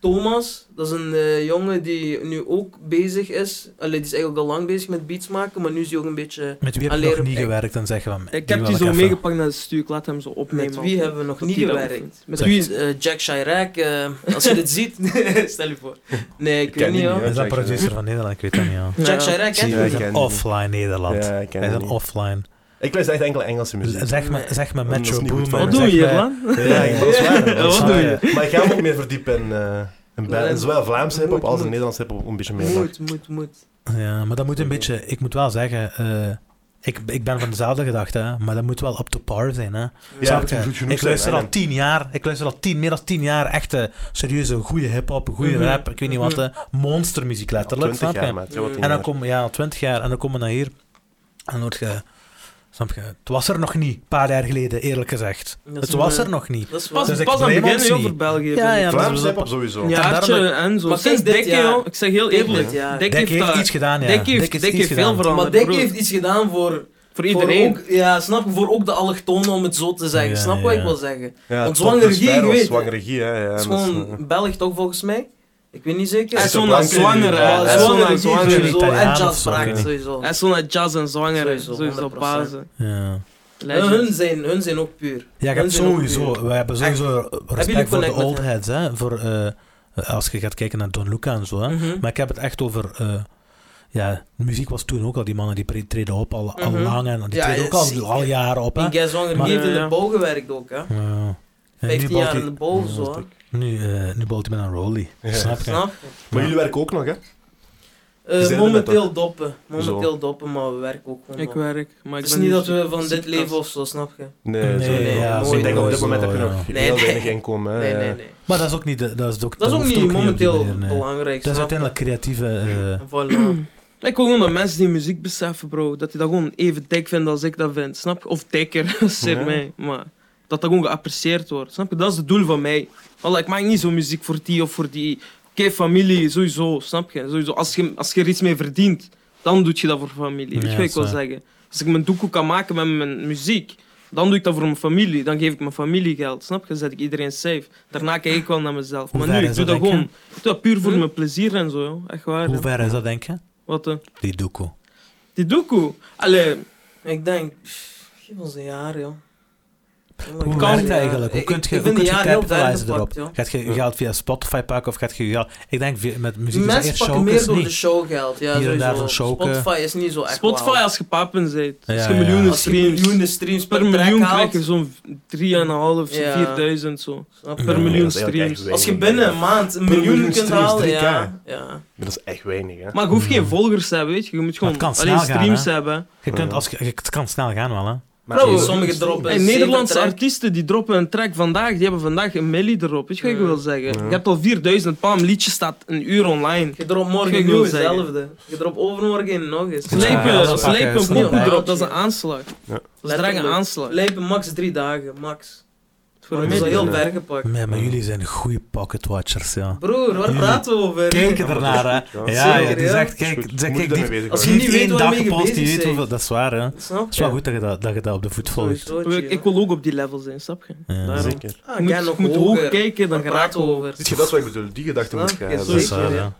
Speaker 3: Thomas, dat is een eh, jongen die nu ook bezig is. Allee, die is eigenlijk al lang bezig met beats maken, maar nu is hij ook een beetje...
Speaker 1: Met wie heb je
Speaker 3: Alleen-
Speaker 1: nog niet
Speaker 3: ik-
Speaker 1: gewerkt? Dan zeggen we hem.
Speaker 4: Ik
Speaker 1: die wil
Speaker 4: heb die zo
Speaker 1: even-
Speaker 4: meegepakt naar de stuur. Ik laat hem zo opnemen.
Speaker 3: Met wie hebben we nog
Speaker 4: Dat
Speaker 3: niet
Speaker 4: die dat
Speaker 3: gewerkt?
Speaker 4: oefent.
Speaker 3: Met
Speaker 4: Zeg.
Speaker 3: wie? Eh, Jack Chirac, eh, als je dit ziet, stel je voor. Nee, ik
Speaker 2: ken
Speaker 3: weet niet
Speaker 2: die
Speaker 3: hoor.
Speaker 2: niet,
Speaker 1: Is dat producer van Nederland? Ik weet dat niet. ja.
Speaker 4: Ja.
Speaker 3: Jack Chirac,
Speaker 1: Zie
Speaker 3: hè?
Speaker 1: je,
Speaker 2: Ja,
Speaker 1: we
Speaker 2: ik
Speaker 1: zijn
Speaker 2: ken die.
Speaker 1: offline Nederland.
Speaker 2: Ja, ik ken
Speaker 1: Wij
Speaker 2: die
Speaker 1: zijn
Speaker 2: niet.
Speaker 1: offline.
Speaker 2: Ik luister echt enkel Engelse muziek.
Speaker 1: Zeg me, zeg me
Speaker 2: Dat is
Speaker 1: Metro
Speaker 2: niet
Speaker 1: Boomin.
Speaker 2: goed van
Speaker 4: Wat
Speaker 2: Zeg
Speaker 4: doe je
Speaker 1: Zeg
Speaker 4: hier,
Speaker 1: me-
Speaker 4: man?
Speaker 2: Ja, ik- dat is waar.
Speaker 4: Ja,
Speaker 2: dat is waar.
Speaker 4: wat doe je?
Speaker 2: Maar ik ga me ook meer verdiepen in, eh in België. Zowel Vlaams hip-hop
Speaker 3: Moet,
Speaker 2: als in
Speaker 3: moet.
Speaker 2: Nederlands hip-hop een beetje meer.
Speaker 3: Moet, moet, moet.
Speaker 1: Ja, maar dat moet een beetje... Ik moet wel zeggen... eh, ik, ik ben van dezelfde gedachte, hè, maar dat moet wel up to par zijn. Hè.
Speaker 2: Ja,
Speaker 1: Snap
Speaker 2: het
Speaker 1: je?
Speaker 2: moet goed genoeg
Speaker 1: ik luister
Speaker 2: zijn,
Speaker 1: al tien jaar, ik luister al tien, meer dan tien jaar echte serieuze, goede hip-hop, goede
Speaker 3: Mhm.
Speaker 1: rap, ik weet niet wat, hè, monstermuziek letterlijk.
Speaker 2: Twintig
Speaker 1: Snap
Speaker 2: jaar,
Speaker 1: je?
Speaker 2: maat. Ja, wat
Speaker 1: En
Speaker 2: jaar.
Speaker 1: dan kom ja, al twintig jaar, en dan komen we naar hier. En dan word je... Snap je? Het was er nog niet, een paar jaar geleden, eerlijk gezegd.
Speaker 3: Dat is
Speaker 1: Het was
Speaker 3: een- eh,
Speaker 1: er nog niet.
Speaker 3: Dat is
Speaker 4: Pas,
Speaker 3: waar.
Speaker 1: Dus ik
Speaker 4: pas aan
Speaker 1: blame
Speaker 4: het begin
Speaker 1: ons
Speaker 4: heel
Speaker 1: niet.
Speaker 4: over België.
Speaker 1: Ja, ja.
Speaker 2: Vlaams
Speaker 1: dat is-
Speaker 2: hip-hop sowieso.
Speaker 1: Ja,
Speaker 4: Ja,
Speaker 1: daarom-
Speaker 4: en zo.
Speaker 3: Maar
Speaker 4: Sinds
Speaker 3: kijk, dit
Speaker 4: Dikke,
Speaker 3: jaar-
Speaker 4: joh. Ik zeg heel
Speaker 3: Dikke
Speaker 4: eerlijk.
Speaker 3: dit jaar.
Speaker 4: Dikke
Speaker 1: Dick heeft
Speaker 4: daar-
Speaker 1: iets gedaan, ja.
Speaker 4: Dick heeft,
Speaker 1: Dick heeft
Speaker 4: Dick
Speaker 1: iets
Speaker 4: heeft veel
Speaker 1: gedaan.
Speaker 3: Maar
Speaker 4: veranderd,
Speaker 3: Dick
Speaker 4: broer.
Speaker 3: heeft iets gedaan voor...
Speaker 4: Voor iedereen.
Speaker 3: Voor ook, ja, snap je? Voor ook de allochtonen, om het zo te zeggen.
Speaker 1: Ja,
Speaker 3: snap wat
Speaker 1: ja.
Speaker 3: ik wil zeggen?
Speaker 2: Ja,
Speaker 3: Want
Speaker 2: Top
Speaker 3: Zwanger
Speaker 2: Gus
Speaker 3: Guy,
Speaker 2: Barrow,
Speaker 3: je weet-
Speaker 2: Zwanger Guy, hè, ja.
Speaker 3: Het is eh,
Speaker 2: dat is-
Speaker 3: gewoon Belg toch, volgens mij? Ik weet niet zeker.
Speaker 4: Hij
Speaker 2: Hij
Speaker 4: is eh,
Speaker 2: is
Speaker 4: zo
Speaker 2: op
Speaker 4: naar
Speaker 2: blanke-
Speaker 4: zwanger, hè.
Speaker 2: Ja,
Speaker 4: Hij
Speaker 3: Ah,
Speaker 4: is zo
Speaker 3: zwanger
Speaker 4: naar
Speaker 3: is
Speaker 1: zwanger.
Speaker 4: zwanger.
Speaker 3: sowieso. En
Speaker 1: Italiaans of
Speaker 3: jazz
Speaker 1: zo, ik
Speaker 3: vraagt
Speaker 1: weet
Speaker 3: sowieso.
Speaker 4: Hij is zo naar jazz en zwanger, hè.
Speaker 3: Sowieso,
Speaker 4: Sowieso
Speaker 3: 100%.
Speaker 4: bazen.
Speaker 1: Ja.
Speaker 3: En
Speaker 4: Legend.
Speaker 3: Eh, hun zijn, hun zijn ook puur.
Speaker 1: Ja, je
Speaker 3: Hun
Speaker 1: hebt
Speaker 3: zijn ook puur.
Speaker 1: sowieso, we hebben sowieso respect
Speaker 3: jullie
Speaker 1: voor de
Speaker 3: connect met
Speaker 1: old
Speaker 3: hem?
Speaker 1: heads, hè? Voor, eh, als je gaat kijken naar Don Luca en zo. Hè?
Speaker 3: Mhm.
Speaker 1: Maar ik heb het echt over. eh, ja, de muziek was toen ook al, die mannen die pre- treden op al, al
Speaker 3: Mhm.
Speaker 1: lang en die
Speaker 3: Ja,
Speaker 1: treden ook al,
Speaker 3: zeker.
Speaker 1: al jaren op. Hè?
Speaker 3: En Guy Zwanger
Speaker 1: Maar-
Speaker 3: die heeft in
Speaker 4: Ja.
Speaker 3: de bouw gewerkt ook, hè?
Speaker 1: Ja. En nu
Speaker 3: 15
Speaker 1: balt
Speaker 3: jaar
Speaker 1: hij-
Speaker 3: in de bouw, zo. hè.
Speaker 1: Nu, eh, nu balt hij met een rolly.
Speaker 2: Ja.
Speaker 1: Snap je?
Speaker 3: Snap?
Speaker 2: Maar jullie werken ook nog, hè?
Speaker 3: Eh,
Speaker 2: Je zei het net
Speaker 3: momenteel doppen. Momenteel
Speaker 2: Zo.
Speaker 3: doppen, maar we werken ook gewoon.
Speaker 4: Ik
Speaker 3: nog.
Speaker 4: werk, maar ik
Speaker 3: het is
Speaker 4: ben
Speaker 3: niet
Speaker 4: nu
Speaker 3: dat we van dit
Speaker 4: ziekast.
Speaker 3: leven of zo, snap je?
Speaker 2: Nee,
Speaker 1: Nee,
Speaker 2: zo-
Speaker 3: nee, ja,
Speaker 2: Maar
Speaker 3: nooit,
Speaker 2: Ik denk op
Speaker 3: nooit
Speaker 2: dit moment
Speaker 1: zo,
Speaker 2: heb je
Speaker 1: ja.
Speaker 2: nog
Speaker 3: Nee,
Speaker 2: heel
Speaker 3: nee.
Speaker 2: weinig inkomen. hè.
Speaker 3: Nee, nee, nee.
Speaker 1: Maar dat is ook niet, de- dat is ook,
Speaker 3: Dat is ook
Speaker 1: hoeft
Speaker 3: niet
Speaker 1: op die
Speaker 3: momenteel
Speaker 1: manier, nee.
Speaker 3: belangrijk.
Speaker 1: Dat is
Speaker 3: snap je?
Speaker 1: uiteindelijk creatieve. eh,
Speaker 3: Voilà.
Speaker 4: Ik wil gewoon dat mensen die muziek beseffen, bro. Dat die dat gewoon even dik vinden als ik dat vind. Snap je? Of dikker, zeg
Speaker 2: Ja.
Speaker 4: mij. Maar dat dat gewoon geapprecieerd wordt. Snap je? Dat is het doel van mij. Wallah, ik maak niet zo muziek voor die of voor die. Oké, familie, sowieso. Snap je? Sowieso. Als, je? als je er iets mee verdient, dan doe je dat voor familie. Weet
Speaker 1: Ja,
Speaker 4: je wat ik wil
Speaker 1: zwaar.
Speaker 4: zeggen? Als ik mijn doekoe kan maken met mijn muziek, dan doe ik dat voor mijn familie. Dan geef ik mijn familie geld. Snap je? Zet ik iedereen safe. Daarna kijk ik wel naar mezelf.
Speaker 1: Hoe
Speaker 4: Maar
Speaker 1: ver
Speaker 4: nu,
Speaker 1: is
Speaker 4: ik doe
Speaker 1: dat,
Speaker 4: dat
Speaker 1: denk je?
Speaker 4: gewoon. Ik doe dat puur voor
Speaker 3: Hm?
Speaker 4: mijn plezier en zo. joh. Echt waar.
Speaker 1: Hoe
Speaker 4: hè.
Speaker 1: ver is dat, denk je?
Speaker 4: Wat eh?
Speaker 1: Die doekoe.
Speaker 4: Die doekoe. Allee,
Speaker 3: Ik denk, pff, geef ons een jaar, joh.
Speaker 1: Hoe
Speaker 4: kan-
Speaker 1: werkt dat eigenlijk? Hoe kun je, hoe kun je capitalizen erop? Gaat je je geld via Spotify pakken of gaat je je geld... Ik denk via- met muziek is
Speaker 3: Mensen
Speaker 1: echt
Speaker 3: pakken meer
Speaker 1: showcase
Speaker 3: door de
Speaker 1: niet.
Speaker 3: showgeld. Ja,
Speaker 1: Hier en daar
Speaker 3: sowieso.
Speaker 1: van showken.
Speaker 3: Spotify is niet zo echt
Speaker 4: Spotify
Speaker 3: wauw.
Speaker 4: als je papen bent.
Speaker 1: Ja,
Speaker 4: als je
Speaker 1: ja, ja.
Speaker 4: miljoenen
Speaker 3: Als je
Speaker 4: streams.
Speaker 3: miljoenen streams per,
Speaker 4: per miljoen
Speaker 3: track
Speaker 4: krijg je
Speaker 3: haalt,
Speaker 4: zo'n 3,5,
Speaker 3: Ja.
Speaker 4: 4000 zo.
Speaker 3: snap
Speaker 1: Ja.
Speaker 3: je?
Speaker 4: Per
Speaker 1: Nee,
Speaker 4: miljoen
Speaker 2: dat is eigenlijk
Speaker 4: streams.
Speaker 2: echt weinig.
Speaker 3: Als je binnen een maand een
Speaker 2: Per miljoen
Speaker 3: miljoen kunt
Speaker 2: streams,
Speaker 3: halen,
Speaker 2: 3K.
Speaker 3: ja. ja.
Speaker 2: Maar Dat is echt weinig, hè?
Speaker 4: Maar je hoeft geen volgers te hebben, weet je. Je moet gewoon
Speaker 1: Mm. het kan
Speaker 4: alleen
Speaker 1: snel gaan,
Speaker 4: streams hebben.
Speaker 1: Je kunt, als, je- het kan snel gaan wel, hè.
Speaker 3: Bro,
Speaker 2: Maar-
Speaker 3: sommige droppen.
Speaker 4: Hey,
Speaker 3: zeven
Speaker 4: Nederlandse
Speaker 3: track.
Speaker 4: artiesten die droppen een track vandaag, die hebben vandaag een milli erop. Weet je wat ik
Speaker 3: Mm.
Speaker 4: wil zeggen?
Speaker 2: Ja.
Speaker 4: Je hebt al 4000 palm liedjes staat een uur online.
Speaker 3: Je dropt
Speaker 4: Wat
Speaker 3: morgen
Speaker 4: ik wil
Speaker 3: nieuw
Speaker 4: zeggen.
Speaker 3: hetzelfde. Je dropt overmorgen een nog eens.
Speaker 1: Slijpen,
Speaker 4: Slepen,
Speaker 1: Ja,
Speaker 4: ja,
Speaker 1: dat is pakken,
Speaker 4: slepen,
Speaker 1: is
Speaker 4: een pokoe
Speaker 1: erbij.
Speaker 4: erop, dat is een aanslag. Dat is direct een
Speaker 3: Letterlijk.
Speaker 4: aanslag.
Speaker 3: Lijpen max drie dagen, max. Voor
Speaker 4: Maar
Speaker 3: mij is dat
Speaker 4: jullie
Speaker 3: heel
Speaker 2: zijn,
Speaker 3: ver gepakt.
Speaker 1: Nee, maar jullie zijn goede pocketwatchers, ja.
Speaker 3: Broer, waar
Speaker 1: Jullie
Speaker 3: praten we over?
Speaker 1: Kijken ernaar, hè.
Speaker 2: Ja,
Speaker 1: Ja, ja,
Speaker 3: zeker,
Speaker 1: het is
Speaker 3: ja.
Speaker 1: echt...
Speaker 2: Dat is goed.
Speaker 1: Kijk, zeg,
Speaker 2: Moet je
Speaker 1: kijk,
Speaker 2: daarmee
Speaker 1: die-
Speaker 2: bezig
Speaker 3: Als je
Speaker 1: die
Speaker 3: niet
Speaker 1: heeft
Speaker 3: weet
Speaker 1: één
Speaker 3: waarmee
Speaker 1: dag
Speaker 3: je
Speaker 1: gepost, die
Speaker 3: bezig
Speaker 1: weet
Speaker 3: bent.
Speaker 1: hoeveel... Dat is waar, hè. Het
Speaker 3: Snap
Speaker 1: is wel
Speaker 3: je?
Speaker 1: goed dat je dat, dat, je dat op de voet volgt.
Speaker 3: Sowieso,
Speaker 4: Maar Ik,
Speaker 3: chill.
Speaker 4: ik wil ook op die level zijn, snap je?
Speaker 1: Ja.
Speaker 4: Daarom.
Speaker 2: Zeker.
Speaker 3: Ah,
Speaker 4: Je moet,
Speaker 3: jij
Speaker 4: je
Speaker 3: nog
Speaker 4: moet
Speaker 3: hoger.
Speaker 4: hoog kijken, dan
Speaker 3: Daar
Speaker 4: geraakt
Speaker 3: praten
Speaker 4: je
Speaker 3: we
Speaker 4: over.
Speaker 3: over.
Speaker 2: Ziet je, dat is wat ik bedoel. Die gedachte moet je
Speaker 3: Snap je?
Speaker 2: hebben.
Speaker 1: Dat is
Speaker 3: Zeker,
Speaker 1: waar,
Speaker 3: ja.
Speaker 1: ja.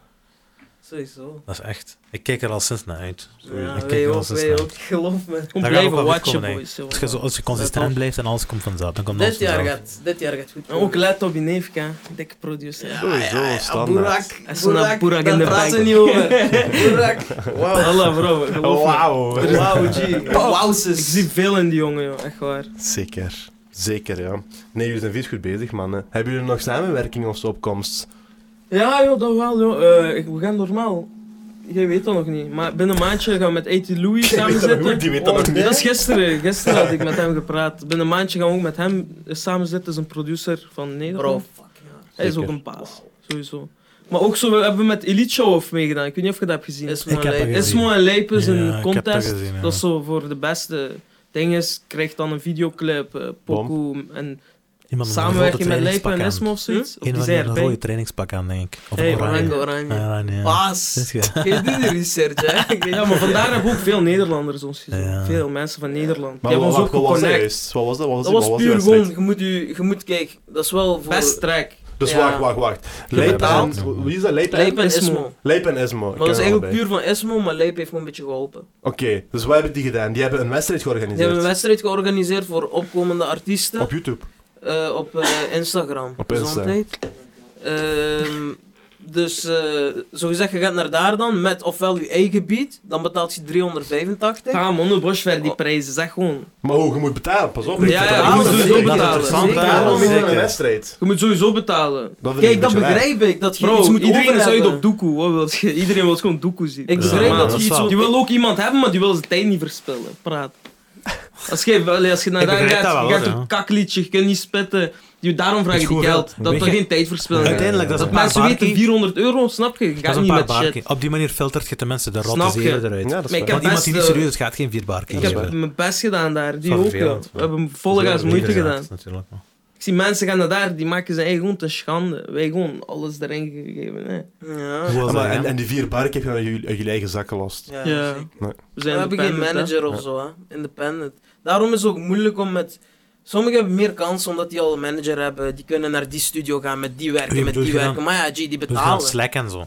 Speaker 3: Sowieso.
Speaker 1: Dat is echt... Ik kijk er al sinds naar uit.
Speaker 3: Ja,
Speaker 1: Ik kijk
Speaker 3: wij
Speaker 1: er al
Speaker 3: ook,
Speaker 1: sinds
Speaker 3: wij
Speaker 1: naar
Speaker 3: ook.
Speaker 1: uit.
Speaker 3: Geloof me.
Speaker 4: Gewoon
Speaker 1: Daar gaan we
Speaker 4: blijven
Speaker 1: wel
Speaker 4: watchen,
Speaker 1: uitkomen,
Speaker 4: boys.
Speaker 1: Als je, zo-
Speaker 4: joh.
Speaker 1: als je
Speaker 4: Let
Speaker 1: consistent
Speaker 4: op.
Speaker 1: blijft en alles komt vanzelf, dan komt alles
Speaker 3: Dit jaar
Speaker 1: vanzelf.
Speaker 3: gaat, dit jaar gaat goed. Ah,
Speaker 4: En ook let op je neef, hè. dikke producer.
Speaker 2: Sowieso, standaard.
Speaker 3: Boerak,
Speaker 4: Hij is een
Speaker 3: Boerak,
Speaker 4: Boerak in
Speaker 3: daar
Speaker 4: de
Speaker 3: praten we
Speaker 4: bank.
Speaker 3: niet over. Boerak, wauw.
Speaker 4: Allah, bro, geloof me.
Speaker 2: Wauw.
Speaker 3: Wauw, G. Wauw,
Speaker 4: Ik zie veel in die jongen, joh. echt waar.
Speaker 2: Zeker. Zeker, ja. Nee, jullie zijn vies goed bezig, mannen. Hebben jullie nog samenwerking of zo op komst?
Speaker 4: Ja, joh, dat wel, joh. Eh, ik- we gaan normaal. Jij weet dat nog niet. Maar binnen een maandje gaan we met A.T. Louis
Speaker 2: Jij
Speaker 4: samen
Speaker 2: weet dat nog
Speaker 4: zitten.
Speaker 2: niet, die weet dat nog niet.
Speaker 4: Dat is gisteren. Gisteren had ik met hem gepraat. Binnen een maandje gaan we ook met hem samen zitten. is een producer van
Speaker 3: Bro,
Speaker 4: Nederland.
Speaker 3: fuck
Speaker 4: Hij is ook
Speaker 2: Zeker.
Speaker 4: een paas. Sowieso. Maar ook zo, we hebben met Elite Show of meegedaan. Ik weet niet of je dat hebt gezien.
Speaker 3: Is-
Speaker 1: Ik heb dat
Speaker 3: Is
Speaker 1: gezien.
Speaker 4: Esmo en Leip is
Speaker 1: Ja, ik
Speaker 4: een
Speaker 1: heb dat
Speaker 4: contest. Dat,
Speaker 1: gezien, ja.
Speaker 4: is zo voor de beste ding is. Krijgt dan een videoclip, eh, pokoe en
Speaker 1: Iemand met een
Speaker 4: samenwerking
Speaker 1: grote
Speaker 4: met Leip en
Speaker 1: trainingspak aan.
Speaker 4: Esmo of zoiets. Of
Speaker 1: Een
Speaker 4: die
Speaker 1: van die
Speaker 4: zijn
Speaker 1: had een rode
Speaker 4: erbij.
Speaker 1: trainingspak aan, denk ik. Of
Speaker 4: Hey,
Speaker 1: een oranje.
Speaker 3: Oranje,
Speaker 1: Ja,
Speaker 3: oranje.
Speaker 1: oranje, ja. Dit is
Speaker 3: Paas.
Speaker 1: ge-
Speaker 3: Je doet de research, hè. Ik weet-
Speaker 4: Ja, maar vandaar hebben we ook veel Nederlanders ons gezien.
Speaker 1: Ja.
Speaker 4: Veel mensen van Nederland. Die
Speaker 2: Maar
Speaker 4: hebben
Speaker 2: wat,
Speaker 4: ons ook
Speaker 2: wat was dat
Speaker 4: geconnect.
Speaker 2: juist? Wat was dat? Wat was
Speaker 3: Dat
Speaker 2: die-
Speaker 3: was
Speaker 2: wat
Speaker 3: puur
Speaker 2: die wedstrijd?
Speaker 3: gewoon, je moet, u, je moet kijken, dat is wel voor...
Speaker 4: Best track.
Speaker 2: Dus
Speaker 3: Ja.
Speaker 2: wacht, wacht, wacht. Leip
Speaker 3: Leip
Speaker 2: en... Wie is dat? Leip en...
Speaker 3: Leip en
Speaker 4: Esmo.
Speaker 3: Esmo.
Speaker 2: Leip en Esmo. Ik
Speaker 3: Maar dat
Speaker 2: ken
Speaker 3: is eigenlijk
Speaker 2: allebei.
Speaker 3: puur van Esmo, maar Leip heeft me een beetje geholpen.
Speaker 2: Oké, dus wat hebben die gedaan? Die hebben een wedstrijd
Speaker 3: Ze
Speaker 2: georganiseerd.
Speaker 3: hebben een wedstrijd georganiseerd voor opkomende artiesten
Speaker 2: Op
Speaker 3: op,
Speaker 2: YouTube.
Speaker 3: op eh, Instagram.
Speaker 2: Op Insta.
Speaker 3: Gezondheid. Ehm, dus eh zogezegd, je gaat naar daar dan met ofwel je eigen beat, dan betaalt je 385.
Speaker 4: Ga man, Bosch werd die prijzen. Zeg gewoon.
Speaker 2: Maar hoe, je moet betalen, pas op.
Speaker 4: Ja, ja,
Speaker 2: je
Speaker 4: ja,
Speaker 2: moet
Speaker 4: dat
Speaker 2: dus
Speaker 4: is
Speaker 2: ook
Speaker 4: ook
Speaker 2: betalen.
Speaker 1: interessant,
Speaker 3: Zeker.
Speaker 1: hè.
Speaker 2: Daarom is het
Speaker 1: Zeker.
Speaker 2: een wedstrijd.
Speaker 4: Je moet sowieso betalen.
Speaker 2: Dat vind ik
Speaker 3: Kijk,
Speaker 2: een
Speaker 3: dat
Speaker 2: beetje raar.
Speaker 3: begrijp ik, dat je
Speaker 4: Bro,
Speaker 3: iets moet
Speaker 4: iedereen is
Speaker 3: over
Speaker 4: uit
Speaker 3: hebben.
Speaker 4: op doekoe. Wat wil je? Iedereen wil gewoon doekoe zien.
Speaker 3: Ik
Speaker 1: Ja,
Speaker 3: begrijp
Speaker 1: maar dat
Speaker 3: dat je
Speaker 1: is
Speaker 3: iets
Speaker 1: wel-
Speaker 4: Die
Speaker 3: wil...
Speaker 4: wil ook iemand hebben, maar die wil zijn tijd niet verspillen. Praat. Als je, wel- als je naar
Speaker 1: Ik
Speaker 4: daar
Speaker 1: begrijp dat
Speaker 4: gaat,
Speaker 1: wel,
Speaker 4: je gaat
Speaker 1: ja.
Speaker 4: een kakliedje, je kunt niet spitten. Die- Daarom vraag
Speaker 1: Is
Speaker 4: je die
Speaker 1: goed
Speaker 4: geld.
Speaker 1: geld.
Speaker 4: Dat
Speaker 1: Weet
Speaker 4: we
Speaker 1: je-
Speaker 4: geen tijd verspillen.
Speaker 1: Uiteindelijk, dat is een paar
Speaker 4: Mensen weten
Speaker 1: barkie.
Speaker 4: 400 euro, snap je? Je
Speaker 1: Dat
Speaker 4: gaat
Speaker 1: is een
Speaker 4: niet
Speaker 1: paar
Speaker 4: met shit.
Speaker 1: barkie. Op die manier filtert je de mensen de rotte
Speaker 4: Snap je?
Speaker 1: zelen eruit.
Speaker 2: Ja, dat is
Speaker 4: Maar ik
Speaker 2: waar.
Speaker 1: Want iemand die niet
Speaker 4: best, eh,
Speaker 1: serieus is, gaat geen Dus, vierbaar
Speaker 4: Ik
Speaker 1: kiezen.
Speaker 4: heb mijn best gedaan daar, die
Speaker 1: Dat is
Speaker 4: ook. ja.
Speaker 1: vervelend,
Speaker 4: We
Speaker 1: maar-
Speaker 4: hebben volle gas moeite gedaan.
Speaker 1: Natuurlijk. maar-
Speaker 4: Ik zie mensen gaan naar daar, die maken zijn eigen gewoon te schande. Wij gewoon alles erin gegeven. Hè.
Speaker 3: Ah. Ja.
Speaker 1: Hoe was
Speaker 2: Ja, maar
Speaker 1: dat,
Speaker 2: en,
Speaker 1: ja?
Speaker 2: en die vier bark heb je aan jullie, uit jullie eigen zak gelost.
Speaker 3: Ja,
Speaker 4: Ja.
Speaker 3: zeker.
Speaker 4: We
Speaker 3: We
Speaker 4: zijn
Speaker 3: hebben geen
Speaker 4: independent, hè.
Speaker 3: manager of zo, hè. independent. Daarom is het ook moeilijk om met. Sommigen hebben meer kans omdat die al een manager hebben. Die kunnen naar die studio gaan, met die werken,
Speaker 1: Wie
Speaker 3: met
Speaker 1: bedoel
Speaker 3: die
Speaker 1: je dan?
Speaker 3: werken. Maar ja, G, die
Speaker 1: Dus dan
Speaker 3: betalen.
Speaker 1: Slack en zo.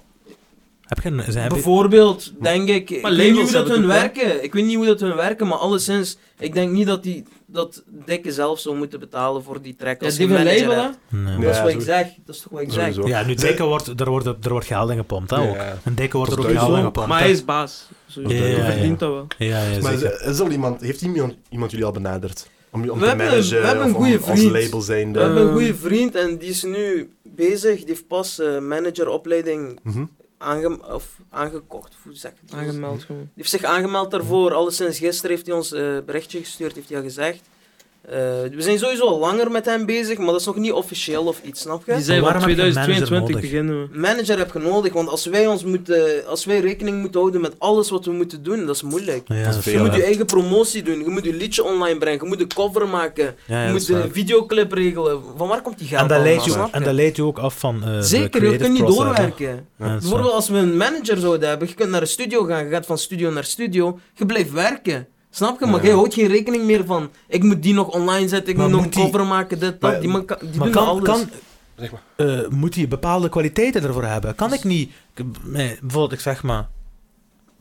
Speaker 1: Heb je een... zijn- heb je-
Speaker 3: Bijvoorbeeld, denk ik. Ik
Speaker 4: Maar
Speaker 3: weet niet hoe
Speaker 4: labels
Speaker 3: dat hun
Speaker 4: hebben het ook,
Speaker 3: werken. Ik weet niet hoe dat hun werken, maar alleszins. Ik denk niet dat die dat Dikke zelf zou moeten betalen voor die track.
Speaker 4: Ja,
Speaker 3: Als
Speaker 4: die
Speaker 3: die
Speaker 4: van
Speaker 3: manager
Speaker 4: label, hè?
Speaker 3: hebt.
Speaker 1: Nee.
Speaker 3: Dat is wat ik
Speaker 2: sowieso.
Speaker 3: zeg. Dat is toch wat ik zeg.
Speaker 2: Sowieso.
Speaker 1: eh, Ja, nu dikke wordt... Er wordt, er wordt geld in gepompt, hè, ook.
Speaker 2: Ja.
Speaker 1: Een dikke wordt er
Speaker 2: Dat
Speaker 1: ook
Speaker 2: is
Speaker 1: geld in
Speaker 2: sowieso.
Speaker 1: gepompt.
Speaker 4: Maar
Speaker 1: hè.
Speaker 4: hij is baas. Sowieso.
Speaker 1: Ja, ja,
Speaker 4: Hij
Speaker 1: ja.
Speaker 4: verdient dat wel.
Speaker 1: Ja, ja,
Speaker 2: Maar is,
Speaker 1: zeker.
Speaker 2: is er al iemand, heeft iemand, iemand jullie al benaderd? Om, om
Speaker 3: We
Speaker 2: te
Speaker 3: hebben-
Speaker 2: managen,
Speaker 3: we hebben een
Speaker 2: of
Speaker 3: goede
Speaker 2: om, als
Speaker 3: vriend.
Speaker 2: label
Speaker 3: We
Speaker 2: zijnde?
Speaker 3: hebben een
Speaker 4: Ehm.
Speaker 3: goede vriend en die is nu bezig. Die heeft pas eh, manageropleiding
Speaker 2: Mhm.
Speaker 3: aange of aangekocht. Hoe zeg je dat?
Speaker 4: Aangemeld gewoon.
Speaker 3: Die heeft zich aangemeld daarvoor. Alles sinds gisteren heeft hij ons eh, berichtje gestuurd, heeft hij al gezegd. Eh, we zijn sowieso al langer met hem bezig, maar dat is nog niet officieel of iets, snap
Speaker 4: Die
Speaker 3: je?
Speaker 4: zei van
Speaker 1: waarom heb je een manager
Speaker 4: 2022
Speaker 1: nodig?
Speaker 4: beginnen we.
Speaker 3: Manager heb je nodig, want als wij, ons moeten, als wij rekening moeten houden met alles wat we moeten doen, dat is moeilijk.
Speaker 1: Ja,
Speaker 2: is
Speaker 1: dat is
Speaker 2: veel,
Speaker 3: Je
Speaker 1: waar.
Speaker 3: moet je
Speaker 2: hè.
Speaker 3: eigen promotie doen, je moet je liedje online brengen, je moet een cover maken,
Speaker 1: Ja, ja,
Speaker 3: je
Speaker 1: dat
Speaker 3: moet
Speaker 1: is
Speaker 3: de
Speaker 1: waar.
Speaker 3: videoclip regelen. Van waar komt die geld
Speaker 1: En dat leidt
Speaker 3: allemaal,
Speaker 1: je,
Speaker 3: snap
Speaker 1: en
Speaker 3: je?
Speaker 1: dat leidt je ook af van... eh, de
Speaker 3: Zeker, je
Speaker 1: creative
Speaker 3: kunt niet
Speaker 1: process, hè.
Speaker 3: doorwerken.
Speaker 1: Ja, dat is waar.
Speaker 3: Bijvoorbeeld als we een manager zouden hebben, je kunt naar de studio gaan, je gaat van studio naar studio, je blijft werken. Snap je? Maar
Speaker 2: Ja.
Speaker 3: jij houdt geen rekening meer van, ik moet die nog online zetten, ik
Speaker 1: Maar
Speaker 3: moet nog een
Speaker 1: moet die-
Speaker 3: cover maken, dit,
Speaker 2: Maar-
Speaker 3: dat, die, man, kan- die
Speaker 1: Maar
Speaker 3: doen
Speaker 1: kan,
Speaker 3: alles.
Speaker 1: kan,
Speaker 2: Zeg maar.
Speaker 1: eh, moet hij bepaalde kwaliteiten ervoor hebben?
Speaker 3: Dus-
Speaker 1: Kan ik niet... ik- nee, bijvoorbeeld, ik zeg maar...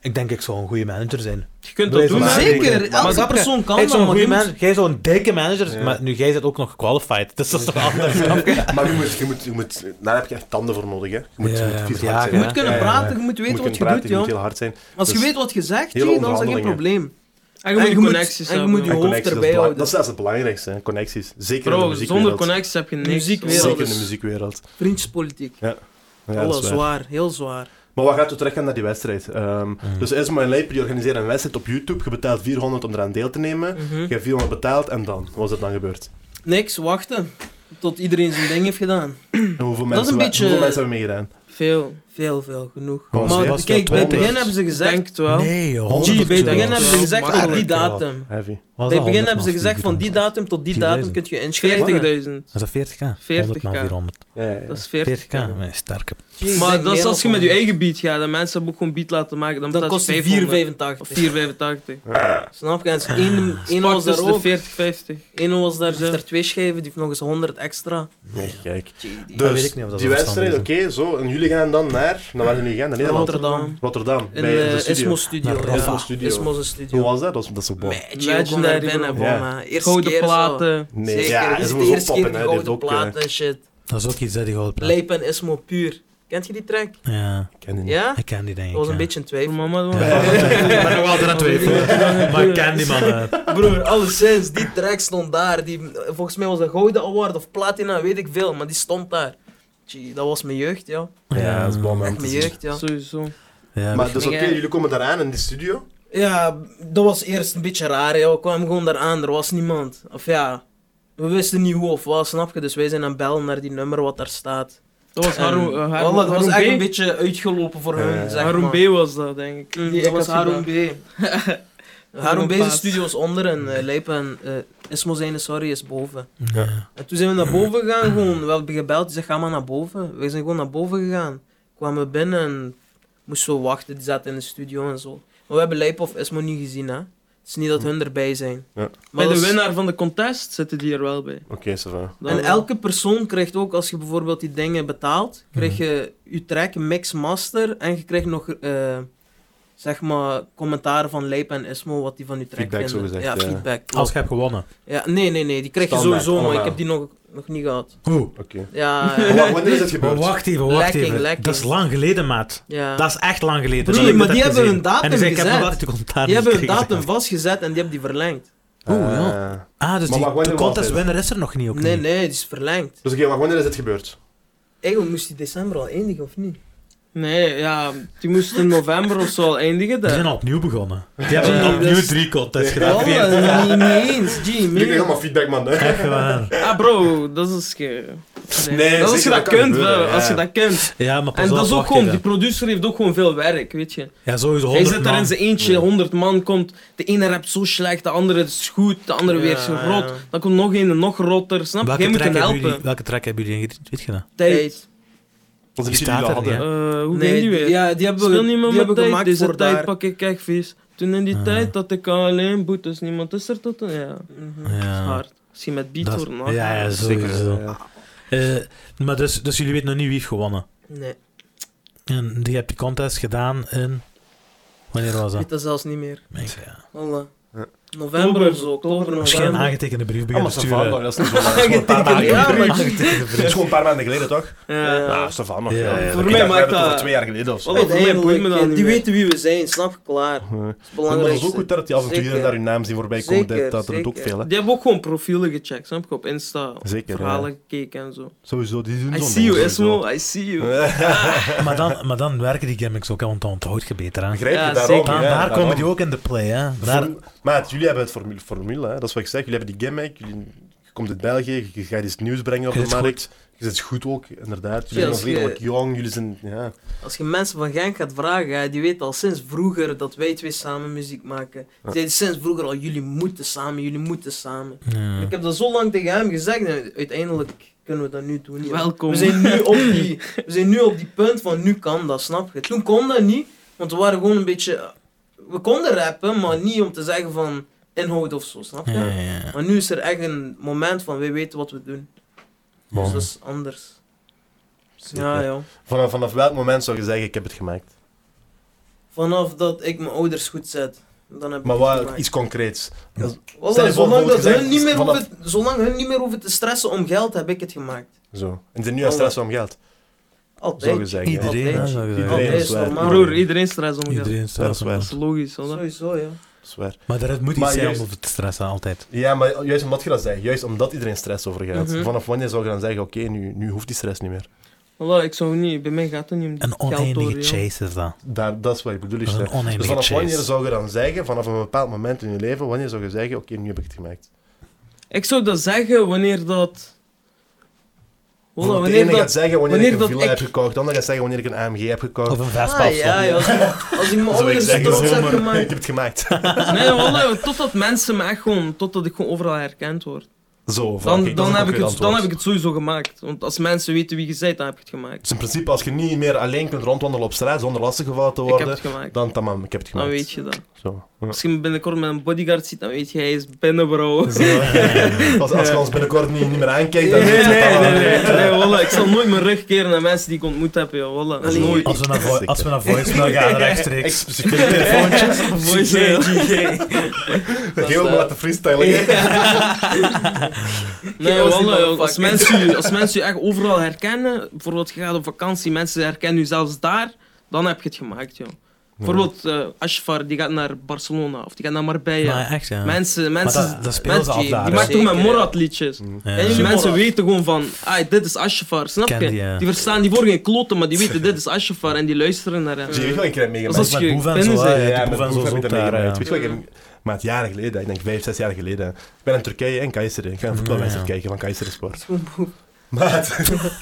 Speaker 1: Ik denk ik zou een goede manager zijn.
Speaker 4: Je kunt
Speaker 1: Wij
Speaker 4: dat
Speaker 1: zijn
Speaker 4: doen.
Speaker 1: maar-
Speaker 4: hè.
Speaker 3: Zeker,
Speaker 1: Maar
Speaker 3: elke
Speaker 1: snap je?
Speaker 3: persoon kan
Speaker 1: ik zou
Speaker 3: dat,
Speaker 1: een
Speaker 3: maar
Speaker 1: goede
Speaker 3: je moet-
Speaker 1: manager... Jij zou een dikke manager...
Speaker 2: Ja.
Speaker 1: Maar nu, jij bent ook nog gequalified. Dus dat is toch anders. snap je?
Speaker 2: Maar je moet, je moet, je moet, daar heb je echt tanden voor nodig. Hè. Je moet,
Speaker 1: Ja,
Speaker 2: je moet
Speaker 1: ja,
Speaker 2: vies
Speaker 1: moet
Speaker 2: hard
Speaker 1: jagen,
Speaker 2: zijn.
Speaker 3: je
Speaker 1: Ja,
Speaker 3: moet kunnen
Speaker 2: ja, ja.
Speaker 3: praten, je moet
Speaker 2: Je
Speaker 3: weten
Speaker 2: moet
Speaker 3: wat
Speaker 2: kunnen
Speaker 3: je
Speaker 2: praten,
Speaker 3: doet,
Speaker 2: je moet
Speaker 3: joh.
Speaker 2: heel hard zijn.
Speaker 3: Als je
Speaker 2: Dus-
Speaker 3: weet wat je zegt,
Speaker 2: Hele
Speaker 3: gee, dan is dat geen
Speaker 2: onderhandelingen.
Speaker 3: probleem.
Speaker 4: En je moet
Speaker 3: En je moet-
Speaker 4: connecties
Speaker 3: en je
Speaker 4: hebben.
Speaker 3: moet je
Speaker 4: man.
Speaker 3: hoofd
Speaker 2: Connecties, dat, is
Speaker 3: erbij
Speaker 2: bela-
Speaker 3: houden.
Speaker 2: dat is zelfs het belangrijkste, hè. connecties. Zeker in de
Speaker 4: Bro,
Speaker 2: muziekwereld.
Speaker 4: zonder connecties heb je niks.
Speaker 3: Muziekwereld.
Speaker 2: Zeker in de
Speaker 3: is-
Speaker 2: muziekwereld.
Speaker 3: Vriendjespolitiek.
Speaker 2: Ja, dat
Speaker 3: Alles
Speaker 2: is waar.
Speaker 3: zwaar, heel zwaar.
Speaker 2: Maar wat gaat u terug gaan naar die wedstrijd? Ehm,
Speaker 1: Mm.
Speaker 2: Dus Esma en Leip die organiseren een wedstrijd op YouTube. Je betaalt 400 om eraan deel te nemen. Je hebt 400 betaald en dan? Wat is er dan gebeurd?
Speaker 3: Niks, wachten. Tot iedereen zijn ding heeft gedaan.
Speaker 2: En hoeveel,
Speaker 3: Dat is
Speaker 2: mensen,
Speaker 3: een beetje-
Speaker 2: hoeveel mensen hebben meegedaan?
Speaker 4: Veel.
Speaker 3: Veel, veel, genoeg.
Speaker 2: Maar was
Speaker 3: maar
Speaker 2: het-
Speaker 3: kijk, bij het begin
Speaker 2: 100?
Speaker 3: hebben ze gezegd...
Speaker 4: Denk het wel.
Speaker 1: Nee, joh.
Speaker 2: Honderd
Speaker 3: Gee, bij het begin
Speaker 2: euro.
Speaker 3: hebben ze gezegd
Speaker 4: Ja,
Speaker 3: van die
Speaker 2: makkelijk.
Speaker 3: datum.
Speaker 2: Heavy.
Speaker 1: Was
Speaker 3: Bij
Speaker 1: dat
Speaker 3: het begin
Speaker 1: 100
Speaker 3: hebben ze
Speaker 1: maal
Speaker 3: gezegd van die
Speaker 1: 400?
Speaker 3: datum tot die
Speaker 1: 10.000.
Speaker 3: datum kun je inschrijven.
Speaker 4: 40.000.
Speaker 1: Is dat 40k? 100 maal
Speaker 4: 40K.
Speaker 1: 400.
Speaker 4: Dat is
Speaker 1: 40k,
Speaker 4: 40k.
Speaker 1: nee, sterke.
Speaker 4: Maar dat is als je met je eigen beat gaat en mensen hebben ook gewoon beat laten maken. Dan
Speaker 3: Dat
Speaker 4: betaal je
Speaker 3: kost
Speaker 4: 500 Of
Speaker 3: 4,85.
Speaker 4: 4,85.
Speaker 3: Snap je? En één- één
Speaker 4: Pak
Speaker 3: was
Speaker 4: dus
Speaker 3: daar
Speaker 4: de
Speaker 3: ook.
Speaker 4: 40, 50.
Speaker 3: Eén was daar, heeft er twee schijven, die heeft nog eens 100 extra.
Speaker 2: Nee, kijk.
Speaker 1: Dat weet
Speaker 2: Dus,
Speaker 1: ik niet of dat
Speaker 2: die
Speaker 1: wel
Speaker 2: wedstrijd, oké,
Speaker 1: verstandig
Speaker 2: zo. En jullie gaan dan naar... Naar waar gaan jullie gaan? Naar Nederland?
Speaker 3: Rotterdam.
Speaker 2: Rotterdam.
Speaker 3: In
Speaker 2: bij
Speaker 3: de
Speaker 2: de studio.
Speaker 3: Ismo Studio.
Speaker 1: Naar
Speaker 3: ja.
Speaker 1: Rafa.
Speaker 2: Ismo Studio.
Speaker 3: Ismo's
Speaker 2: Hoe
Speaker 3: eh, Studio.
Speaker 2: was dat? Dat was, dat is zo bom.
Speaker 3: Legendary binnen,
Speaker 2: Ja.
Speaker 3: boma. Eerste
Speaker 4: Gouden
Speaker 3: keer zo.
Speaker 4: platen.
Speaker 2: Nee,
Speaker 3: Zeker,
Speaker 2: ja,
Speaker 3: dit
Speaker 2: dat
Speaker 3: is de
Speaker 2: was ook
Speaker 3: eerste keer
Speaker 2: poppen.
Speaker 3: die
Speaker 2: hè. Dit is
Speaker 3: gouden
Speaker 2: ook... eh,
Speaker 3: platen en shit.
Speaker 1: Dat is ook iets dat die gewoon plaat.
Speaker 3: Leip en Ismo puur. Kent je die track?
Speaker 1: Ja,
Speaker 2: ik ken die niet.
Speaker 3: Ja?
Speaker 1: ik ken die denk ik.
Speaker 3: Dat was een
Speaker 1: ja.
Speaker 3: beetje een
Speaker 4: Voor
Speaker 3: twijfel.
Speaker 4: mama doen.
Speaker 1: Ik ben nog altijd aan het twijfelen. Maar ik ken die man. eh.
Speaker 3: Broer, alleszins, die track stond daar. Die, volgens mij was dat Gouden Award of Platina, weet ik veel, maar die stond daar. Tjie, dat was mijn jeugd, ja.
Speaker 2: Ja, dat is bom,
Speaker 3: Echt mijn jeugd, ja.
Speaker 4: Sowieso.
Speaker 1: Ja,
Speaker 2: Maar dus oké,
Speaker 3: ging, eh,
Speaker 2: jullie komen daaraan in die studio.
Speaker 3: Ja, dat was eerst een beetje raar, ja. We kwamen gewoon daar aan, er was niemand. Of ja, we wisten niet hoe of wat, snap je? Dus wij zijn aan het bellen naar die nummer wat daar staat.
Speaker 4: Dat was
Speaker 3: En-
Speaker 4: Haroon eh,
Speaker 3: Wallah, dat was echt een
Speaker 4: Haroon B.
Speaker 3: beetje uitgelopen voor
Speaker 2: Ja,
Speaker 3: hun,
Speaker 2: ja.
Speaker 3: zeg
Speaker 4: Haroon
Speaker 3: maar.
Speaker 4: B was dat, denk ik.
Speaker 3: Nee, dat was Haroon B. Haroon B.
Speaker 4: Plaat.
Speaker 3: zijn studio is onder en eh, Lijp en eh Ismo zijn, sorry, is boven.
Speaker 1: ja.
Speaker 3: En toen zijn we naar boven gegaan, gewoon. We hebben gebeld, die zei, ga maar naar boven. We zijn gewoon naar boven gegaan. Kwamen binnen en moesten we wachten, die zaten in de studio en zo. Maar we hebben Lijp of Ismo niet gezien, hè. Het is niet dat hun erbij zijn.
Speaker 2: Ja.
Speaker 4: Bij
Speaker 3: Maar
Speaker 4: de
Speaker 3: dat is-
Speaker 4: winnaar van de contest zitten die er wel bij.
Speaker 2: Oké, ça va.
Speaker 4: Dan
Speaker 3: en
Speaker 4: wel.
Speaker 3: elke persoon krijgt ook, als je bijvoorbeeld die dingen betaalt, krijg je je track, mix, master en je krijgt nog eh, zeg maar commentaren van Leip en Ismo wat die van je track
Speaker 2: Feedback,
Speaker 3: vinden.
Speaker 2: zogezegd,
Speaker 3: ja,
Speaker 2: ja.
Speaker 3: feedback.
Speaker 1: Als je hebt gewonnen.
Speaker 3: Ja, nee, nee, nee, die krijg je
Speaker 2: Standaard,
Speaker 3: sowieso, maar ik
Speaker 2: allemaal.
Speaker 3: heb die nog, nog niet gehad.
Speaker 1: Oeh.
Speaker 2: Oké.
Speaker 3: Ja,
Speaker 2: Maar
Speaker 3: ja,
Speaker 2: wa- Wanneer is dit gebeurd?
Speaker 1: Oh, Wacht even, wacht
Speaker 3: Lekking,
Speaker 1: even.
Speaker 3: lekking.
Speaker 1: Dat is lang geleden, maat.
Speaker 3: ja.
Speaker 1: Dat is echt lang geleden.
Speaker 3: Broer,
Speaker 1: Dat heb ik
Speaker 3: maar
Speaker 1: net
Speaker 3: die hebben
Speaker 1: gezien.
Speaker 3: een datum
Speaker 1: En die zei, ik heb nog
Speaker 3: gezet.
Speaker 1: altijd de commentaar
Speaker 3: Die
Speaker 1: niet
Speaker 3: hebben een
Speaker 1: gekregen.
Speaker 3: datum vastgezet en die hebben die verlengd.
Speaker 1: Oeh,
Speaker 2: Eh,
Speaker 1: ja. Ah, dus die,
Speaker 2: Maar wacht,
Speaker 1: de
Speaker 2: wanneer was
Speaker 1: contest
Speaker 2: dit?
Speaker 1: winner is er nog niet opnieuw.
Speaker 3: Nee, nee, die is verlengd.
Speaker 2: Dus oké, maar wanneer is dit gebeurd?
Speaker 3: Eigenlijk moest die december al eindigen, of niet?
Speaker 4: Nee, ja, die moest in november of zo al eindigen.
Speaker 1: Die
Speaker 4: daar.
Speaker 1: zijn al opnieuw begonnen. Die hebben
Speaker 4: dat
Speaker 1: opnieuw
Speaker 4: is-
Speaker 1: drie contests
Speaker 3: Ja,
Speaker 1: gedaan.
Speaker 3: niet, niet eens, G,
Speaker 2: Jullie krijgen
Speaker 3: meer.
Speaker 2: allemaal feedback, man. Hè?
Speaker 1: Echt waar.
Speaker 4: Ah, bro, dat is. ge-
Speaker 2: Nee,
Speaker 4: dat als
Speaker 2: zeker,
Speaker 4: je dat,
Speaker 2: dat kan
Speaker 4: kunt,
Speaker 2: gebeuren,
Speaker 4: wel,
Speaker 2: ja.
Speaker 4: als je dat kunt.
Speaker 1: Ja, maar pas
Speaker 4: En
Speaker 1: op,
Speaker 4: dat is ook
Speaker 1: wacht
Speaker 4: gewoon, die
Speaker 1: even.
Speaker 4: producer heeft ook gewoon veel werk, weet je.
Speaker 1: Ja, sowieso
Speaker 4: Hij
Speaker 1: 100
Speaker 4: zit daar in
Speaker 1: man.
Speaker 4: zijn eentje, 100 man komt. De ene rapt zo slecht, de andere is goed, de andere weer
Speaker 3: Ja,
Speaker 4: zo
Speaker 3: ja.
Speaker 4: rot. Dan komt nog een nog rotter, snap je?
Speaker 1: Welke
Speaker 4: Jij moet
Speaker 1: track
Speaker 4: hem
Speaker 1: hebben
Speaker 4: helpen.
Speaker 1: jullie- Welke track hebben jullie in getweet gedaan?
Speaker 3: Tijd.
Speaker 2: Onze
Speaker 1: Die
Speaker 2: die
Speaker 1: staat
Speaker 2: jullie
Speaker 1: er
Speaker 2: hadden.
Speaker 1: niet, hè?
Speaker 4: Eh, hoe ging
Speaker 3: Nee,
Speaker 4: die weer?
Speaker 3: ja, die hebben,
Speaker 4: Speel niet meer
Speaker 3: die hebben
Speaker 4: met tijd,
Speaker 3: gemaakt
Speaker 4: deze
Speaker 3: voor
Speaker 4: tijd
Speaker 3: daar.
Speaker 4: pak ik echt vies. Toen in die tijd dat ik alleen boetes, niemand is er tot... Ja,
Speaker 3: Mhm.
Speaker 4: dat is
Speaker 1: Ja.
Speaker 4: hard. Misschien met beat
Speaker 1: Dat-
Speaker 4: hoor, nou.
Speaker 1: Ja, ja, sowieso. Eh, maar dus, dus jullie weten nog niet wie heeft gewonnen.
Speaker 3: Nee,
Speaker 1: En die hebt die contest gedaan in... Wanneer was
Speaker 3: ik weet
Speaker 1: dat?
Speaker 3: dat zelfs niet meer.
Speaker 1: Ik- ja.
Speaker 3: Voilà.
Speaker 2: Ja.
Speaker 3: November of zo, oktober,
Speaker 1: Misschien een
Speaker 3: november.
Speaker 1: aangetekende brief
Speaker 2: Ja,
Speaker 1: beginnen
Speaker 2: Ah, maar
Speaker 1: te
Speaker 2: ça va,
Speaker 1: sturen. Ah,
Speaker 2: dat is niet zo lang. Dat is gewoon een paar maanden
Speaker 3: Ja,
Speaker 2: geleden.
Speaker 3: maar-
Speaker 1: Aangetekende
Speaker 2: Het is
Speaker 1: brief.
Speaker 2: gewoon een paar maanden geleden, toch?
Speaker 4: Ja.
Speaker 2: Ja, ça va nog.
Speaker 1: Ja,
Speaker 2: ja,
Speaker 1: ja,
Speaker 2: ja.
Speaker 4: voor
Speaker 2: Ik
Speaker 4: mij
Speaker 2: dacht, we
Speaker 4: maakt
Speaker 2: hebben het over
Speaker 4: dat-
Speaker 2: twee jaar geleden of zo.
Speaker 4: Wat een
Speaker 3: Uiteindelijk,
Speaker 4: boeit me dat
Speaker 3: eh,
Speaker 4: niet
Speaker 3: die
Speaker 4: meer.
Speaker 3: weten wie we zijn, snap je, klaar. Dat
Speaker 2: Ja.
Speaker 3: is
Speaker 2: Maar dat
Speaker 3: belangrijk.
Speaker 2: is ook goed dat die af en toe hier en
Speaker 3: Zeker.
Speaker 2: daar hun naam zien voorbij komen.
Speaker 3: Zeker,
Speaker 2: Dat, dat doet ook
Speaker 3: zeker.
Speaker 2: veel, hè.
Speaker 4: Die hebben ook gewoon profielen gecheckt, snap je? Op Insta.
Speaker 2: Zeker,
Speaker 4: Verhalen
Speaker 2: ja.
Speaker 4: gekeken en zo.
Speaker 2: Sowieso, die doen
Speaker 4: I
Speaker 2: zo'n
Speaker 4: see
Speaker 2: ding
Speaker 4: you,
Speaker 2: sowieso.
Speaker 4: Esmo. I see you.
Speaker 1: Maar dan, maar dan werken die gimmicks ook, hè, want dan onthoud je beter aan.
Speaker 2: Begrijp je
Speaker 4: Ja,
Speaker 2: daarom?
Speaker 4: zeker.
Speaker 1: Dan,
Speaker 2: ja,
Speaker 1: daar
Speaker 2: daarom.
Speaker 1: komen die ook in de play, hè. Daar,
Speaker 2: Formu- Maat, jullie hebben het formule, formule hè? dat is wat ik zeg. Jullie hebben die gimmick, jullie, je komt uit België, je gaat iets nieuws brengen op
Speaker 1: Je
Speaker 2: de
Speaker 1: zit
Speaker 2: markt. Je zit goed ook, inderdaad. Jullie
Speaker 3: Ja,
Speaker 2: zijn nog
Speaker 3: als je-
Speaker 2: redelijk jong, jullie zijn... Ja.
Speaker 3: Als je mensen van Genk gaat vragen, hè, die weten al sinds vroeger dat wij twee samen muziek maken. Ze zeiden sinds vroeger al, jullie moeten samen, jullie moeten samen.
Speaker 1: Ja.
Speaker 3: Ik heb dat zo lang tegen hem gezegd en uiteindelijk kunnen we dat nu doen. ja.
Speaker 4: Welkom.
Speaker 3: We zijn, nu op die, we zijn nu op die punt van nu kan dat, snap je? Toen kon dat niet, want we waren gewoon een beetje... We konden rappen, maar niet om te zeggen van inhoud of zo, snap je?
Speaker 1: Ja, ja, ja.
Speaker 3: Maar nu is er echt een moment van, wij weten wat we doen. Dus dat is anders. Ja, ja.
Speaker 2: Vanaf, vanaf welk moment zou je zeggen, ik heb het gemaakt?
Speaker 3: Vanaf dat ik mijn ouders goed zet, dan heb ik
Speaker 2: Maar
Speaker 3: het
Speaker 2: wat,
Speaker 3: gemaakt.
Speaker 2: iets concreets.
Speaker 3: Wallah,
Speaker 2: Stel je voor,
Speaker 3: zolang, dat
Speaker 2: bijvoorbeeld
Speaker 3: hun
Speaker 2: gezegd,
Speaker 3: niet meer
Speaker 2: vanaf-
Speaker 3: hoeven, zolang hun niet meer hoeven te stressen om geld, heb ik het gemaakt.
Speaker 2: Zo. En zijn nu aan stress om geld, zou je
Speaker 3: Altijd.
Speaker 2: zeggen.
Speaker 1: Iedereen, hè,
Speaker 3: Altijd.
Speaker 1: zou ik
Speaker 2: Iedereen,
Speaker 1: zeggen.
Speaker 3: Altijd
Speaker 2: dat is waar.
Speaker 3: normaal.
Speaker 4: Broer, iedereen stress om geld.
Speaker 1: Iedereen staat
Speaker 2: waar.
Speaker 1: wel.
Speaker 4: Dat is logisch, hoor.
Speaker 3: Sowieso, ja.
Speaker 2: Dat is waar.
Speaker 1: Maar er moet iets
Speaker 2: Maar
Speaker 1: zijn
Speaker 2: juist-
Speaker 1: om te stressen, altijd.
Speaker 2: Ja, maar juist omdat je dat zei, juist omdat iedereen stress over gaat.
Speaker 3: Mhm.
Speaker 2: Vanaf wanneer zou je dan zeggen, oké, nu, nu hoeft die stress niet meer.
Speaker 4: Wallah, ik zou niet... Bij mij gaat het niet om die
Speaker 1: Een
Speaker 4: geld
Speaker 1: oneindige
Speaker 4: hoor, joh.
Speaker 1: chase is dat.
Speaker 2: Daar, dat is wat ik bedoel.
Speaker 1: Dat is een
Speaker 2: stress. Dus
Speaker 1: oneindige
Speaker 2: vanaf
Speaker 1: chase.
Speaker 2: wanneer zou je dan zeggen, vanaf een bepaald moment in je leven, wanneer zou je zeggen, oké, nu heb ik het gemaakt?
Speaker 4: Ik zou dat zeggen wanneer dat...
Speaker 2: Want
Speaker 4: Voilà,
Speaker 2: de
Speaker 4: wanneer
Speaker 2: ene
Speaker 4: dat...
Speaker 2: gaat zeggen wanneer
Speaker 4: wanneer
Speaker 2: ik een
Speaker 4: dat
Speaker 2: villa
Speaker 4: ik-
Speaker 2: heb gekocht, de ander gaat zeggen wanneer ik een AMG heb gekocht.
Speaker 1: Of een Vespa
Speaker 3: Ah,
Speaker 1: of zo.
Speaker 3: ja, ja, als, ik- als dus- ik me
Speaker 2: Zou ik
Speaker 3: ouders
Speaker 2: zeggen,
Speaker 3: trots heb
Speaker 2: "Zomer, ik
Speaker 3: gemaakt.
Speaker 2: heb het gemaakt.
Speaker 4: Nee, wallah, totdat mensen me echt gewoon... Totdat ik gewoon overal herkend word.
Speaker 2: Zo, voilà,
Speaker 4: Dan,
Speaker 2: kijk, dat is
Speaker 4: dan,
Speaker 2: een
Speaker 4: heb ik
Speaker 2: concreet
Speaker 4: het, dan
Speaker 2: antwoord.
Speaker 4: heb ik het sowieso gemaakt. Want als mensen weten wie je bent, dan heb je het gemaakt.
Speaker 2: Dus in principe, als je niet meer alleen kunt rondwandelen op straat zonder lastiggevallen te
Speaker 4: Ik heb het
Speaker 2: worden,
Speaker 4: gemaakt.
Speaker 2: dan tamam, ik heb het
Speaker 4: Dan
Speaker 2: gemaakt.
Speaker 4: weet je dat.
Speaker 2: Zo. ja.
Speaker 4: Als je me binnenkort met een bodyguard ziet, dan weet je, hij is binnen, bro.
Speaker 2: Zo, ja. Als, als je ons binnenkort niet, niet meer aankijkt, dan
Speaker 4: Nee,
Speaker 2: weet
Speaker 4: nee,
Speaker 2: je het
Speaker 4: nee,
Speaker 2: al.
Speaker 4: nee, nee, wallah, Ik zal nooit mijn rug keren naar mensen die ik ontmoet heb, joh. Wallah.
Speaker 3: Allee.
Speaker 4: Nooit.
Speaker 1: Als we naar, vo- als we naar voicemail gaan, rechtstreeks.
Speaker 2: Ik ik wil een telefoontje.
Speaker 4: Voicemail.
Speaker 2: Heel maar laten freestylen.
Speaker 4: Nee,
Speaker 3: was die
Speaker 4: wallah, joh.
Speaker 3: motherfucker.
Speaker 4: als, mensen je, als mensen je echt overal herkennen, bijvoorbeeld je gaat op vakantie, mensen herkennen je zelfs daar, dan heb je het gemaakt, joh. Bijvoorbeeld eh Ashfar, die gaat naar Barcelona of die gaat naar Marbella.
Speaker 1: Maar echt, ja.
Speaker 4: Mensen,
Speaker 1: Maar
Speaker 4: mensen,
Speaker 1: dat, dat spelen ze
Speaker 4: mensen
Speaker 1: af
Speaker 4: die,
Speaker 1: daar. hè.
Speaker 4: maakt toch met
Speaker 3: Zeker, ja.
Speaker 4: Morat liedjes.
Speaker 1: Ja.
Speaker 4: En die
Speaker 3: Morat.
Speaker 4: mensen weten gewoon van, ah, dit is Ashfar, snap
Speaker 1: Ken
Speaker 4: je?
Speaker 1: die, ja.
Speaker 4: Die verstaan die voor geen kloten, maar die weten dit is Ashfar en die luisteren naar hem.
Speaker 2: Zie je weet je wat ik heb
Speaker 4: Als
Speaker 2: meegemaakt?
Speaker 1: Met boeven
Speaker 4: dat je
Speaker 1: en
Speaker 4: binnen
Speaker 1: zo,
Speaker 4: bent.
Speaker 1: hè.
Speaker 2: Ja,
Speaker 1: Die
Speaker 2: met
Speaker 1: boeven en zo
Speaker 2: Boef heb ik
Speaker 1: zoekt
Speaker 2: dat
Speaker 1: daar,
Speaker 2: meegemaakt.
Speaker 1: ja.
Speaker 2: Weet je wat ik heb- Maar het jaren geleden, ik denk vijf, zes jaar geleden. Ik ben in Turkije en Kayseri. Ik ga een voetbalwedstrijd
Speaker 1: Ah, Ja.
Speaker 2: kijken van Kayseri Sport. Maat.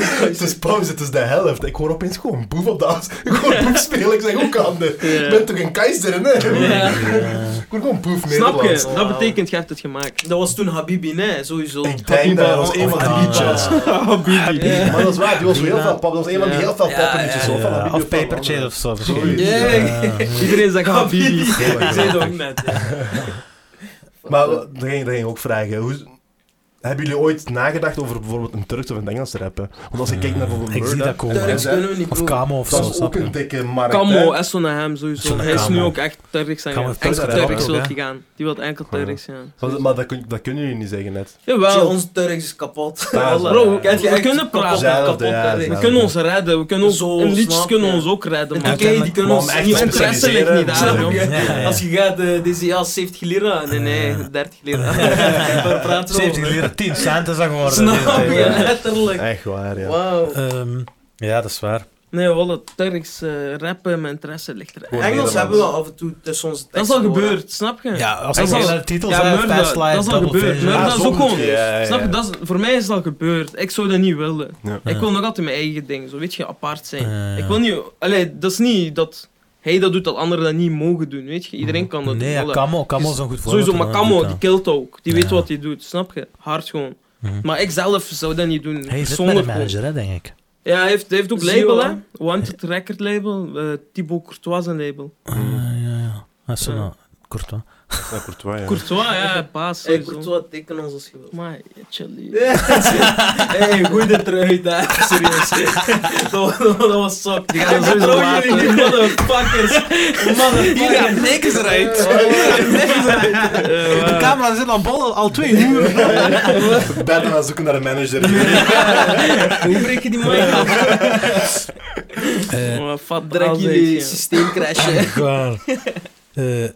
Speaker 2: Het is pauze, het is de helft. Ik hoor opeens gewoon boef op de as. Ik hoor boef spelen. Ik zeg, hoe kan dit? Ik ben toch een Kayseri, hè?
Speaker 4: Ja.
Speaker 2: Ik hoor gewoon boef
Speaker 4: Snap
Speaker 2: Nederlands.
Speaker 4: je? Dat betekent, je hebt het gemaakt.
Speaker 3: Dat was toen Habibi, nee, sowieso.
Speaker 2: Ik denk dat dat eh, was een van
Speaker 1: Ah,
Speaker 2: die liedjes.
Speaker 1: Habibi.
Speaker 2: Maar dat is waar, die was heel
Speaker 1: Ja.
Speaker 2: veel pap. Dat was een van die heel veel
Speaker 3: Ja,
Speaker 2: poppenliedjes.
Speaker 3: ja,
Speaker 2: hoor, van
Speaker 1: Ja,
Speaker 2: Habibi
Speaker 1: Of
Speaker 2: van-
Speaker 1: papertjes of zo.
Speaker 2: Sorry.
Speaker 1: verschillende.
Speaker 3: Yeah.
Speaker 1: Ja.
Speaker 4: Iedereen zegt Habibi.
Speaker 3: Ik zei dat ook net. ja.
Speaker 2: Maar dan ging, dan ging ik ook vragen, hoe, hebben jullie ooit nagedacht over bijvoorbeeld een Turks of een Engels rappen? Want als ik kijk naar bijvoorbeeld
Speaker 1: Ik zie
Speaker 2: Murda,
Speaker 1: dat komen,
Speaker 3: Turks
Speaker 1: hè.
Speaker 3: kunnen we niet
Speaker 1: Of
Speaker 3: doen.
Speaker 1: Kamo of
Speaker 2: dat
Speaker 1: zo,
Speaker 2: is ook
Speaker 1: snap
Speaker 2: een
Speaker 1: je?
Speaker 2: dikke markt.
Speaker 4: Kamo,
Speaker 2: hè.
Speaker 4: Esso naar hem sowieso.
Speaker 1: Esso
Speaker 4: Hij is nu
Speaker 1: Kamo.
Speaker 4: ook echt Turks en
Speaker 1: Gaan we
Speaker 4: gaan. Enkel
Speaker 2: Turks
Speaker 4: Turks wil
Speaker 1: ook,
Speaker 4: hij
Speaker 1: hè?
Speaker 4: gaan. Die wil enkel
Speaker 2: Ja.
Speaker 4: Turks gaan.
Speaker 2: Want- Maar dat, kun, dat kunnen jullie niet zeggen net.
Speaker 3: Zie,
Speaker 4: Jawel.
Speaker 3: Ons Turks is kapot.
Speaker 2: Ja, zo.
Speaker 4: Bro,
Speaker 3: Kijk,
Speaker 4: we
Speaker 3: echt
Speaker 4: kunnen
Speaker 3: kapot,
Speaker 4: praten.
Speaker 2: Zelfde,
Speaker 3: kapot
Speaker 2: ja,
Speaker 3: Turks.
Speaker 4: We
Speaker 2: zelfde.
Speaker 4: kunnen ons redden. We kunnen ons,
Speaker 3: Zo,
Speaker 4: in liedjes
Speaker 3: snap
Speaker 4: kunnen
Speaker 3: je.
Speaker 4: we ons ook redden.
Speaker 3: Oké,
Speaker 4: man.
Speaker 3: die kunnen
Speaker 2: Maar om
Speaker 3: ons
Speaker 2: echt
Speaker 3: niet
Speaker 2: te
Speaker 4: Mijn interesse ligt
Speaker 2: specialiseren,
Speaker 4: niet daar,
Speaker 2: snap
Speaker 4: joh.
Speaker 2: je?
Speaker 1: Ja, ja.
Speaker 3: Als je gaat, eh, deze ja, 70 lira. Nee, nee, 30 lira. Waar praten we
Speaker 1: 70
Speaker 3: over?
Speaker 1: lira, 10 cent is dat geworden.
Speaker 3: Snap je,
Speaker 1: Ja.
Speaker 3: letterlijk.
Speaker 2: Echt waar, ja.
Speaker 3: Wauw.
Speaker 1: Ehm, ja, dat is waar.
Speaker 4: Nee, wallah, Turks eh, rappen, mijn interesse ligt er. echt.
Speaker 2: Gewoon
Speaker 3: Engels
Speaker 2: Nederlands.
Speaker 3: hebben we af en toe tussen onze
Speaker 4: Dat is
Speaker 3: teksten
Speaker 4: al
Speaker 3: door, hè.
Speaker 4: gebeurd, snap je?
Speaker 1: Ja, als
Speaker 4: Dat
Speaker 1: ik
Speaker 4: is al-
Speaker 1: hele titels
Speaker 4: ja,
Speaker 1: heb,
Speaker 4: Murda,
Speaker 1: Fast Life,
Speaker 4: dat is al
Speaker 1: Double
Speaker 4: gebeurd.
Speaker 1: Vision.
Speaker 4: Murda
Speaker 1: Ah,
Speaker 4: is
Speaker 1: zo-
Speaker 4: ook gewoon-
Speaker 2: Ja, ja,
Speaker 4: Snap je?
Speaker 2: ja.
Speaker 4: Dat is, voor mij is dat gebeurd. Ik zou dat niet willen.
Speaker 2: Ja.
Speaker 4: Ik wil nog altijd mijn eigen ding, zo weet je, apart zijn.
Speaker 1: Ja, ja.
Speaker 4: Ik wil niet, allee, dat is niet dat hij dat doet dat anderen dat niet mogen doen, weet je. Iedereen kan dat
Speaker 1: Nee,
Speaker 4: doen.
Speaker 1: ja,
Speaker 4: voilà.
Speaker 1: Kamo, Kamo
Speaker 4: Dus
Speaker 1: is een goed voorbeeld.
Speaker 4: Sowieso, maar
Speaker 1: van
Speaker 4: Camo,
Speaker 1: dat,
Speaker 4: die kilt ook. Die weet
Speaker 1: Ja.
Speaker 4: wat hij doet, snap je? Hard gewoon.
Speaker 1: Mhm.
Speaker 4: Maar ik zelf zou dat niet doen.
Speaker 1: Hij zit met
Speaker 4: Persoonlijk
Speaker 1: een
Speaker 4: gewoon.
Speaker 1: manager, hè, denk ik.
Speaker 4: Ja, hij heeft, hij heeft ook
Speaker 3: Zio,
Speaker 4: label,
Speaker 3: hè?
Speaker 4: hè. Wanted Record label, eh Thibaut Courtois zijn label.
Speaker 1: Ja, ja, ja. Dat is
Speaker 4: Ja.
Speaker 1: zo'n Courtois.
Speaker 2: Ja, Courtois, ja.
Speaker 4: Courtois, ja, paas.
Speaker 3: Hey,
Speaker 4: sowieso.
Speaker 3: Courtois, teken ons als je wil.
Speaker 4: Maar, ja, chill.
Speaker 3: hey, goede trui daar. Serieus. dat, was- dat was sok.
Speaker 4: Die gaan sowieso
Speaker 3: Vertrouw
Speaker 4: laten.
Speaker 3: jullie niet, motherfuckers. Motherfuckers.
Speaker 4: Die gaan niks eruit.
Speaker 1: De camera zit al bol al twee uur.
Speaker 2: Better gaan zoeken naar een manager.
Speaker 3: Hoe breek je die mic af?
Speaker 1: Eh,
Speaker 4: Maar fat
Speaker 3: Drek
Speaker 4: braal
Speaker 3: jullie
Speaker 4: zijn, ja.
Speaker 3: systeem crashen.
Speaker 1: Eh,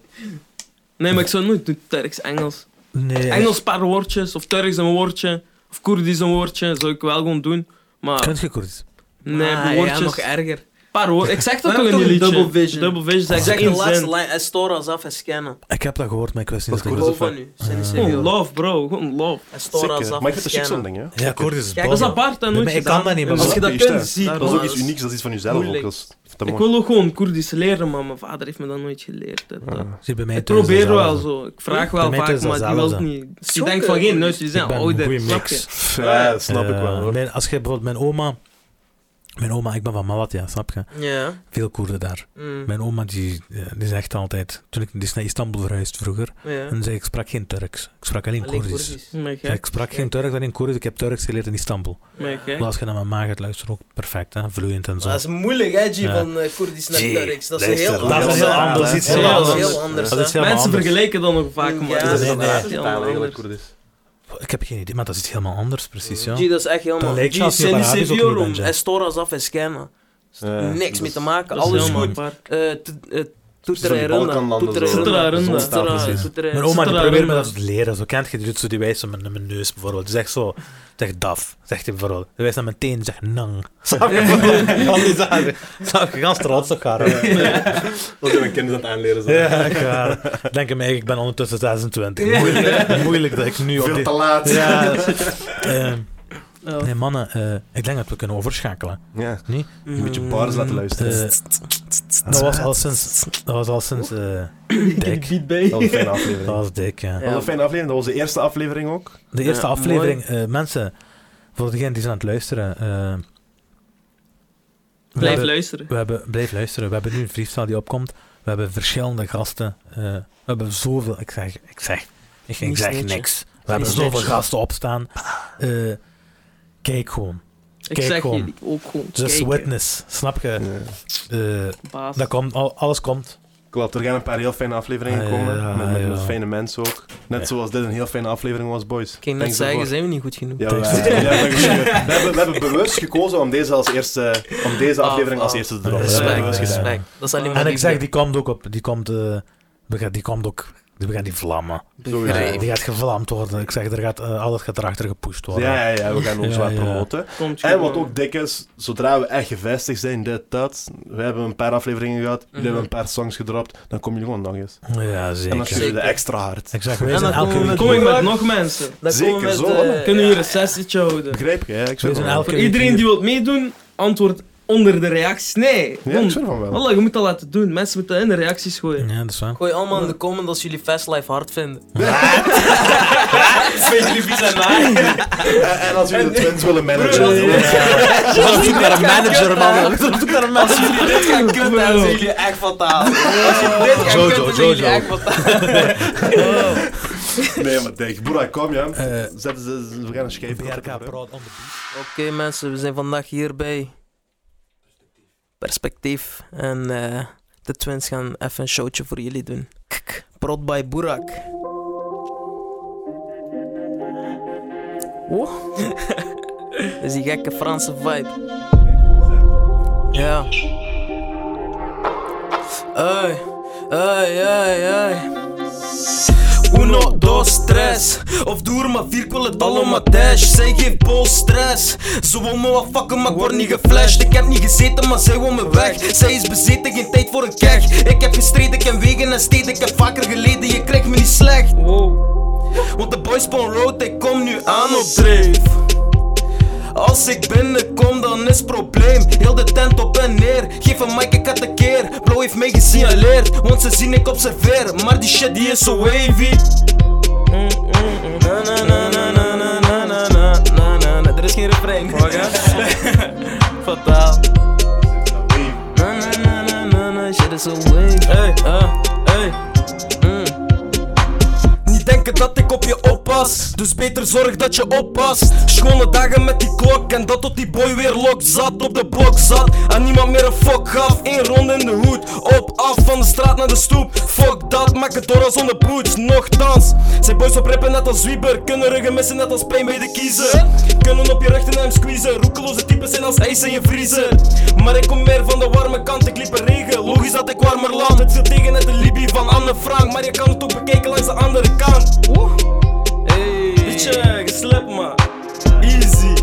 Speaker 4: Nee, maar ik zou nooit doen Turks-Engels.
Speaker 1: Nee.
Speaker 4: Engels paar woordjes, of Turks een woordje, of Koerdisch een woordje, zou ik wel gewoon doen. Maar
Speaker 1: Kunt je Koerdisch?
Speaker 4: nee,
Speaker 3: Ah, ja,
Speaker 4: woordjes.
Speaker 3: nog erger.
Speaker 4: paar woorden. Ik zeg dat
Speaker 3: Maar
Speaker 4: toch in
Speaker 3: toch
Speaker 4: die liedje.
Speaker 3: Double Vision.
Speaker 4: Double Vision zeg
Speaker 3: Ik
Speaker 4: ik
Speaker 3: zeg de
Speaker 4: één
Speaker 3: laatste
Speaker 4: zin.
Speaker 3: lijn en store ons af en scannen.
Speaker 1: Ik heb dat gehoord, maar ik wist niet
Speaker 2: Dat is
Speaker 1: dat
Speaker 2: Koerdisch.
Speaker 1: ik-
Speaker 3: Love van u. Zijn
Speaker 2: Oh,
Speaker 3: niet
Speaker 4: Gewoon
Speaker 3: serieus.
Speaker 4: love, bro. Gewoon love.
Speaker 3: En store ons
Speaker 2: Zeker.
Speaker 3: af
Speaker 2: Maar ik vind
Speaker 3: en
Speaker 2: dat chic zo'n
Speaker 3: scannen.
Speaker 2: ding, hè.
Speaker 1: Ja, Koerdisch is
Speaker 3: Kijk,
Speaker 1: bol,
Speaker 4: Dat is
Speaker 1: joh.
Speaker 4: apart en
Speaker 1: Nee,
Speaker 4: nooit
Speaker 1: maar ik kan
Speaker 4: gedaan.
Speaker 1: dat niet, maar
Speaker 4: Als
Speaker 1: wat-
Speaker 4: je dat
Speaker 2: Snap je,
Speaker 4: kunt,
Speaker 2: is
Speaker 4: zie
Speaker 3: dat-
Speaker 2: Dat is ook
Speaker 3: Maar
Speaker 2: iets
Speaker 3: dat is
Speaker 2: unieks, dat is iets van jezelf ook.
Speaker 3: moeilijk.
Speaker 2: Dat is, dat is
Speaker 4: Ik
Speaker 2: mooi.
Speaker 4: wil ook gewoon Koerdisch leren, maar mijn vader heeft me dat nooit geleerd. hè, dat.
Speaker 1: Zie, bij mij
Speaker 4: Ik
Speaker 1: thuis Ah. is
Speaker 4: probeer
Speaker 1: dat
Speaker 4: wel
Speaker 1: zo.
Speaker 4: zo. Ik vraag
Speaker 1: Bij
Speaker 4: wel
Speaker 1: mij
Speaker 4: vaak,
Speaker 1: thuis is
Speaker 4: maar die
Speaker 1: dat
Speaker 4: wil het
Speaker 1: zelfde.
Speaker 4: niet. Dus Die
Speaker 3: Zo
Speaker 4: denkt van
Speaker 3: kut,
Speaker 4: geen nut, die
Speaker 1: Ik
Speaker 4: zijn
Speaker 1: ben een
Speaker 4: ouder.
Speaker 1: goede
Speaker 4: snap je?
Speaker 1: mix.
Speaker 2: Ja, dat snap ik wel,
Speaker 1: Eh,
Speaker 2: hoor.
Speaker 1: mijn- als je bijvoorbeeld mijn oma... Mijn oma, ik ben van Malatya, snap je?
Speaker 3: Ja.
Speaker 1: Veel Koerden daar.
Speaker 4: Hm.
Speaker 3: Mm,
Speaker 1: Mijn oma, die, eh, die zegt altijd... Toen ik die is naar Istanbul verhuisd vroeger.
Speaker 3: ja.
Speaker 4: Hm.
Speaker 1: En zei, ik sprak geen Turks. Ik sprak alleen
Speaker 3: Alleen
Speaker 1: Koerdisch.
Speaker 3: Koerdisch.
Speaker 4: Maar
Speaker 1: Ja,
Speaker 4: gek,
Speaker 1: ik sprak geen Turks, alleen Koerdisch. Ik heb Turks geleerd in Istanbal.
Speaker 4: maar gek.
Speaker 1: Maar als je naar mijn maag gaat luisteren, ook perfect, hè? vloeiend en zo.
Speaker 3: Dat is moeilijk, hè, G,
Speaker 1: Ja.
Speaker 3: van eh, Koerdisch naar
Speaker 1: Gee,
Speaker 3: Turks. Dat is een heel
Speaker 2: luister,
Speaker 1: dat is
Speaker 3: anders.
Speaker 1: heel
Speaker 3: hè.
Speaker 1: anders,
Speaker 3: Dat is
Speaker 1: iets
Speaker 3: heel
Speaker 4: heel
Speaker 3: anders.
Speaker 4: anders.
Speaker 3: heel anders,
Speaker 1: Dat is
Speaker 3: hè.
Speaker 1: helemaal
Speaker 4: Mensen
Speaker 1: anders.
Speaker 4: vergelijken dan nog vaak, maar
Speaker 3: Ja,
Speaker 4: dat is
Speaker 1: nee, nee.
Speaker 4: echt helemaal anders.
Speaker 1: Ik heb geen idee, maar dat is iets helemaal anders, precies. Ja.
Speaker 3: G, dat is echt heel
Speaker 1: Dat lijkt
Speaker 3: moeilijk. G,
Speaker 1: zelfs niet op
Speaker 3: Seni
Speaker 1: Arabisch ook niet,
Speaker 3: Seviorum,
Speaker 1: Benja.
Speaker 3: Estoras af en scannen. Niks mee te maken,
Speaker 4: Dat is
Speaker 3: alles
Speaker 4: Dus helemaal
Speaker 3: goed.
Speaker 4: apart.
Speaker 3: Eh, t- eh,
Speaker 2: van Dus die
Speaker 3: Toeteren Runda.
Speaker 2: Balkanlanden
Speaker 3: Toeteren
Speaker 2: zo.
Speaker 4: Toeteren
Speaker 3: Runda.
Speaker 4: Runda.
Speaker 3: Toeteren-
Speaker 2: Precies.
Speaker 3: Toeteren-
Speaker 1: Mijn oma die
Speaker 4: Zit er
Speaker 1: probeert me
Speaker 4: daar
Speaker 1: dat te leren. Zo kent je die doet zo die wijst met mijn neus bijvoorbeeld. Die zegt zo, zegt daf. Zegt hij bijvoorbeeld. Die wijst naar mijn teen, zegt nang. Snap je? Al die zaken. Snap je? Gans trots op haar. hè.
Speaker 2: Dat zijn mijn kinderen aan het aanleren. zijn.
Speaker 1: Ja, ik ga- Ik Denk hem eigenlijk, ik ben ondertussen 26. Moeilijk, moeilijk dat ik nu op
Speaker 2: Veel
Speaker 1: dit...
Speaker 2: te laat.
Speaker 1: Ja. ehm,
Speaker 4: Ja.
Speaker 1: Nee, mannen, eh, ik denk dat we kunnen overschakelen.
Speaker 2: Ja. Een
Speaker 4: Mm.
Speaker 1: Mhm.
Speaker 2: beetje bars laten luisteren.
Speaker 1: Eh, dat was al sinds... Dat was al sinds... eh, dik.
Speaker 4: Beat bij.
Speaker 2: Dat was een fijne
Speaker 1: dat
Speaker 2: aflevering.
Speaker 1: was dik, ja.
Speaker 2: Dat was een fijne aflevering. Dat was de eerste aflevering ook.
Speaker 1: De eerste
Speaker 4: Ja,
Speaker 1: aflevering, eh, mensen, voor degenen die zijn aan het luisteren... eh, we
Speaker 4: Blijf
Speaker 1: hebben-
Speaker 4: luisteren.
Speaker 1: We hebben, blijf luisteren. We hebben nu een freestyle die opkomt. We hebben verschillende gasten. eh, we hebben zoveel. Ik zeg, ik zeg, ik, ik
Speaker 4: Niet
Speaker 1: zeg
Speaker 4: snitchen.
Speaker 1: niks. We hebben
Speaker 4: Niet
Speaker 1: zoveel
Speaker 4: snitchen.
Speaker 1: gasten opstaan. Eh, kijk gewoon.
Speaker 4: Ik
Speaker 1: Kijk
Speaker 4: zeg
Speaker 1: gewoon.
Speaker 4: jullie ook gewoon.
Speaker 1: Just
Speaker 4: kijken.
Speaker 1: witness. Snap je?
Speaker 2: Ja.
Speaker 1: Eh,
Speaker 4: Baas.
Speaker 1: dat komt, al- alles komt.
Speaker 2: Klopt, er gaan een paar heel fijne afleveringen
Speaker 1: Ah,
Speaker 2: komen.
Speaker 1: ja,
Speaker 2: met, met,
Speaker 1: ja.
Speaker 2: met fijne mensen ook. Net
Speaker 1: Ja.
Speaker 2: zoals dit een heel fijne aflevering was, boys.
Speaker 3: Ik ging net
Speaker 2: Thanks
Speaker 3: zeggen,
Speaker 2: daarvoor.
Speaker 3: zijn we niet goed genoeg?
Speaker 2: Ja,
Speaker 1: Thanks
Speaker 2: we,
Speaker 1: daarvoor.
Speaker 2: ja, we hebben geschreven. we, hebben, we hebben bewust gekozen om deze, als eerste, om deze
Speaker 3: Ah,
Speaker 2: aflevering als
Speaker 3: ah.
Speaker 2: eerste te droppen. Dat hebben we
Speaker 3: Respect,
Speaker 1: Ja, ja,
Speaker 2: bewust
Speaker 1: ja.
Speaker 2: gedaan.
Speaker 3: respect. Dat is alleen maar
Speaker 1: En ik zeg,
Speaker 3: liefde.
Speaker 1: die komt ook op. Die komt, eh, we gaan, die komt ook. We gaan die vlammen.
Speaker 2: Sowieso.
Speaker 3: Begrijp.
Speaker 1: Die gaat gevlamd worden. Ik zeg, er gaat, eh, alles gaat erachter gepusht worden.
Speaker 2: Ja, ja, ja, we gaan ons
Speaker 1: Ja,
Speaker 2: zwaar
Speaker 1: ja.
Speaker 2: promoten.
Speaker 4: Komt
Speaker 2: En wat
Speaker 4: gewoon.
Speaker 2: ook dik is, zodra we echt gevestigd zijn, dit, dat. We hebben een paar afleveringen gehad, jullie
Speaker 3: Mhm.
Speaker 2: hebben een paar songs gedropt, dan kom je gewoon nog eens.
Speaker 1: Ja,
Speaker 2: En dan
Speaker 1: zeker.
Speaker 2: schreeuwen we
Speaker 3: Zeker.
Speaker 2: extra hard.
Speaker 1: Ik zeg, wij
Speaker 3: En
Speaker 1: zijn
Speaker 3: dan
Speaker 1: elke
Speaker 3: komen we
Speaker 1: week-
Speaker 4: Kom ik
Speaker 3: Doe
Speaker 4: met
Speaker 3: maar.
Speaker 4: nog mensen.
Speaker 3: Dan
Speaker 2: Zeker,
Speaker 3: komen we met,
Speaker 2: zo,
Speaker 3: eh,
Speaker 2: hè?
Speaker 4: We kunnen
Speaker 3: ja.
Speaker 4: hier een sessietje houden.
Speaker 2: Begrijp je? hè? Ik
Speaker 1: Wij
Speaker 2: zweer
Speaker 1: zijn
Speaker 2: van
Speaker 1: elke
Speaker 2: wel.
Speaker 4: Voor
Speaker 1: week
Speaker 4: iedereen
Speaker 1: hier.
Speaker 4: die wil meedoen, antwoord onder de reactie. Nee,
Speaker 2: Ja, ik
Speaker 4: gewoon.
Speaker 2: zweer van wel.
Speaker 4: Wallah, je moet dat laten doen. Mensen moeten in de reacties gooien.
Speaker 1: Ja, dat is waar.
Speaker 3: Gooi allemaal in de comment als jullie Fastlife hard vinden.
Speaker 4: Twee, drie, vies en laag.
Speaker 2: En, en als jullie de twins willen managen,
Speaker 4: Broer,
Speaker 2: dan-
Speaker 1: Op zoek naar een manager, man.
Speaker 3: Als jullie dit gaan kutten, dan zijn jullie echt fataal. Als jullie dit gaan
Speaker 1: Zo, zo,
Speaker 3: kutten,
Speaker 1: zo,
Speaker 3: zijn jullie
Speaker 1: zo.
Speaker 3: echt fataal.
Speaker 2: Nee, maar denk, Boerak, kom ja.
Speaker 1: Eh,
Speaker 2: Zet ze, we gaan een scheef.
Speaker 1: BRK Proud on the beat.
Speaker 3: Oké mensen, we zijn vandaag hier bij Perspectief. En eh, de twins gaan even een showtje voor jullie doen. Kk, Prod by Burak. Oh. Dat is die gekke Franse vibe. Ja. Hey, hey, hey, hey. Uno, dos, tres Of doe er maar vier, ik wil het allemaal dash Zij geeft bol stress Ze wil me wat fucken, maar ik word niet geflasht Ik heb niet gezeten, maar zij wil me weg Zij is bezeten, geen tijd voor een keg Ik heb gestreden, ik ken wegen en steden Ik heb vaker geleden, je krijgt me niet slecht Want de boys spawn road, ik kom nu aan op dreef als ik binnenkom, dan is probleem. Heel de tent op en neer. Geef een mic, ik had een keer. Blow heeft mij gesignaleerd, want ze zien ik observeer. Maar die shit die is zo wavy. Mm, mm, mm. Na, na, na, na, na, na, na, na, na, na, na, na. Er is geen refrein. Fataal. Na, na, na, na, na, na. Shit is zo wavy. Hey, ah, hey. Mm. Niet denken dat ik op je oppas Dus beter zorg dat je oppast Schone dagen met die klok En dat tot die boy weer lok zat Op de blok zat En niemand meer een fok gaf Eén ronde in de hoed Op, af, van de straat naar de stoep Fuck dat, maak het door als zonder boots Nochtans Zijn boys op rappen net als Wieber Kunnen ruggen missen net als pijn bij de kiezer Kunnen op je rug hem squeezen Roekeloze types zijn als ijs in je vriezer Maar ik kom meer van de warme kant Ik liep in regen, logisch dat ik warmer land Het viel tegen net de Libi van Anne Frank Maar je kan het ook bekijken langs de andere kant Oeh, hey. Beetje geslip man Easy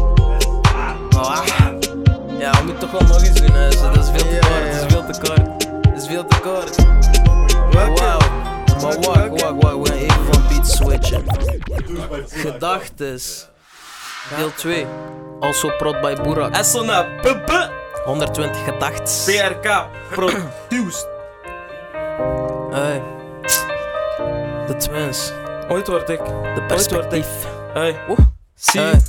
Speaker 3: Ja, we moeten toch wel nog eens doen hè. Zo, Dat is veel te kort, dat is veel te kort Dat is veel te kort Maar wauw Maar wacht, wacht, wacht We gaan even van beat switchen Gedachtes Deel 2 Also prod by Boerak
Speaker 4: Essona, puppe,
Speaker 3: 120 gedachtes
Speaker 4: PRK, produced.
Speaker 3: Hey. De twins.
Speaker 4: Ooit word ik.
Speaker 3: De
Speaker 4: word ik-
Speaker 3: perspectief.
Speaker 4: Hey.
Speaker 3: Oeh.
Speaker 4: Zie.
Speaker 3: Hey.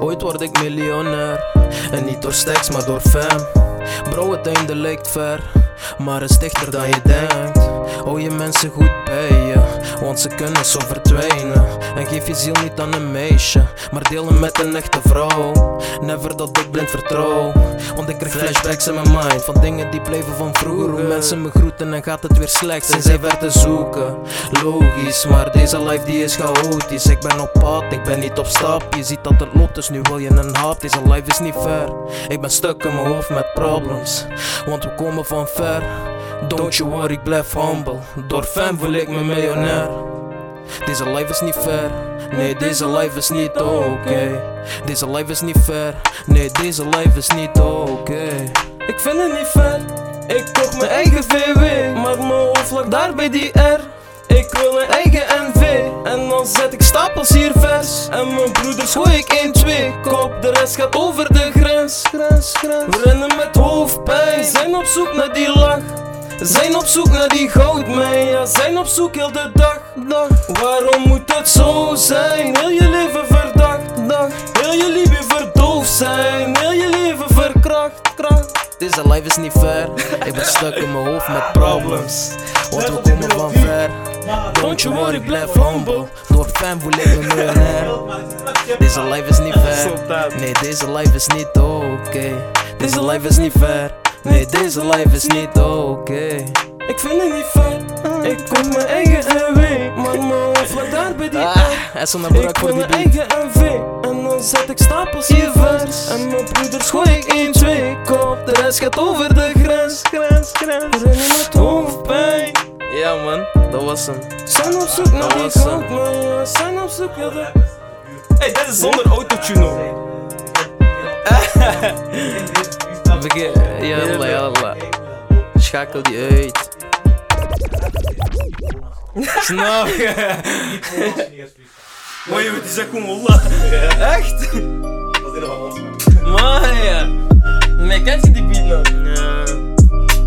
Speaker 3: Ooit word ik miljonair. En niet door stacks, maar door fam. Bro, het einde lijkt ver. Maar het is dichter dan je denkt. Hou je mensen goed bij je. Want ze kunnen zo verdwijnen. En geef je ziel niet aan een meisje. Maar deel hem met een echte vrouw. Never dat ik blind vertrouw. Want ik krijg flashbacks in mijn mind. Van dingen die blijven van vroeger. Hoe mensen me groeten en gaat het weer slecht. Sinds zij werd te zoeken. Logisch, maar deze life die is chaotisch. Ik ben op pad, ik ben niet op stap. Je ziet dat het loopt, dus nu wil je een hap. Deze life is niet fair. Ik ben stuk in mijn hoofd met problems. Want we komen van ver. Don't you worry, ik blijf humble. Door fan voel ik me miljonair. Deze life is niet fair. Nee, deze life is niet oké. Deze life is niet fair. Nee, deze life is niet oké. Ik vind het niet fair. Ik koop mijn eigen VW. Maar mijn hoofd lag daar bij die R. Ik wil een eigen NV en dan zet ik stapels hier vers. En mijn broeders gooi ik 1, 2. Kop, de rest gaat over de grens. grens, grens. We rennen met hoofdpijn, zijn op zoek naar die lach. Zijn op zoek naar die goudmijn, ja, zijn op zoek heel de dag. dag. Waarom moet het zo zijn? Heel je leven verdacht, dag. Heel je liefde verdoofd zijn, heel je leven verkracht, kracht.
Speaker 4: Deze life is niet fair. Ik ben stuk in mijn hoofd met problems. Want we komen van ver. Don't you worry, blijf humble. Door fan voel ik me miljonair. Deze life is niet fair. Nee, deze life is niet oké. Deze life is niet fair. Nee, deze life is niet oké.
Speaker 3: Ik vind het niet fijn, ik kom mijn eigen NW. Maar mijn hoofd lag daar bij die
Speaker 4: Ah,
Speaker 3: app.
Speaker 4: en zo'n
Speaker 3: Ik
Speaker 4: broek voor
Speaker 3: wil
Speaker 4: die
Speaker 3: mijn
Speaker 4: beat.
Speaker 3: eigen NV en dan zet ik stapels hier vers. En mijn broeders gooi ik 1, 2, kop. De rest gaat over de grens, grens, grens. We rennen met hoofdpijn.
Speaker 4: Ja man, dat was hem.
Speaker 3: Zijn op zoek naar die
Speaker 4: Awesome.
Speaker 3: goud, maar ja, zijn op zoek naar de... Hey, dit is zonder autotune hoor.
Speaker 4: Begin- Jalla, jalla. Schakel die uit. Snap je?
Speaker 3: Maar je zegt gewoon holla.
Speaker 4: Echt?
Speaker 3: Maar ja. Nee, kent je die beat nou? Ja.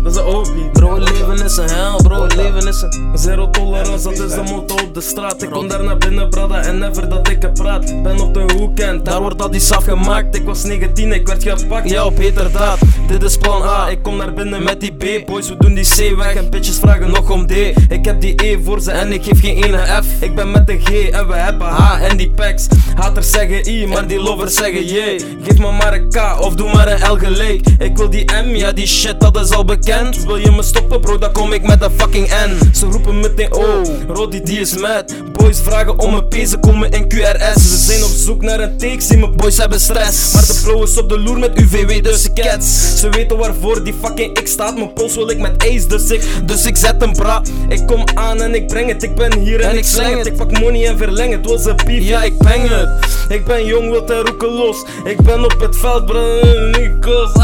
Speaker 3: Dat is een oude beat.
Speaker 4: Bro, leven is een hel, bro, leven is een...
Speaker 3: Zero tolerance, dat is de motto op de straat. Ik kom daar naar binnen, brada, en never dat ik er praat. Ben op de hoek en daar wordt al die saf gemaakt. Ik was 19, ik werd gepakt. Ja, op heterdaad. Dit is plan A. Ik kom naar binnen met die B. Boys, we doen die C weg en bitches vragen nog om D. Ik heb die E voor ze en ik geef geen ene F. Ik ben met de G en we hebben H en die packs. Haters zeggen I, maar die lovers zeggen J. Geef me maar een K of doe maar een L gelijk. Ik wil die M, ja die shit dat is al bekend. Wil je me stoppen bro, dan kom ik met een fucking N. Ze roepen meteen oh, Roddy die is mad. Boys vragen om een P, ze komen in QRS. Ze zijn op zoek naar een take, zie mijn boys hebben stress. Maar de flow is op de loer met UVW, dus ik cats. Ze weten waarvoor die fucking ik staat. Mijn pols wil ik met ace, dus ik, dus ik zet een bra. Ik kom aan en ik breng het, ik ben hier en, ik sleng het. Ik pak money en verleng het, was een beef, ja ik bang het. Ik ben jong, wild en roekeloos. Ik ben op het veld, brother, Nikos.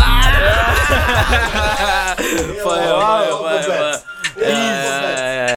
Speaker 3: Ah! Fire, fire, fire, fire. Ja, ja,